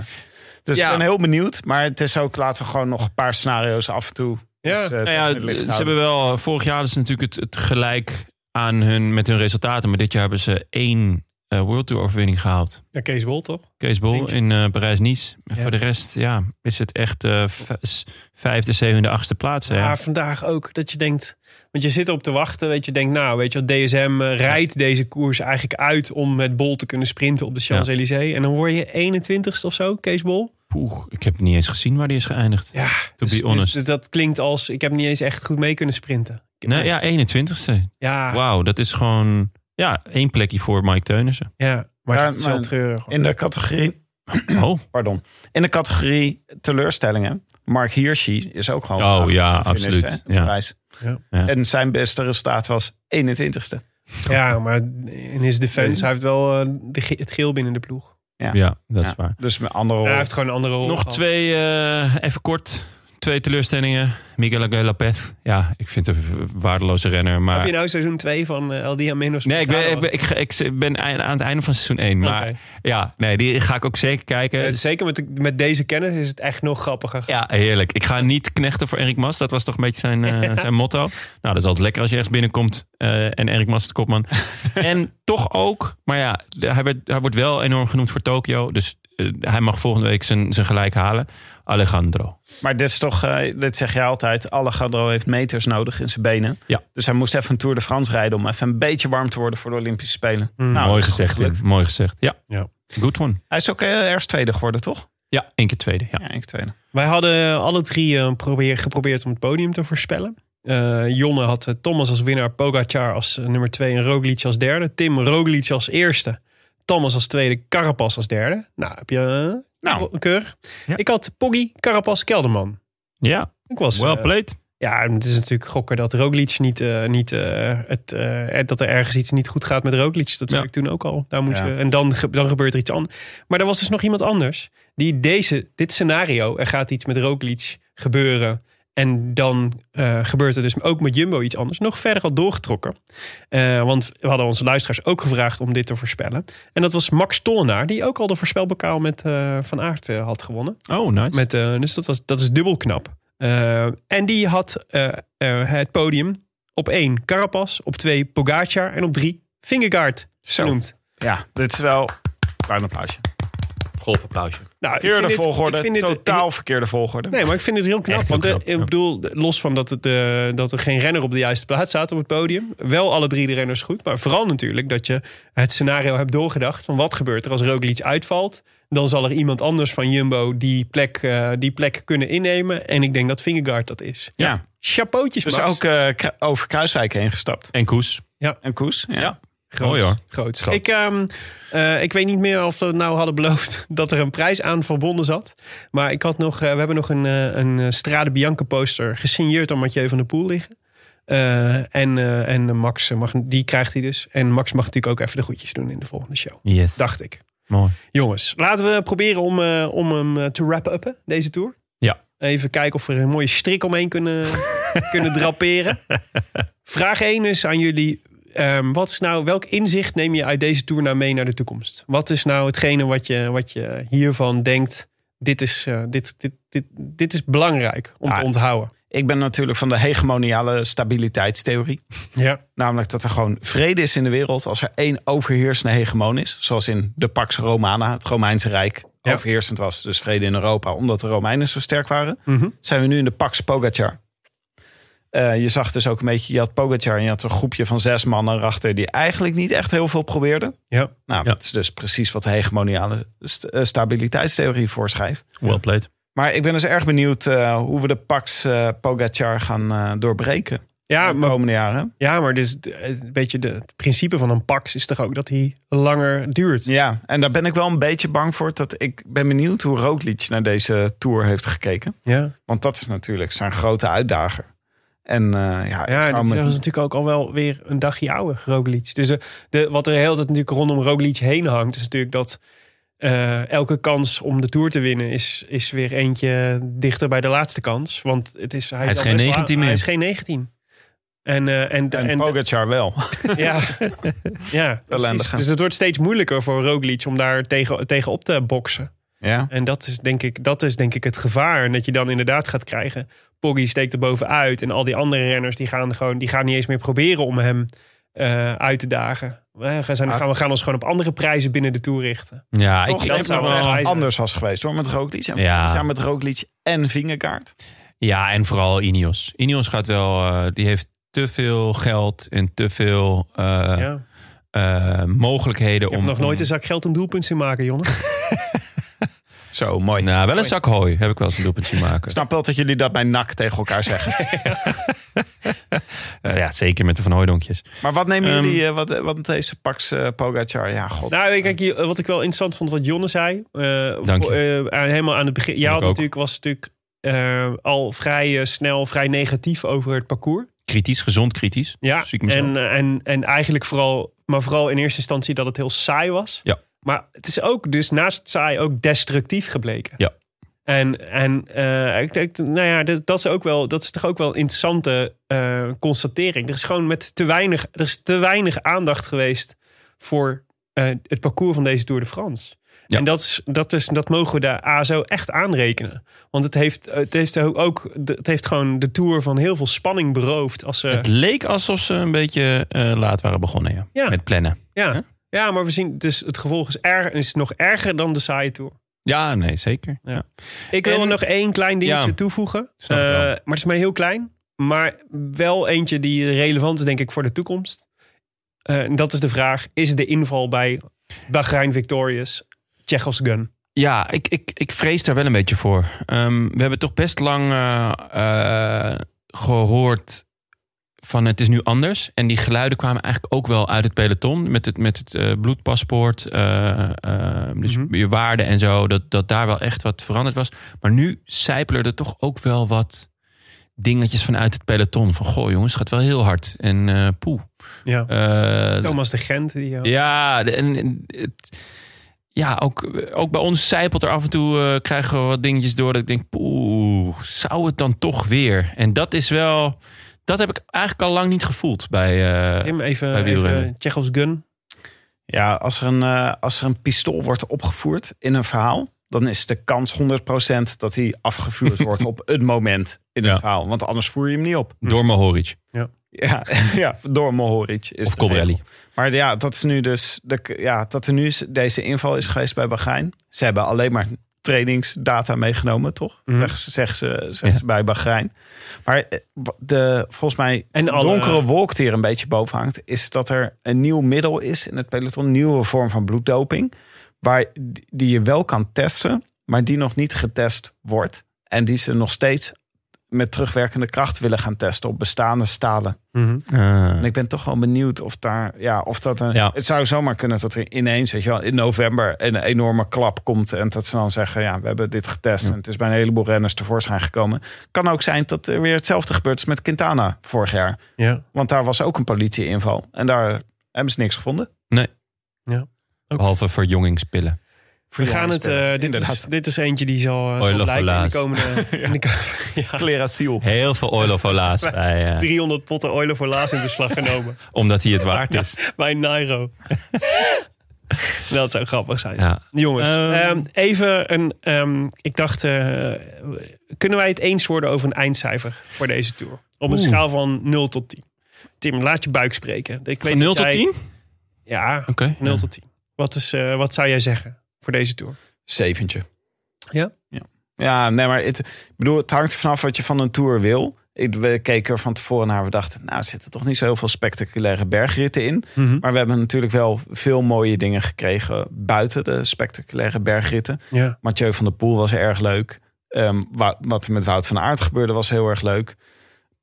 S6: dus
S1: Ja.
S6: ik ben heel benieuwd. Maar het is ook laten we gewoon nog een paar scenario's af en toe.
S2: Ja.
S6: dus, eh,
S1: Nou
S6: tegen
S1: ja,
S6: het licht
S1: ze
S6: houden.
S1: hebben wel... eh, Vorig jaar hadden ze natuurlijk het, het gelijk aan hun, met hun resultaten. Maar dit jaar hebben ze één eh, World Tour overwinning gehaald.
S2: Ja, Kees Bol toch?
S1: Kees Bol
S2: Eentje.
S1: in eh, Parijs-Nice. En
S2: Ja.
S1: Voor de rest ja, is het echt eh, v- s- vijfde, zevende, achtste plaats. hè.
S2: Maar vandaag ook dat je denkt... Want je zit erop te wachten. Weet je, denkt nou, weet je wat, DSM eh, rijdt deze koers eigenlijk uit... om met Bol te kunnen sprinten op de Champs-Élysées. En dan word je 21ste of zo, Kees Bol.
S1: Poeh, ik heb niet eens gezien waar die is geëindigd.
S2: Ja,
S1: be honest.
S2: dat klinkt als... Ik heb niet eens echt goed mee kunnen sprinten. Ik-
S1: Nee, ja, 21ste.
S2: Ja,
S1: Wauw, dat is gewoon ja, één plekje voor Mike Teunissen.
S2: ja, maar
S6: Ja,
S2: dat is wel
S6: maar-
S2: treurig. hoor.
S6: in de categorie
S1: Oh,
S6: Pardon. In de categorie teleurstellingen. Mark Hirschi is ook gewoon.
S1: Oh,
S6: laag
S1: ja,
S6: gefinished,
S1: absoluut.
S6: hè, op
S1: Ja.
S6: Parijs.
S2: Ja.
S1: Ja.
S6: En zijn beste resultaat was 21ste.
S2: Ja, maar in his defense, hij heeft wel eh, de, ge- het geel binnen de ploeg.
S6: Ja.
S1: ja, dat
S6: Ja.
S1: is waar.
S6: Dus met andere
S2: Hij
S6: rol.
S2: heeft gewoon een andere rol
S1: Oh. Nog
S2: gehad.
S1: twee, eh, even kort. Twee teleurstellingen. Miguel Aguilar Lopez. Ja, ik vind het een waardeloze renner. Maar...
S2: Heb je nou seizoen 2 van eh, El Diamino?
S1: Nee, ik ben,
S2: Sportano?
S1: ik, ben, ik, ga- ik ben ei- aan het einde van seizoen 1. Maar
S2: Oké.
S1: ja, nee, die ga ik ook zeker kijken.
S2: Eh, Zeker met, de- met deze kennis is het echt nog grappiger.
S1: Ja, heerlijk. Ik ga niet knechten voor Erik Mas. Dat was toch een beetje zijn, eh, zijn motto. Nou, dat is altijd lekker als je ergens binnenkomt eh, en Erik Mas is de kopman. en toch ook, maar ja, de- hij, werd, hij wordt wel enorm genoemd voor Tokio. Dus eh, hij mag volgende week zijn, zijn gelijk halen. Alejandro.
S6: Maar dit is toch, eh, dit zeg je altijd, Alejandro heeft meters nodig in zijn benen.
S1: Ja.
S6: Dus hij moest even een Tour de France rijden om even een beetje warm te worden voor de Olympische Spelen. Nou,
S1: Hmm. Mooi
S6: dat is goed
S1: gezegd, Tim.
S6: gelukt.
S1: Mooi gezegd. Ja.
S2: Ja.
S1: Good one.
S6: Hij is ook eh, ergens tweede geworden, toch?
S1: Ja, één keer tweede. Ja.
S6: Ja, ik tweede.
S2: Wij hadden alle drie eh, probeer, geprobeerd om het podium te voorspellen. Eh, Jonne had eh, Thomas als winnaar, Pogacar als eh, nummer twee en Roglic als derde. Tim Roglic als eerste, Thomas als tweede, Carapaz als derde. Nou, heb je eh,
S6: Nou.
S2: een keur.
S1: Ja.
S2: Ik had Poggi, Carapaz, Kelderman.
S1: ja.
S2: Ik was,
S1: Well
S2: eh,
S1: played.
S2: ja, en het is natuurlijk gokken dat Roglic niet, eh, niet eh, het, eh, dat er ergens iets niet goed gaat met Roglic. Dat zei
S1: Ja.
S2: ik toen ook al. Daar moet
S6: Ja.
S2: je, en dan, ge- dan gebeurt er iets anders. Maar er was dus nog iemand anders die deze, dit scenario, er gaat iets met Roglic gebeuren. En dan eh, gebeurt er dus ook met Jumbo iets anders. Nog verder had doorgetrokken. Eh, want we hadden onze luisteraars ook gevraagd om dit te voorspellen. En dat was Max Tollenaar, die ook al de voorspelbokaal met eh, Van Aert eh, had gewonnen.
S1: Oh, nice.
S2: Met, eh, dus dat, was, dat is dubbel knap. Eh, en die had eh, eh, het podium op één Carapaz, op twee Pogacar en op drie Fingergaard genoemd.
S6: Ja, dit is wel... Klein applausje.
S1: golfapplausje.
S2: Nou, ik vind
S6: Verkeerde
S2: dit-
S6: volgorde,
S2: ik vind dit-
S6: totaal verkeerde volgorde.
S2: Nee, maar ik vind het heel knap.
S1: Echt heel
S2: want eh,
S1: knap,
S2: ik
S1: ja.
S2: bedoel, los van dat, het, eh, dat er geen renner op de juiste plaats staat op het podium. Wel alle drie de renners goed. Maar vooral natuurlijk dat je het scenario hebt doorgedacht. Van wat gebeurt er als Roglic uitvalt? Dan zal er iemand anders van Jumbo die plek, eh, die plek kunnen innemen. En ik denk dat Fingergaard dat is.
S6: Ja.
S2: Chapeautjes,
S6: Dus
S2: Max.
S6: ook eh, kru- over Kruiswijk heen gestapt.
S1: En Koes.
S6: En Koes. Ja.
S1: Ja.
S2: Groot.
S1: Mooi hoor.
S2: Groot.
S1: Groot.
S2: Ik, ehm, eh, ik weet niet meer of we nou hadden beloofd dat er een prijs aan verbonden zat. Maar ik had nog, eh, we hebben nog een, eh, een eh, Strade Bianca poster gesigneerd door Mathieu van der Poel liggen. Eh, en, eh, en Max, eh, mag, die krijgt hij dus. En Max mag natuurlijk ook even de goedjes doen in de volgende show.
S1: Yes.
S2: Dacht ik.
S1: Mooi.
S2: Jongens, laten we proberen om, eh, om hem eh, te wrap-uppen, deze tour.
S1: Ja.
S2: Even kijken of we er een mooie strik omheen kunnen, kunnen draperen. Vraag 1 is aan jullie. ehm, wat is nou, welk inzicht neem je uit deze tour nou mee naar de toekomst? Wat is nou hetgene wat je, wat je hiervan denkt? Dit is, eh, dit, dit, dit, dit is belangrijk om
S6: Ja.
S2: te onthouden.
S6: Ik ben natuurlijk van de hegemoniale stabiliteitstheorie.
S2: Ja.
S6: Namelijk dat er gewoon vrede is in de wereld als er één overheersende hegemon is. Zoals in de Pax Romana, het Romeinse Rijk,
S2: Ja.
S6: overheersend was. Dus vrede in Europa, omdat de Romeinen zo sterk waren.
S2: Mhm.
S6: Zijn we nu in de Pax Pogacar. Eh, je zag dus ook een beetje, je had Pogacar en je had een groepje van zes mannen erachter... die eigenlijk niet echt heel veel probeerden.
S2: ja.
S6: Nou,
S1: Ja.
S6: dat is dus precies wat de hegemoniale st- eh, stabiliteitstheorie voorschrijft.
S1: Well played.
S6: Maar ik ben dus erg benieuwd eh, hoe we de Pax eh, Pogacar gaan eh, doorbreken
S2: Ja,
S6: de
S2: maar
S6: komende jaren.
S2: Ja, maar dus, eh, een beetje de, het principe van een pax is toch ook dat hij langer duurt.
S6: Ja, en daar ben ik wel een beetje bang voor. Dat ik ben benieuwd hoe Roglic naar deze Tour heeft gekeken.
S2: Ja,
S6: Want dat is natuurlijk zijn grote uitdager. En eh, ja,
S2: ja
S6: ik
S2: dat
S6: zou
S2: is
S6: met-
S2: natuurlijk ook al wel weer een dagje ouder, Roglic. Dus de, de, wat er heel tijd natuurlijk rondom Roglic heen hangt... is natuurlijk dat eh, elke kans om de Tour te winnen... Is, is weer eentje dichter bij de laatste kans. Want het is, hij,
S1: Hij is
S2: al
S1: geen
S2: best wel-
S1: 19 meer.
S2: Hij is geen 19. En, eh, en,
S6: en,
S2: en-
S6: Pogacar wel.
S2: Ja, ja precies.
S6: Ellendige.
S2: Dus het wordt steeds moeilijker voor Roglic om daar tegen, tegen op te boksen.
S6: ja.
S2: En dat is, denk ik, dat is denk ik het gevaar. En dat je dan inderdaad gaat krijgen. Poggi steekt er bovenuit. En al die andere renners die gaan, gewoon, die gaan niet eens meer proberen om hem eh, uit te dagen. We gaan,
S1: Ah.
S2: gaan, we gaan ons gewoon op andere prijzen binnen de toer richten.
S1: Ja, ik,
S6: Toch,
S1: ik
S6: dat
S2: heb
S6: zou
S2: nog
S6: het
S2: wel-
S6: echt anders was geweest hoor, met Roglic. En
S1: Ja.
S6: ja. met Roglic en Vingegaard.
S1: Ja, en vooral Ineos. Ineos gaat wel, eh, die heeft te veel geld en te veel eh,
S2: ja.
S1: eh, mogelijkheden
S2: Ik heb
S1: om.
S2: nog nooit
S1: om-
S2: een zak geld een doelpunt zien maken, jongen.
S6: Zo, mooi.
S1: Nou, wel een zak hooi heb ik wel eens een doelpuntje maken.
S6: Ik snap wel dat jullie dat bij NAC tegen elkaar zeggen.
S1: Eh, ja, zeker met de Van Hooidonkjes.
S6: maar wat nemen
S1: Ehm,
S6: jullie, eh, wat, wat deze Pax eh, Pogacar? Ja, god.
S2: Nou, kijk, hier, wat ik wel interessant vond wat Jonne zei. eh,
S1: Dank
S2: voor- eh, aan- helemaal aan het begin. Jij
S1: ik
S2: had
S1: ook.
S2: natuurlijk, was natuurlijk eh, al vrij eh, snel, vrij negatief over het parcours.
S1: Kritisch, gezond kritisch.
S2: Ja,
S1: Zie ik mezelf.
S2: en, eh, en, en eigenlijk vooral, maar vooral in eerste instantie dat het heel saai was.
S1: Ja.
S2: Maar het is ook dus naast saai ook destructief gebleken.
S1: Ja.
S2: En, en eh, ik denk, nou ja, dat, dat, is ook wel, dat is toch ook wel een interessante eh, constatering. Er is gewoon met te weinig, er is te weinig aandacht geweest voor eh, het parcours van deze Tour de France.
S1: Ja.
S2: En dat, is, dat, is, dat mogen we de ASO echt aanrekenen. Want het heeft, het heeft ook het heeft gewoon de Tour van heel veel spanning beroofd. Als ze,
S1: Het leek alsof ze een beetje eh, laat waren begonnen ja,
S2: Ja.
S1: met plannen.
S2: Ja.
S1: Hè?
S2: ja, maar we zien dus het gevolg is, erg, is nog erger dan de saaie tour.
S1: Ja, nee, zeker.
S2: Ja.
S1: Ja.
S2: Ik wil
S1: En-
S2: er nog één klein dingetje
S1: Ja.
S2: toevoegen.
S1: Snap ik
S2: Eh,
S1: wel.
S2: maar het is maar heel klein. Maar wel eentje die relevant is, denk ik, voor de toekomst. Eh, en dat is de vraag: is de inval bij Bahrein Victorious Tsjechos gun?
S1: Ja, ik, ik, ik vrees daar wel een beetje voor. Ehm, we hebben toch best lang eh, eh, gehoord van het is nu anders. En die geluiden kwamen eigenlijk ook wel uit het peloton. Met het, met het eh, bloedpaspoort, eh, eh, dus
S2: Mhm.
S1: je waarde en zo. Dat, dat daar wel echt wat veranderd was. Maar nu sijpelen er toch ook wel wat dingetjes vanuit het peloton. Van goh jongens, het gaat wel heel hard. En eh poeh.
S2: Ja.
S1: Eh,
S2: Thomas de Gent. Die, eh,
S1: ja, de- en, en het- ja ook, ook bij ons zijpelt er af en toe eh, krijgen we wat dingetjes door dat ik denk, poeh, zou het dan toch weer? En dat is wel, dat heb ik eigenlijk al lang niet gevoeld bij. eh,
S2: Tim,
S1: bij
S2: even,
S1: wielrennen.
S2: even Tsjechos gun.
S6: Ja, als er, een, eh, als er een pistool wordt opgevoerd in een verhaal, dan is de kans 100% dat hij afgevuurd wordt op het moment in het
S1: Ja.
S6: verhaal. Want anders voer je hem niet op.
S1: door Mohoric.
S6: Ja, ja door Mohoric. Is
S1: Of
S6: de
S1: Cobrelli.
S6: regel. Maar ja, dat is nu dus. De, ja, dat er nu is- deze inval is geweest bij Bahrein. Ze hebben alleen maar trainingsdata meegenomen, toch?
S2: Mhm.
S6: Zeggen ze, zeggen ze, zeggen
S1: Ja.
S6: ze bij Bahrein. Maar eh, wa- de, volgens mij
S2: En alle-
S6: donkere wolk die er een beetje boven hangt... is dat er een nieuw middel is in het peloton. Een nieuwe vorm van bloeddoping. Waar, die je wel kan testen, maar die nog niet getest wordt. En die ze nog steeds met terugwerkende kracht willen gaan testen op bestaande stalen.
S1: Eh,
S6: En ik ben toch wel benieuwd of daar, ja, of dat een,
S1: Ja.
S6: het zou zomaar kunnen dat er ineens, weet je wel, in november een enorme klap komt en dat ze dan zeggen, ja, we hebben dit getest en het is bij een heleboel renners tevoorschijn gekomen. Kan ook zijn dat er weer hetzelfde gebeurt als met Quintana vorig jaar,
S2: Ja,
S6: want daar was ook een politieinval en daar hebben ze niks gevonden.
S1: Behalve verjongingspillen.
S2: we gaan het. eh, dit, is,
S6: Inderdaad.
S2: dit is eentje die zal, eh,
S1: Oil
S2: zal
S1: of
S2: blijken in de
S1: Olaas.
S2: komende. in de ko- ja.
S6: Cleratiel.
S1: Heel veel oil of olaas bij, eh,
S2: 300 potten oilen voor laatst in beslag genomen.
S1: omdat hij het waard is.
S2: Bij Nairo. dat zou grappig zijn.
S1: Ja.
S2: Jongens,
S1: Ehm.
S2: ehm, even een. ehm, ik dacht, eh, kunnen wij het eens worden over een eindcijfer voor deze tour? Op een
S1: Oeh.
S2: schaal van 0 tot 10. Tim, laat je buik spreken. Ik weet
S1: Van 0 tot
S2: dat jij-
S1: 10?
S2: Ja,
S1: Oké.
S2: 0 tot 10. Wat, is, eh, wat zou jij zeggen voor deze tour?
S6: Zeventje.
S2: Ja?
S6: ja? Ja, nee, maar het, ik bedoel, het hangt er vanaf wat je van een tour wil. Ik, we keken er van tevoren naar. We dachten, nou, er zitten toch niet zo heel veel spectaculaire bergritten in.
S2: Mhm.
S6: Maar we hebben natuurlijk wel veel mooie dingen gekregen buiten de spectaculaire bergritten.
S2: Ja.
S6: Mathieu van der Poel was erg leuk. Ehm, wa- wat er met Wout van Aert gebeurde was heel erg leuk.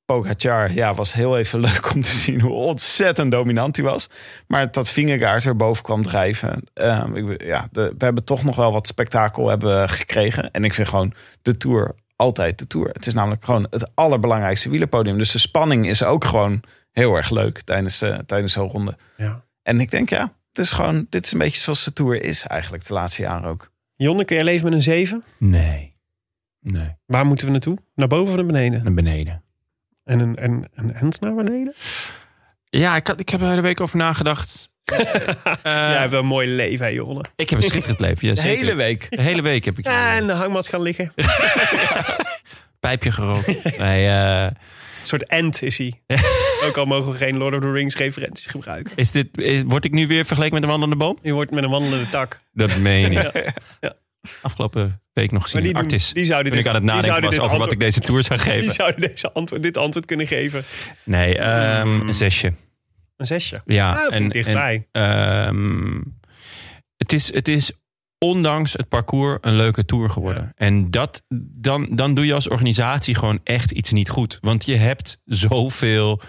S6: Pogacar, ja, was heel even leuk om te zien hoe ontzettend dominant hij was. Maar dat Vingegaard er boven kwam drijven. ehm, ik, be- ja, de- we hebben toch nog wel wat spektakel hebben gekregen. En ik vind gewoon de Tour altijd de Tour. Het is namelijk gewoon het allerbelangrijkste wielerpodium. Dus de spanning is ook gewoon heel erg leuk tijdens, eh, tijdens zo'n ronde.
S2: Ja.
S6: En ik denk, ja, het is gewoon, dit is een beetje zoals de Tour is eigenlijk de laatste jaren ook.
S2: Jonne, kun jij leven met een 7?
S1: Nee. Nee,
S2: Waar moeten we naartoe? Naar boven of naar beneden?
S1: naar beneden.
S2: En een, en, een hand naar beneden?
S1: Ja, ik, had, ik heb er de hele week over nagedacht.
S2: jij
S1: Eh,
S2: hebt wel een mooi leven, hè, Jonne.
S1: Ik heb een schitterend leven. Ja,
S6: De
S1: zeker.
S6: hele week.
S1: De hele week heb ik hier
S2: Ja, en
S1: een
S2: de hangmat gaan liggen.
S1: pijpje gerookt. Nee, eh,
S2: Een soort ent is hij. Ook al mogen we geen Lord of the Rings referenties gebruiken.
S1: is dit, is- word ik nu weer vergeleken met een wandelende boom?
S2: Je wordt met een wandelende tak.
S1: Dat meen je niet.
S2: Ja.
S1: Afgelopen week nog
S2: Maar
S1: zien.
S2: die, doen-
S1: Artis.
S2: die zouden
S1: Toen
S2: dit,
S1: ik aan het
S2: die
S1: nadenken
S2: zouden
S1: was
S2: dit
S1: over wat ik
S2: antwoord-
S1: deze tour zou
S2: Die
S1: geven.
S2: zouden deze antwoord, dit antwoord kunnen geven.
S1: Nee, ehm, een zesje.
S2: Een zesje.
S1: Ja,
S2: Hmm. Ah, dat vind ik dichtbij.
S1: ehm, het, is, het is ondanks het parcours een leuke tour geworden. En dat, dan, dan doe je als organisatie gewoon echt iets niet goed. Want je hebt zoveel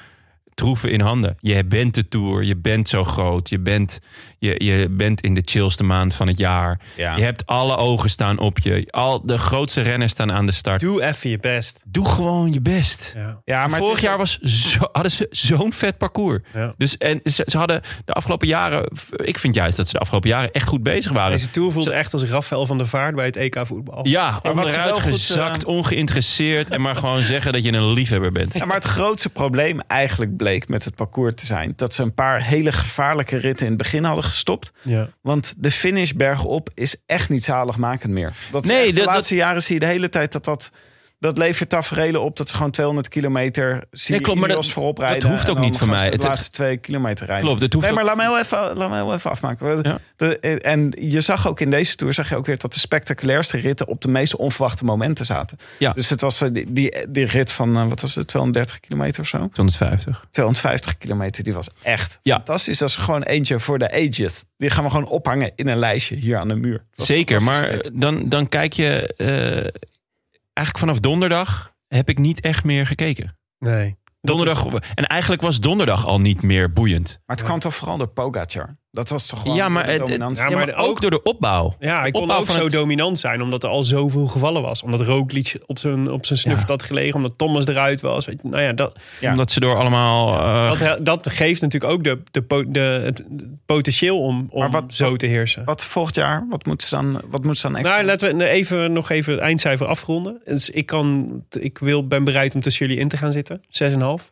S1: troeven in handen. Je bent de tour, je bent zo groot, je bent, je, je bent in de chillste maand van het jaar.
S6: Ja.
S1: Je hebt alle ogen staan op je. Al de grootste renners staan aan de start. Doe,
S2: Doe even je best.
S1: gewoon je best.
S2: Ja.
S6: Ja, maar
S1: Vorig jaar was zo, hadden ze zo'n vet parcours.
S2: Ja.
S1: Dus en ze, ze hadden de afgelopen jaren. Ik vind juist dat ze de afgelopen jaren echt goed bezig waren.
S2: Deze tour voelt echt als Rafael van der Vaart bij het EK voetbal.
S1: Ja,
S6: ze wel
S1: onderuit
S6: goed,
S1: gezakt,
S6: eh,
S1: ongeïnteresseerd. En maar gewoon zeggen dat je een liefhebber bent.
S6: Ja, maar het grootste probleem eigenlijk bleek met het parcours te zijn dat ze een paar hele gevaarlijke ritten in het begin hadden gestopt.
S2: Ja.
S6: Want de finish bergop is echt niet zaligmakend meer. Dat is
S1: Nee,
S6: echt de
S1: dat-
S6: laatste jaren zie je de hele tijd dat dat dat levert tafereelen op dat ze gewoon 200 kilometer zie
S1: Nee, klopt, maar dat-
S6: Ineos voorop
S1: dat
S6: rijden.
S1: hoeft ook
S6: en dan
S1: niet van
S6: gaan
S1: mij.
S6: ze De
S1: Het- het-
S6: laatste twee kilometer rijden.
S1: Klopt, het hoeft
S6: nee, maar
S1: ook-
S6: laat me heel even, laat me heel even afmaken.
S1: Ja.
S6: De- en je zag ook in deze tour zag je ook weer dat de spectaculairste ritten op de meest onverwachte momenten zaten.
S1: Ja.
S6: Dus het was eh, die, die, die rit van, eh, wat was het, 230 kilometer of zo?
S1: 250.
S6: 250 kilometer, die was echt
S1: Ja.
S6: fantastisch. Dat is gewoon eentje voor de ages. Die gaan we gewoon ophangen in een lijstje hier aan de muur. Dat was
S1: Zeker,
S6: fantastisch
S1: maar
S6: eten.
S1: eh, dan, dan kijk je... eh, eigenlijk vanaf donderdag heb ik niet echt meer gekeken.
S2: Nee. Dat
S1: Donderdag, en eigenlijk was donderdag al niet meer boeiend.
S6: Maar het kwam toch vooral door Pogacar? Dat was toch gewoon
S1: ja, maar,
S6: de
S1: het- het-
S6: dominantie?
S1: ja, maar
S2: de-
S1: ook, door de opbouw.
S2: Ja, ik kon
S1: opbouw
S2: ook
S1: van
S2: zo
S1: het-
S2: dominant zijn, omdat er al zoveel gevallen was. Omdat Roglic op zijn, op zijn snuffert had gelegen, omdat Thomas eruit was. Weet je, nou ja, dat,
S6: Ja.
S1: Omdat ze door allemaal... eh,
S2: dat, he- dat geeft natuurlijk ook de, de, po- de, het het potentieel om, om
S6: Maar wat-
S2: zo te heersen.
S6: Wat volgend jaar? Wat moeten ze dan, wat moeten ze dan extra
S2: Nou, laten we even, nog even het eindcijfer afronden. Dus ik, kan, ik wil, ben bereid om tussen jullie in te gaan zitten. 6,5.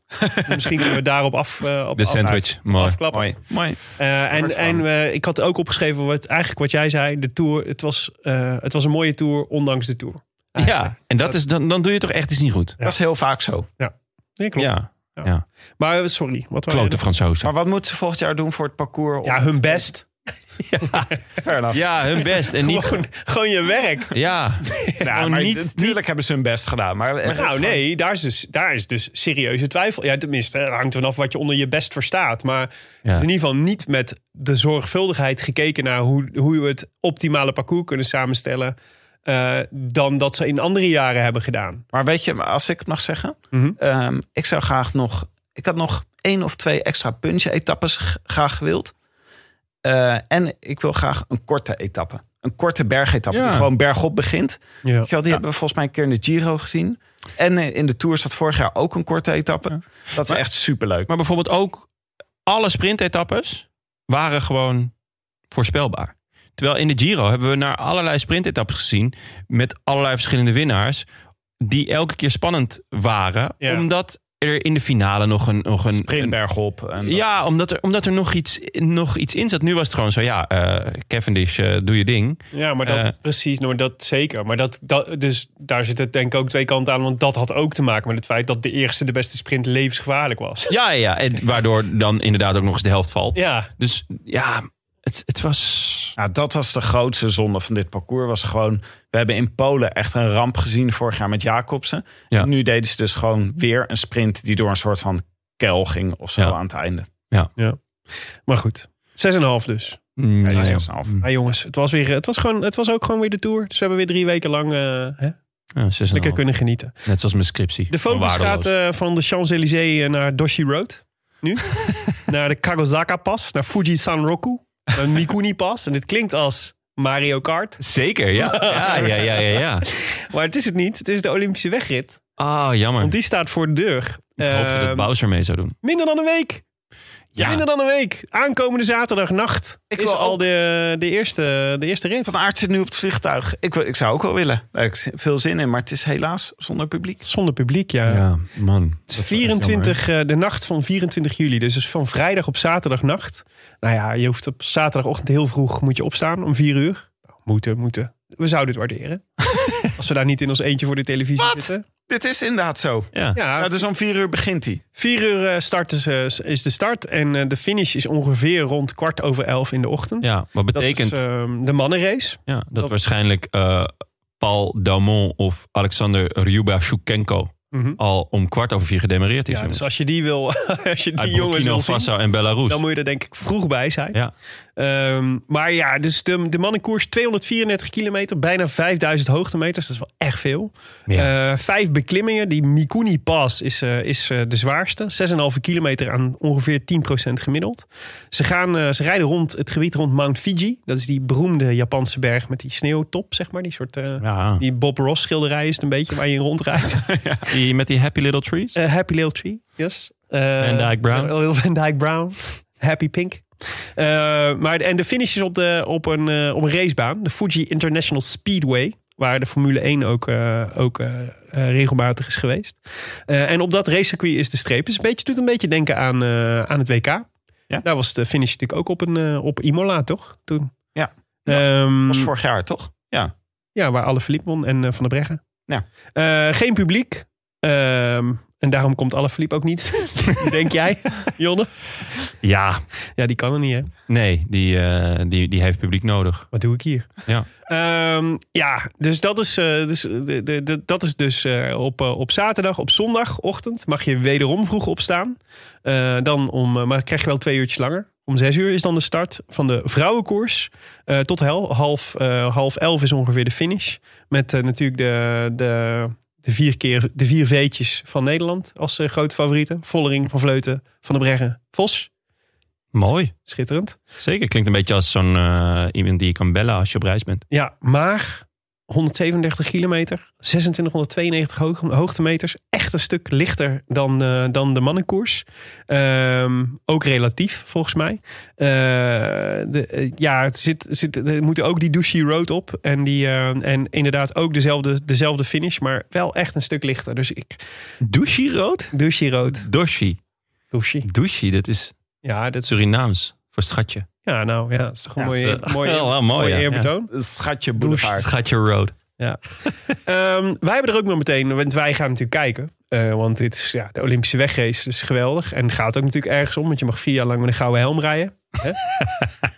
S2: Dus Misschien kunnen we daarop af, eh, op
S1: de
S2: af-
S1: sandwich. Mooi.
S2: afklappen.
S6: Mooi. Mooi.
S2: Eh, en
S6: Wordt
S2: en
S6: warm.
S2: eh, ik had ook opgeschreven wat, eigenlijk wat jij zei. De tour, het was, eh, het was een mooie tour, ondanks de tour.
S1: Ja, en dat is, dan, dan doe je toch echt iets niet goed.
S6: Dat is heel vaak zo.
S2: Ja, klopt.
S1: Ja,
S2: Maar eh, sorry, wat waren
S1: klote Fransozen.
S6: Maar wat moeten ze volgend jaar doen voor het parcours? om-
S2: Ja, hun best.
S6: Fair enough.
S1: Ja, hun best. En niet...
S2: Gewoon, gewoon je werk.
S1: Ja,
S6: Ja,
S1: gewoon
S6: Nou, maar
S1: niet-
S6: natuurlijk hebben ze hun best gedaan. Maar er is
S2: nou
S6: gewoon-
S2: nee, daar is, dus, daar is dus serieuze twijfel. Ja, tenminste, het hangt vanaf wat je onder je best verstaat. Maar
S1: Ja.
S2: in ieder geval niet met de zorgvuldigheid gekeken naar hoe, hoe we het optimale parcours kunnen samenstellen. eh, dan dat ze in andere jaren hebben gedaan.
S6: Maar weet je, maar als ik het mag zeggen,
S2: Mhm.
S6: ehm, ik zou graag nog, ik had nog één of twee extra punch-etappes g- graag gewild. Eh, en ik wil graag een korte etappe. Een korte bergetappe
S1: Ja.
S6: die gewoon bergop begint.
S2: Ja.
S6: Weet je wel, die hebben we volgens mij een keer in de Giro gezien. En eh, in de Tour zat vorig jaar ook een korte etappe. Dat is
S1: Maar-
S6: echt superleuk.
S1: maar bijvoorbeeld ook alle sprintetappes waren gewoon voorspelbaar. Terwijl in de Giro hebben we naar allerlei sprintetappes gezien met allerlei verschillende winnaars die elke keer spannend waren,
S2: Ja.
S1: omdat er in de finale nog een nog een,
S6: Sprint
S1: een-
S6: bergop. En dat-
S1: ja, omdat er, omdat er nog, iets, nog iets in zat. Nu was het gewoon zo, ja, eh, Cavendish, eh, doe je ding.
S2: Ja, maar dat,
S1: Eh.
S2: precies, nou, maar dat zeker. Maar dat, dat, dus daar zit het denk ik ook twee kanten aan. Want dat had ook te maken met het feit dat de eerste, de beste sprint levensgevaarlijk was.
S1: Ja, ja, ja. En waardoor dan inderdaad ook nog eens de helft valt.
S2: Ja,
S1: Dus ja, het, het was...
S6: Ja, nou, dat was de grootste zonde van dit parcours. Was gewoon, we hebben in Polen echt een ramp gezien vorig jaar met Jacobsen.
S1: Ja.
S6: En nu deden ze dus gewoon weer een sprint die door een soort van kel ging of zo
S1: Ja.
S6: aan het einde.
S2: maar goed. 6,5 dus.
S1: Mm,
S6: Ja,
S1: nou ja.
S6: zes en een half.
S2: Maar jongens, het was, weer, het, was gewoon, het was ook gewoon weer de tour. Dus we hebben weer drie weken lang eh, hè,
S1: Ja, zes en een
S2: lekker
S1: half.
S2: kunnen genieten.
S1: Net zoals mijn scriptie.
S2: De focus
S1: Oh. Waardeloos.
S2: gaat eh, van de Champs-Élysées eh, naar Doshi Road. Nu. naar de Kagosaka-pas. Naar Fuji Sanroku. Naar Mikuni-pas. En dit klinkt als Mario Kart.
S1: Zeker, ja. Ja, ja, ja, ja. ja.
S2: Maar het is het niet. Het is de Olympische wegrit.
S1: Ah, jammer.
S2: Want die staat voor de deur.
S1: Ik hoopte
S2: Eh,
S1: dat Bowser mee zou doen.
S2: Minder dan een week. Minder
S1: Ja,
S2: dan een week. Aankomende zaterdagnacht
S6: Ik
S2: is
S6: wil
S2: al
S6: ook-
S2: de, de, eerste, de eerste rit.
S6: Van Aert zit nu op het vliegtuig. Ik, wil- ik zou ook wel willen. Daar heb ik veel zin in, maar het is helaas zonder publiek.
S2: Zonder publiek, ja.
S1: ja man.
S2: Het is 24, eh, de nacht van 24 juli. Dus het is van vrijdag op zaterdagnacht. Nou ja, je hoeft op zaterdagochtend heel vroeg moet je opstaan om 4 uur. Nou, moeten, moeten. We zouden het waarderen. Als we daar niet in ons eentje voor de televisie
S6: Wat?
S2: zitten.
S6: Dit is inderdaad zo.
S1: Ja.
S2: Ja,
S6: Ja, dus om vier uur begint hij.
S2: Vier uur eh, starten ze- is de start. En eh, de finish is ongeveer rond kwart over elf in de ochtend.
S1: ja, wat
S2: Dat
S1: betekent
S2: is ehm, de mannenrace.
S1: ja, dat,
S2: dat-
S1: waarschijnlijk eh, Paul Daumont of Alexander Ryubashchenko
S2: Mhm.
S1: al om kwart over vier gedemareerd is.
S2: Ja, dus
S1: jongens.
S2: als je die wil, als je die
S1: Uit
S2: jongens
S1: Burkina
S2: wil zien,
S1: Faso en Belarus.
S2: dan moet je er denk ik vroeg bij zijn.
S1: Ja.
S2: Ehm, maar ja, dus de, de mannenkoers 234 kilometer, bijna 5000 hoogtemeters. Dat is wel echt veel.
S1: Ja.
S2: Eh, vijf beklimmingen. Die Mikuni Pass is, eh, is eh, de zwaarste. 6,5 kilometer aan ongeveer 10% gemiddeld. Ze, gaan, eh, ze rijden rond het gebied rond Mount Fuji. Dat is die beroemde Japanse berg met die sneeuwtop, zeg maar. Die soort... eh,
S1: ja.
S2: Die Bob Ross schilderij is het een beetje waar je in rondrijdt.
S1: Die, met die happy little trees.
S2: Eh, Happy Little Tree, yes. Eh,
S1: Van Dyke Brown.
S2: Lil Van Dyke Brown. Happy Pink. Eh, maar, en de finish is op, de, op, een, eh, op een racebaan. De Fuji International Speedway. Waar de Formule 1 ook, eh, ook eh, eh, regelmatig is geweest. Eh, en op dat racecircuit is de streep. Dus een beetje, doet een beetje denken aan, eh, aan het WK.
S6: Ja.
S2: Daar was de finish natuurlijk ook op, een, eh, op Imola, toch? Toen.
S6: Ja.
S2: Ehm,
S6: Dat was vorig jaar, toch?
S2: ja, waar alle Philippe won en eh, Van der Breggen.
S6: Ja.
S2: Eh, geen publiek. Ehm, en daarom komt Alaphilippe ook niet. Denk jij, Jonne?
S1: Ja,
S2: Ja, die kan er niet, hè?
S1: nee, die, eh, die, die heeft publiek nodig.
S2: Wat doe ik hier?
S1: Ja.
S2: Ehm, ja, dus dat is, eh, dus, eh, de, de, de- dat is dus eh, op, eh, op zaterdag, op zondagochtend mag je wederom vroeg opstaan. Eh, dan om, eh, maar krijg je wel twee uurtjes langer. Om zes uur is dan de start van de vrouwenkoers. Eh, tot hel, half, eh, half elf is ongeveer de finish. Met eh, natuurlijk de, de, de, vier keer, de vier V'tjes van Nederland als eh, grote favorieten. Vollering, Van Vleuten, Van der Breggen, Vos.
S1: Mooi.
S2: Schitterend.
S1: Zeker, klinkt een beetje als zo'n eh, iemand die je kan bellen als je op reis bent.
S2: Ja, maar 137 kilometer, 2692 hoog, hoogtemeters. Echt een stuk lichter dan, eh, dan de mannenkoers. Ehm, ook relatief, volgens mij. Eh, de, eh, ja, het zit, zit, er moeten ook die Dushi Road op. En, die, eh, en inderdaad ook dezelfde, dezelfde finish, maar wel echt een stuk lichter. Dus ik,
S1: Douchi rood?
S2: Dushi Road.
S1: Doshi.
S2: Dushi.
S1: Douchi, dat is
S2: Ja, dat is,
S1: Surinaams voor schatje.
S2: ja, nou ja, dat is toch een
S6: Ja,
S2: mooie,
S1: dat is, eh,
S2: mooie,
S1: wel mooi,
S2: mooie
S1: ja.
S2: eerbetoon.
S6: Schatje
S1: Schatje road.
S2: Ehm, wij hebben er ook nog meteen, want wij gaan natuurlijk kijken. Eh, want dit is ja, de Olympische wegrace, dus geweldig. En het gaat ook natuurlijk ergens om, want je mag vier jaar lang met een gouden helm rijden. Hè?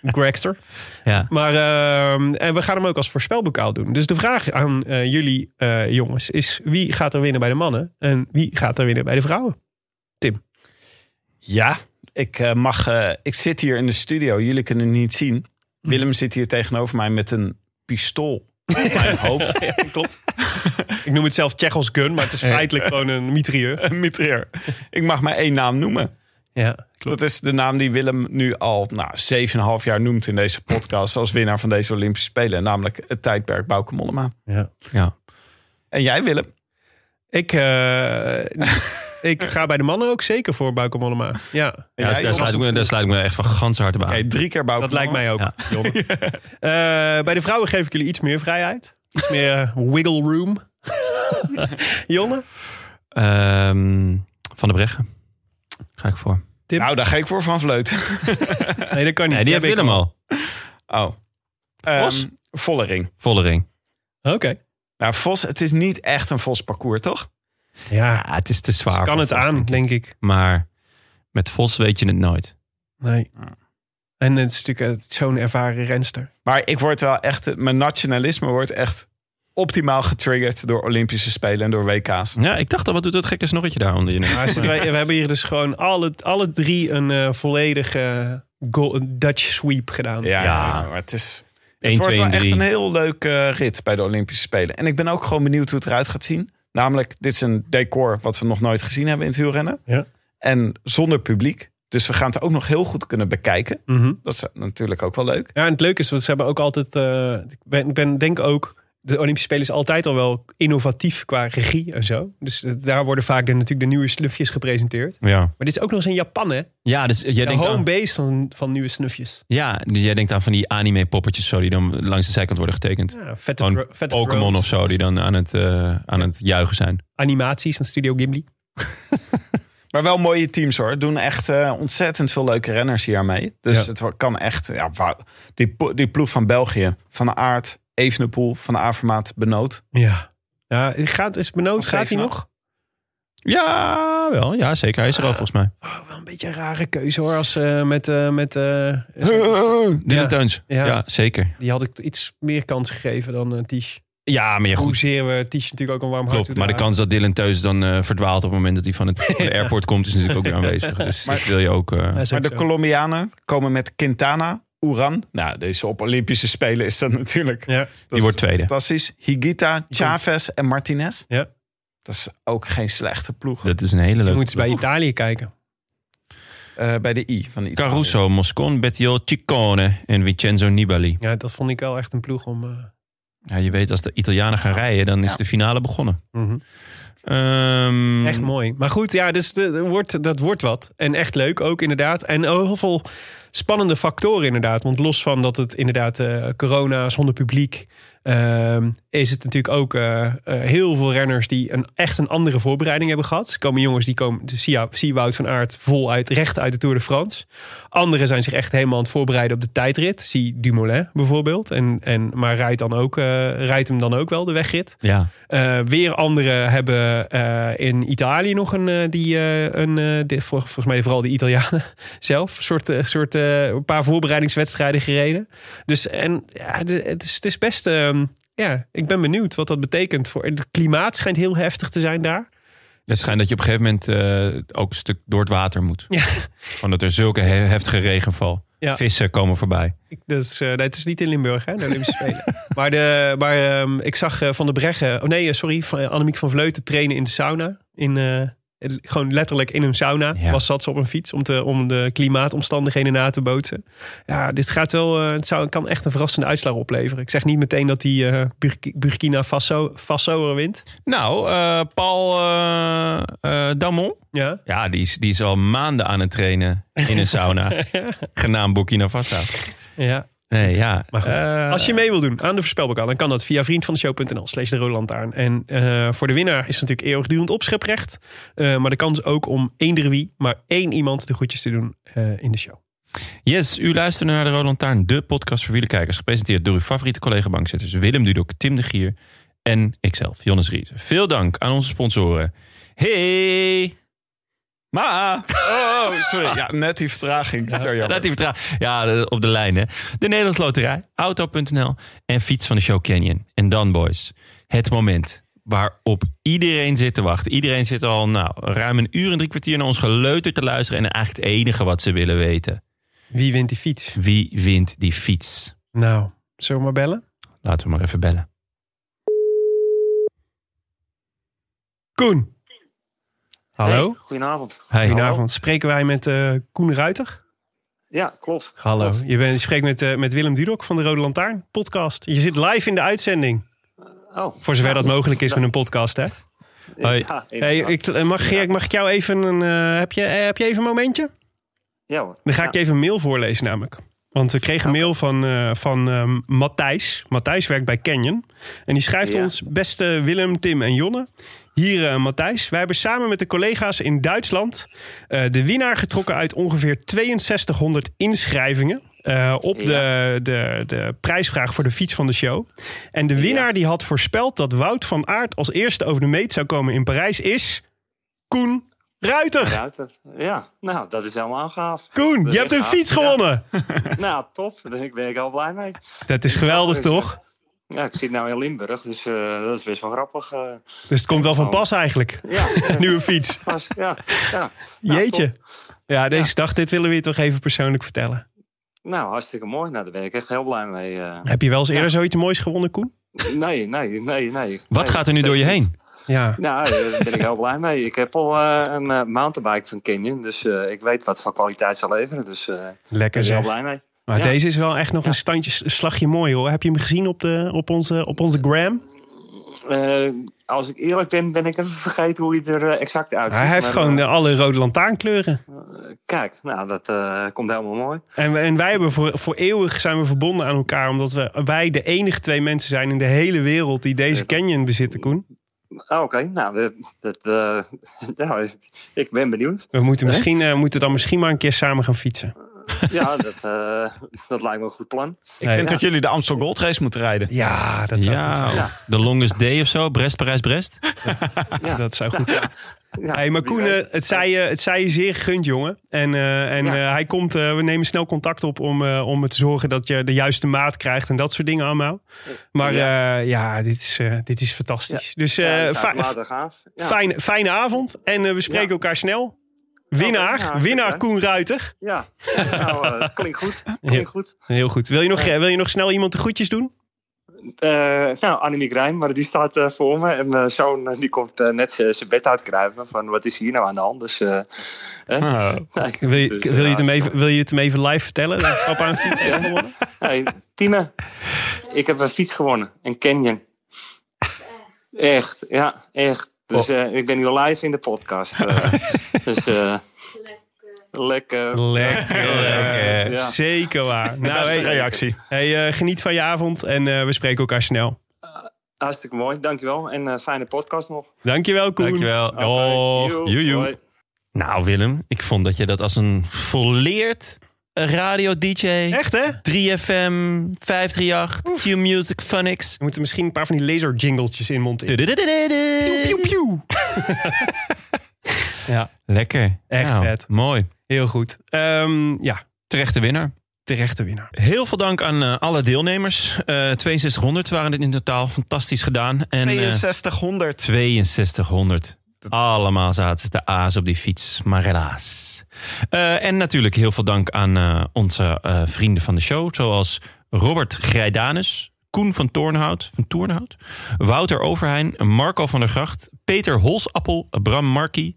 S2: Gregster.
S1: Ja.
S2: Maar ehm, en we gaan hem ook als voorspelbokaal doen. Dus de vraag aan eh, jullie eh, jongens is: wie gaat er winnen bij de mannen en wie gaat er winnen bij de vrouwen?
S6: Ja, ik, eh, mag, eh, ik zit hier in de studio. Jullie kunnen het niet zien. Willem zit hier tegenover mij met een pistool op mijn hoofd.
S2: Klopt. Ik noem het zelf Tsjechos gun, maar het is feitelijk gewoon een mitrailleur.
S6: Een mitrailleur. Ik mag maar één naam noemen.
S2: Ja,
S6: Dat is de naam die Willem nu al nou, 7,5 jaar noemt in deze podcast. Als winnaar van deze Olympische Spelen. Namelijk het tijdperk Bouke Mollema.
S2: ja.
S1: Ja.
S6: En jij Willem?
S2: Ik, eh, ik ga bij de mannen ook zeker voor Bauke Mollema. Ja.
S1: Ja,
S6: Jij,
S1: daar, sluit ik
S6: Jonne?
S1: me, daar sluit ik me echt van ganse harte bij aan.
S6: Oké, drie keer Bouke
S2: Dat lijkt mij ook.
S1: Ja.
S2: Jonne. Eh, bij de vrouwen geef ik jullie iets meer vrijheid. Iets meer eh, wiggle room. Jonne?
S1: Ehm, van de Breggen. Ga ik voor.
S6: Nou, daar ga ik voor Van Vleuten.
S2: Nee, dat kan niet.
S1: Nee, die
S2: Dat
S1: heeft
S2: heb ik
S1: Willem al.
S6: Oh. Ehm,
S2: Vos?
S6: Vollering.
S1: Vollering.
S2: al. Oké.
S6: Nou, Vos, het is niet echt een Vos parcours, toch?
S2: Ja,
S1: Ja, Ah, het is te zwaar.
S2: Ah, ze kan
S1: voor
S2: het
S1: Vos,
S2: aan, denk ik.
S1: Maar met Vos weet je het nooit.
S2: Nee.
S6: Ja.
S2: En het is natuurlijk eh, zo'n ervaren renster.
S6: Maar ik word wel echt, mijn nationalisme wordt echt optimaal getriggerd door Olympische Spelen en door WK's.
S1: Ja, ik dacht al, wat doet dat gekke snorretje daar onder je neus?
S2: Maar zitten wij, we hebben hier dus gewoon alle, alle drie een eh, volledige eh, go- Dutch sweep gedaan.
S6: Ja,
S1: Ja.
S6: maar het is.
S1: 1,
S6: Het wordt
S1: 2
S6: wel
S1: en
S6: echt
S1: 3.
S6: een heel leuke rit bij de Olympische Spelen. En ik ben ook gewoon benieuwd hoe het eruit gaat zien. Namelijk, dit is een decor wat we nog nooit gezien hebben in het wielrennen.
S2: Ja.
S6: En zonder publiek. Dus we gaan het ook nog heel goed kunnen bekijken.
S2: Mhm.
S6: Dat is natuurlijk ook wel leuk.
S2: Ja, en het leuke is, want ze hebben ook altijd. eh, ik ben, ik ben denk ook. De Olympische Spelen is altijd al wel innovatief qua regie en zo. Dus eh, daar worden vaak de, natuurlijk de nieuwe snufjes gepresenteerd.
S1: Ja.
S2: Maar dit is ook nog eens in Japan, hè?
S1: ja, dus jij
S2: de
S1: denkt,
S2: home
S1: aan,
S2: base van, van nieuwe snufjes.
S1: ja, dus jij denkt aan van die anime-poppetjes zo die dan langs de zijkant worden getekend.
S2: Ja, vette
S1: Gewoon
S2: dro- vette
S1: Pokémon
S2: drones.
S1: of zo die dan aan het, eh, aan het juichen zijn.
S2: Animaties van Studio Ghibli.
S6: Maar wel mooie teams hoor. Doen echt eh, ontzettend veel leuke renners hiermee. Dus
S2: Ja.
S6: het wo- kan echt. Ja, wauw. die, po- die ploeg van België. Van Aert, Evenepoel, Van Avermaat, Benoot.
S2: Ja. Ja, gaat, is benoemd.
S6: Nog
S2: Gaat hij
S6: zeven,
S2: nog?
S1: Ja, wel. Ja, zeker. Hij is er al volgens mij.
S2: Oh, wel een beetje een rare keuze hoor. Als eh, met. eh, met eh,
S1: Dylan
S2: Ja.
S1: Teuns.
S2: Ja.
S1: Ja. zeker.
S2: die had ik iets meer kans gegeven dan eh Ties.
S1: Ja, maar ja, goed.
S2: Hoezeer we Ties natuurlijk ook een warm hart
S1: Klopt, maar de
S2: toedragen.
S1: kans dat Dylan Teuns dan eh, verdwaalt op het moment dat hij van, het, van de airport komt, is natuurlijk ook weer aanwezig. Dus dat wil je ook. eh,
S2: Ja, is
S6: Maar
S2: ook
S6: de
S2: zo.
S6: Colombianen komen met Quintana, Uran. Nou, deze op Olympische Spelen is dat natuurlijk.
S2: Ja.
S6: Dat
S1: die
S6: is
S1: wordt tweede.
S6: Fantastisch. Higuita, Chavez en Martinez.
S2: Ja.
S6: Dat is ook geen slechte ploeg.
S1: Dat is een hele
S2: Je
S1: leuke.
S2: moet eens bij
S1: ploeg.
S2: Italië kijken.
S6: Eh, bij de I van de Italië.
S1: Caruso, Moscon, Bettiol, Ciccone en Vincenzo Nibali.
S2: Ja, dat vond ik wel echt een ploeg om. eh,
S1: Ja, je weet, als de Italianen gaan rijden, dan is
S6: Ja.
S1: de finale begonnen. Ehm,
S2: Echt mooi. Maar goed, ja, dus de, de wordt, dat wordt wat. En echt leuk ook, inderdaad. En ook heel veel spannende factoren, inderdaad. Want los van dat het inderdaad eh corona is, zonder publiek. ehm, is het natuurlijk ook eh, eh, heel veel renners die een, echt een andere voorbereiding hebben gehad. Er komen jongens die komen, dus zie, zie Wout van Aert voluit recht uit de Tour de France. Anderen zijn zich echt helemaal aan het voorbereiden op de tijdrit. Zie Dumoulin bijvoorbeeld. En, en, maar rijdt, dan ook, eh, rijdt hem dan ook wel de wegrit.
S1: Ja.
S2: Eh, weer anderen hebben eh, in Italië nog een, eh, die, eh, een eh, dit, vol- volgens mij vooral de Italianen zelf, een soort, eh, soort, eh, een paar voorbereidingswedstrijden gereden. Dus en, ja, de- het, is, het is best, ehm, ja, ik ben benieuwd wat dat betekent. Voor, het klimaat schijnt heel heftig te zijn daar.
S1: Het schijnt dat je op een gegeven moment eh, ook een stuk door het water moet.
S2: Ja.
S1: Van dat er zulke he- heftige regenval.
S2: Ja.
S1: Vissen komen voorbij.
S2: Ik- Dat is, eh, nee, het is niet in Limburg, hè, de Olympische Spelen. maar de, maar ehm, ik zag eh, Van der Breggen, oh nee, eh, sorry, van, eh, Annemiek van Vleuten trainen in de sauna. In, eh, het- gewoon letterlijk in een sauna
S1: Ja.
S2: was zat ze op een fiets om, te, om de klimaatomstandigheden na te bootsen. Ja, dit gaat wel, eh, het zou, kan echt een verrassende uitslag opleveren. Ik zeg niet meteen dat die eh, Burk- Burkina Faso, Faso er wint.
S1: Nou, eh, Paul eh eh, Damon.
S2: Ja.
S1: Ja, die is, die is al maanden aan het trainen in een sauna. Genaamd Burkina Faso.
S2: ja.
S1: Nee, ja.
S2: Maar goed,
S1: eh,
S2: als je mee wil doen aan de voorspelbokaal, dan kan dat via vriendvandeshow.nl slash de Rode Lantaarn. En eh, voor de winnaar is natuurlijk eeuwigdurend opscheprecht. Eh, maar de kans ook om eender wie, maar één iemand de groetjes te doen eh, in de show.
S1: Yes, u luistert naar de Rode Lantaarn, de podcast voor wielerkijkers. Gepresenteerd door uw favoriete collega-bankzitters Willem Dudok, Tim de Gier en ikzelf, Jonas Ries. Veel dank aan onze sponsoren. Hey! Ma!
S6: Oh, sorry. Ja, net die vertraging. Dat is zo
S1: Ja,
S6: jammer.
S1: dat die vertra- ja, de- op de lijn, hè. De Nederlands Loterij, Auto.nl en Fiets van de Show Canyon. En dan, boys, het moment waarop iedereen zit te wachten. Iedereen zit al nou, ruim een uur en drie kwartier naar ons geleuter te luisteren. En eigenlijk het enige wat ze willen weten.
S2: Wie wint die fiets?
S1: Wie wint die fiets?
S2: Nou, zullen we maar bellen?
S1: Laten we maar even bellen.
S2: Koen. Hallo.
S8: Goedenavond.
S1: Hey.
S2: Goedenavond. Spreken wij met eh, Koen Ruiter?
S8: Ja, klopt.
S2: Hallo.
S8: Klopt.
S2: Je, bent, je spreekt met, eh, met Willem Dudok van de Rode Lantaarn podcast. Je zit live in de uitzending.
S8: Oh.
S2: Voor zover dat mogelijk is
S8: Ja.
S2: met een podcast, hè?
S1: Hoi.
S8: Ja,
S2: Hey,
S8: inderdaad.
S2: ik, eh, mag, Geert, mag ik jou even een. eh, heb, je, eh, heb je even een momentje?
S8: ja, hoor.
S2: Dan ga ik
S8: Ja.
S2: even een mail voorlezen namelijk. Want we kregen een mail van, eh, van ehm, Matthijs. Matthijs werkt bij Canyon. En die schrijft
S8: Ja.
S2: ons, beste Willem, Tim en Jonne. Hier eh, Matthijs. Wij hebben samen met de collega's in Duitsland eh, de winnaar getrokken uit ongeveer 6200 inschrijvingen. eh, op
S8: Ja.
S2: de, de, de prijsvraag voor de fiets van de show. En de winnaar die had voorspeld dat Wout van Aert als eerste over de meet zou komen in Parijs is Koen Ruiter.
S8: Ruiter. Ja, nou, dat is helemaal gaaf.
S2: Koen,
S8: Dat
S2: je
S8: is
S2: hebt een
S8: gaaf.
S2: fiets
S8: Ja.
S2: gewonnen.
S8: Nou, top. Daar ben ik al blij mee.
S2: Dat is geweldig, toch?
S8: Ja, ik zit nou in Limburg, dus eh, dat is best wel grappig. eh.
S2: Dus het komt wel van pas eigenlijk.
S8: ja, eh,
S2: Nieuwe fiets.
S8: pas, ja, ja. Nou,
S2: Jeetje.
S8: top.
S2: Ja, deze dag, dit willen we je toch even persoonlijk vertellen.
S8: Nou, hartstikke mooi. Nou, daar ben ik echt heel blij mee. eh.
S2: Heb je wel eens eerder
S8: Ja.
S2: zoiets moois gewonnen, Koen?
S8: Nee, nee, nee, nee.
S1: Wat
S8: Nee,
S1: gaat er nu door je
S8: zeker niet.
S1: heen?
S2: Ja.
S8: Nou, eh, daar ben ik heel blij mee. Ik heb al eh, een eh, mountainbike van Canyon, dus eh, ik weet wat voor kwaliteit zal leveren. Dus eh, daar
S2: Lekker
S8: ben ik heel
S2: zeg.
S8: blij mee.
S2: Maar
S8: Ja.
S2: deze is wel echt nog een standje, een slagje mooi hoor. Heb je hem gezien op, de, op, onze, op onze gram?
S8: Eh, als ik eerlijk ben, ben ik even vergeten hoe hij er eh, exact uitziet.
S2: Hij heeft
S8: Maar,
S2: gewoon
S8: eh,
S2: de alle rode lantaarnkleuren.
S8: Kijk, nou, dat eh, komt helemaal mooi.
S2: En, we- en wij hebben voor, voor eeuwig zijn we verbonden aan elkaar. Omdat we, wij de enige twee mensen zijn in de hele wereld die deze canyon bezitten, Koen.
S8: Ah, Oké, nou, dat, dat, eh, nou, ik- ik ben benieuwd.
S2: We moeten, misschien, eh, moeten dan misschien maar een keer samen gaan fietsen.
S8: Ja, dat, eh, dat lijkt me een goed plan.
S6: Ik vind dat jullie de Amstel Gold Race moeten rijden.
S2: Ja, dat zou goed zijn.
S1: Ja, of de longest day of zo. Brest, Parijs, Brest.
S8: Ja.
S2: Dat zou goed zijn.
S8: Ja,
S2: Hey, maar
S8: wie
S2: Koen,
S8: weet.
S2: eh, het zei, je- het zei je zeer gegund, jongen. En, eh, en
S8: Ja.
S2: eh, hij komt, eh, we nemen snel contact op om, eh, om er te zorgen dat je de juiste maat krijgt en dat soort dingen allemaal. Maar ja, ja dit, is, eh, dit is fantastisch. Dus eh,
S8: Ja, dat
S2: fi-
S8: gaat later gaaf. Ja.
S2: fijne, fijne avond en eh, we spreken
S8: Ja.
S2: elkaar snel.
S8: nou,
S2: Winnaar,
S8: hartstikke
S2: winnaar
S8: leuk.
S2: Koen Ruiter.
S8: Ja, nou, eh, klinkt goed. Klinkt goed.
S2: Heel goed. Wil je nog, eh, wil je nog snel iemand de groetjes doen?
S8: Eh, nou, Annemiek Rijn, maar die staat eh, voor me. En mijn zoon eh, die komt eh, net zijn bed uitkruipen van wat is hier nou aan de hand. Dus, eh, hè? Nee,
S2: Nou, Wil je,
S8: dus,
S2: wil je,
S8: ja,
S2: het, hem even, wil je het hem even live vertellen? Dat papa een fiets heeft gewonnen?
S8: Hey, Tine, ik heb een fiets gewonnen. Een Canyon. Echt,
S2: Oh.
S8: ja, echt. Dus eh, ik ben nu live in de podcast. eh. dus eh, Lekker.
S2: Lekker.
S8: Ja.
S2: Lekker. Zeker waar. Nou,
S8: Beste
S2: hey,
S8: reactie.
S2: Hey, eh, geniet van je avond en eh, we spreken elkaar snel.
S8: Hartstikke mooi, dankjewel. En eh, fijne podcast nog.
S2: Dankjewel, Koen.
S1: Dankjewel.
S8: Joe.
S1: Doeg. Joejoe.
S8: Hoi.
S1: Nou, Willem, ik vond dat je dat als een volleerd radio-dj...
S2: Echt, hè?
S1: 3FM, 538, Q-Music, Phonics.
S2: We moeten misschien een paar van die laser jingletjes in monteren.
S1: Dududududu.
S2: Ja,
S1: Lekker.
S2: Echt
S1: Nou,
S2: vet.
S1: Mooi.
S2: heel goed. Ehm, ja,
S1: Terechte winnaar.
S2: terechte winnaar.
S1: Heel veel dank aan eh, alle deelnemers. Eh 6200 waren dit in totaal. Fantastisch gedaan. En, eh,
S6: 6200.
S1: 6200. Allemaal zaten ze de A's op die fiets, maar helaas. Eh, en natuurlijk heel veel dank aan eh, onze eh, vrienden van de show. Zoals Robert Grijdanus, Koen van Toornhout, van Toornhout Wouter Overheijn, Marco van der Gracht, Peter Holsappel, Bram Markie,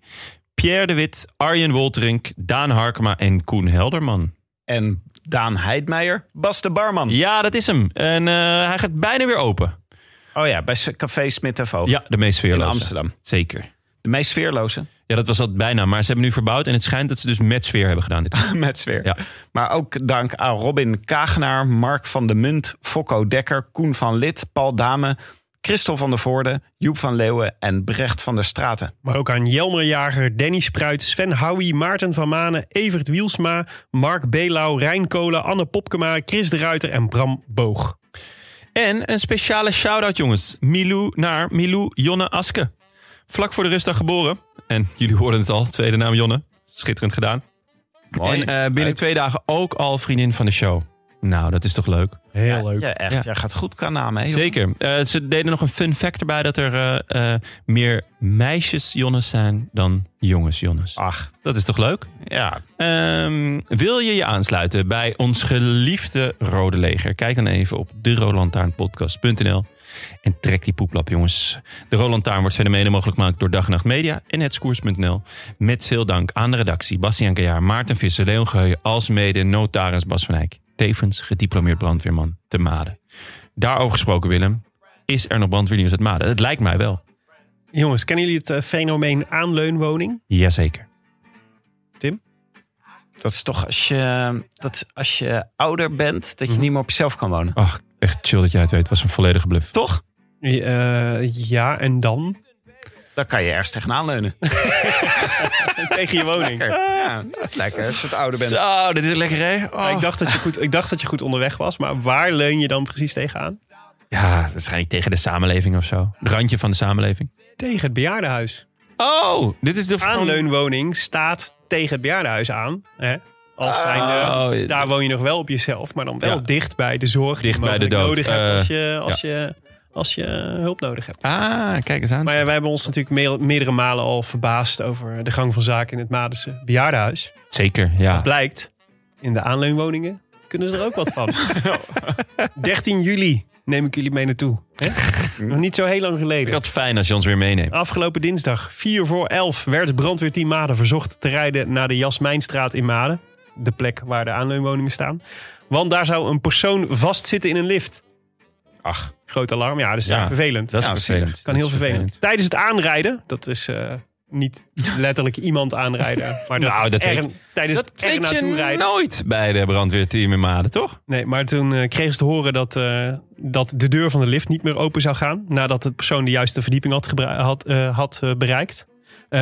S1: Pierre de Wit, Arjen Wolterink, Daan Harkema en Koen Helderman.
S6: En Daan Heidmeijer, Bas de Barman.
S1: Ja, dat is hem. En eh, hij gaat bijna weer open.
S6: Oh ja, bij S- Café Smit en Voogd.
S1: Ja, de meest
S6: in
S1: sfeerloze.
S6: Amsterdam.
S1: Zeker.
S6: De meest sfeerloze.
S1: Ja, dat was dat bijna. Maar ze hebben nu verbouwd en het schijnt dat ze dus met sfeer hebben gedaan. Dit keer.
S6: Met sfeer.
S1: Ja.
S6: Maar ook dank aan Robin Kagenaar, Mark van de Munt, Fokko Dekker, Koen van Lid, Paul Dame, Christel van der Voorde, Joep van Leeuwen en Brecht van der Straten.
S2: Maar ook aan Jelmer Jager, Danny Spruit, Sven Houwie, Maarten van Manen, Evert Wielsma, Mark Belau, Rijn Kolen, Anne Popkema, Chris de Ruiter en Bram Boog.
S1: En een speciale shout-out, jongens. Milou naar Milou Jonne Aske. Vlak voor de rustdag geboren. En jullie hoorden het al, tweede naam Jonne. Schitterend gedaan.
S6: Mooi.
S1: En eh, binnen twee dagen ook al vriendin van de show. Nou, dat is toch leuk?
S2: Heel
S6: Ja,
S2: leuk.
S6: Ja, echt.
S1: Ja.
S6: Jij gaat goed qua namen. hè, joh.
S1: Zeker. Eh, ze deden nog een fun fact erbij dat er eh, eh, meer meisjes Jonnes zijn dan jongens Jonnes.
S6: Ach,
S1: Dat is toch leuk?
S6: ja.
S1: Ehm, wil je je aansluiten bij ons geliefde Rode Leger? Kijk dan even op derolantaarnpodcast.nl en trek die poeplap, jongens. De Roland Taarn wordt verder mede mogelijk gemaakt door Dag en Nacht Media en hetskoers.nl. Met veel dank aan de redactie Bastiaan Kajaar, Maarten Visser, Leon Geheugen, als mede notaris Bas van Eyck. Tevens gediplomeerd brandweerman te Maden. Daarover gesproken, Willem. Is er nog brandweernieuws uit Maden? Het lijkt mij wel.
S2: Jongens, kennen jullie het eh, fenomeen aanleunwoning?
S1: Jazeker.
S6: Dat is toch als je, dat is als je ouder bent,
S1: Mhm.
S6: dat je niet meer op jezelf kan wonen.
S1: Ach, echt chill dat jij het weet. Het was een volledige bluff.
S6: Toch?
S2: Eh, ja, en dan?
S6: Dan kan je ergens tegenaan leunen.
S2: Tegen je woning.
S6: Ja, dat is lekker als je wat ouder bent.
S1: Zo, Oh, dit is lekker, Oh. hè?
S2: Maar Ik, dacht dat je goed, ik dacht dat je goed onderweg was, maar waar leun je dan precies tegenaan?
S1: Ja, waarschijnlijk tegen de samenleving of zo. Het randje van de samenleving.
S2: Tegen het bejaardenhuis.
S1: Oh, dit is de
S2: Aanleunwoning staat tegen het bejaardenhuis aan. Hè? Als zijnde,
S1: Oh,
S2: daar woon je nog wel op jezelf, maar dan wel
S1: Ja.
S2: dicht bij de zorg die
S1: Dicht
S2: je
S1: bij de
S2: mogelijk nodig
S1: dood.
S2: hebt als
S1: Eh,
S2: je, als, je, als je hulp nodig hebt.
S1: Ah, kijk eens aan.
S2: Maar ja, wij hebben ons natuurlijk meer- meerdere malen al verbaasd over de gang van zaken in het Madense bejaardenhuis.
S1: Zeker, ja.
S2: Blijkt, in de aanleunwoningen kunnen ze er ook wat van. 13 juli neem ik jullie mee naartoe. Hè? Nog niet zo heel lang
S1: Ik
S2: geleden.
S1: had het fijn als je ons weer meeneemt.
S2: Afgelopen dinsdag, 4 voor 11, werd brandweerteam Maden verzocht te rijden naar de Jasmijnstraat in Maden. De plek waar de aanleunwoningen staan. Want daar zou een persoon vastzitten in een lift.
S1: Ach,
S2: Groot alarm, ja, dat is
S1: Ja,
S2: echt vervelend.
S1: dat is
S6: Ja,
S1: vervelend.
S2: kan
S1: Dat
S2: heel
S1: is
S2: vervelend. Tijdens het aanrijden, dat is eh, niet letterlijk iemand aanrijden. Maar dat,
S1: Nou,
S2: is
S1: dat
S2: er,
S1: weet-
S2: tijdens
S1: Dat
S2: het er
S1: weet
S2: naartoe
S1: je
S2: rijden.
S1: nooit bij de brandweerteam in Maden, toch?
S2: Nee, maar toen eh, kregen ze te horen dat, eh, dat de deur van de lift niet meer open zou gaan. Nadat de persoon de juiste verdieping had, gebra- had, eh, had eh, bereikt. Eh,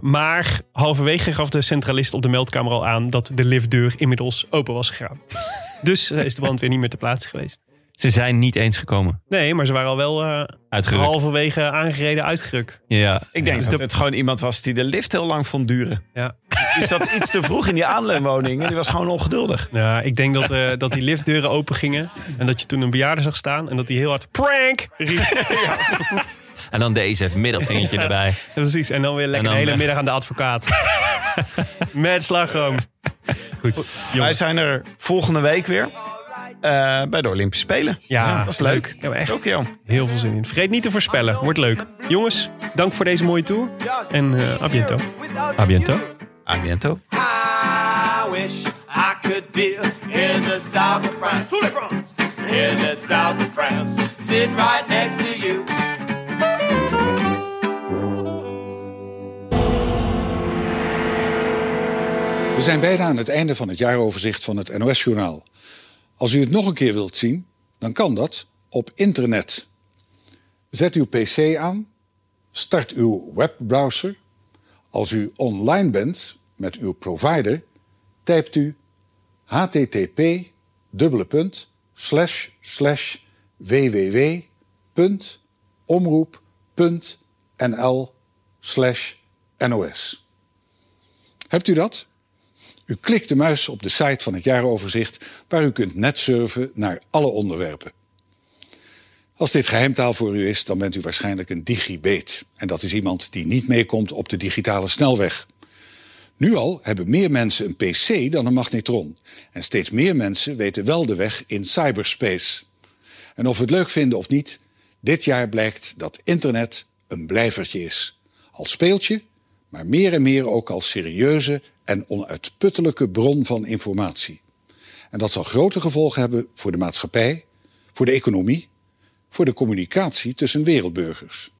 S2: maar halverwege gaf de centralist op de meldkamer al aan dat de liftdeur inmiddels open was gegaan. dus eh, is de brand weer niet meer te plaatsen geweest.
S1: Ze zijn niet eens gekomen.
S2: Nee, maar ze waren al wel eh,
S1: Uitgerukt.
S2: halverwege aangereden, uitgerukt.
S1: Ja.
S6: Ik denk
S2: Dus
S6: dat
S2: de-
S6: het gewoon iemand was die de lift heel lang vond duren.
S2: Ja.
S6: Die zat iets te vroeg in die aanleunwoning en die was gewoon ongeduldig.
S2: Ja, ik denk dat, eh, dat die liftdeuren open gingen. En dat je toen een bejaarde zag staan. En dat hij heel hard prank riep.
S1: En dan deze middelvingertje erbij.
S2: Ja, precies. En dan weer lekker
S1: En dan
S2: de hele
S1: weg.
S2: middag aan de advocaat. Met slagroom. Goed.
S6: Wij zijn er volgende week weer eh, bij de Olympische Spelen.
S2: Ja,
S6: dat is leuk.
S2: Ik heb er echt
S6: Tokio.
S2: heel veel zin in. Vergeet niet te voorspellen. Wordt leuk. Jongens, dank voor deze mooie tour. En eh à bientôt.
S1: A bientôt.
S6: A biento.
S5: I wish I could be in the south of France. In the south of France. Sitting right next to you.
S3: zijn bijna aan het einde van het jaaroverzicht van het NOS-journaal. Als u het nog een keer wilt zien, dan kan dat op internet. Zet uw PC aan, start uw webbrowser. Als u online bent met uw provider, typt u http dubbele punt, slash, slash, www, punt, omroep, punt, nl, slash, nos. Hebt u dat? U klikt de muis op de site van het jaaroverzicht... waar u kunt netsurfen naar alle onderwerpen. Als dit geheimtaal voor u is, dan bent u waarschijnlijk een digibeet. En dat is iemand die niet meekomt op de digitale snelweg. Nu al hebben meer mensen een PC dan een magnetron. En steeds meer mensen weten wel de weg in cyberspace. En of we het leuk vinden of niet, dit jaar blijkt dat internet een blijvertje is. Als speeltje, maar meer en meer ook als serieuze en onuitputtelijke bron van informatie. En dat zal grote gevolgen hebben voor de maatschappij, voor de economie, voor de communicatie tussen wereldburgers.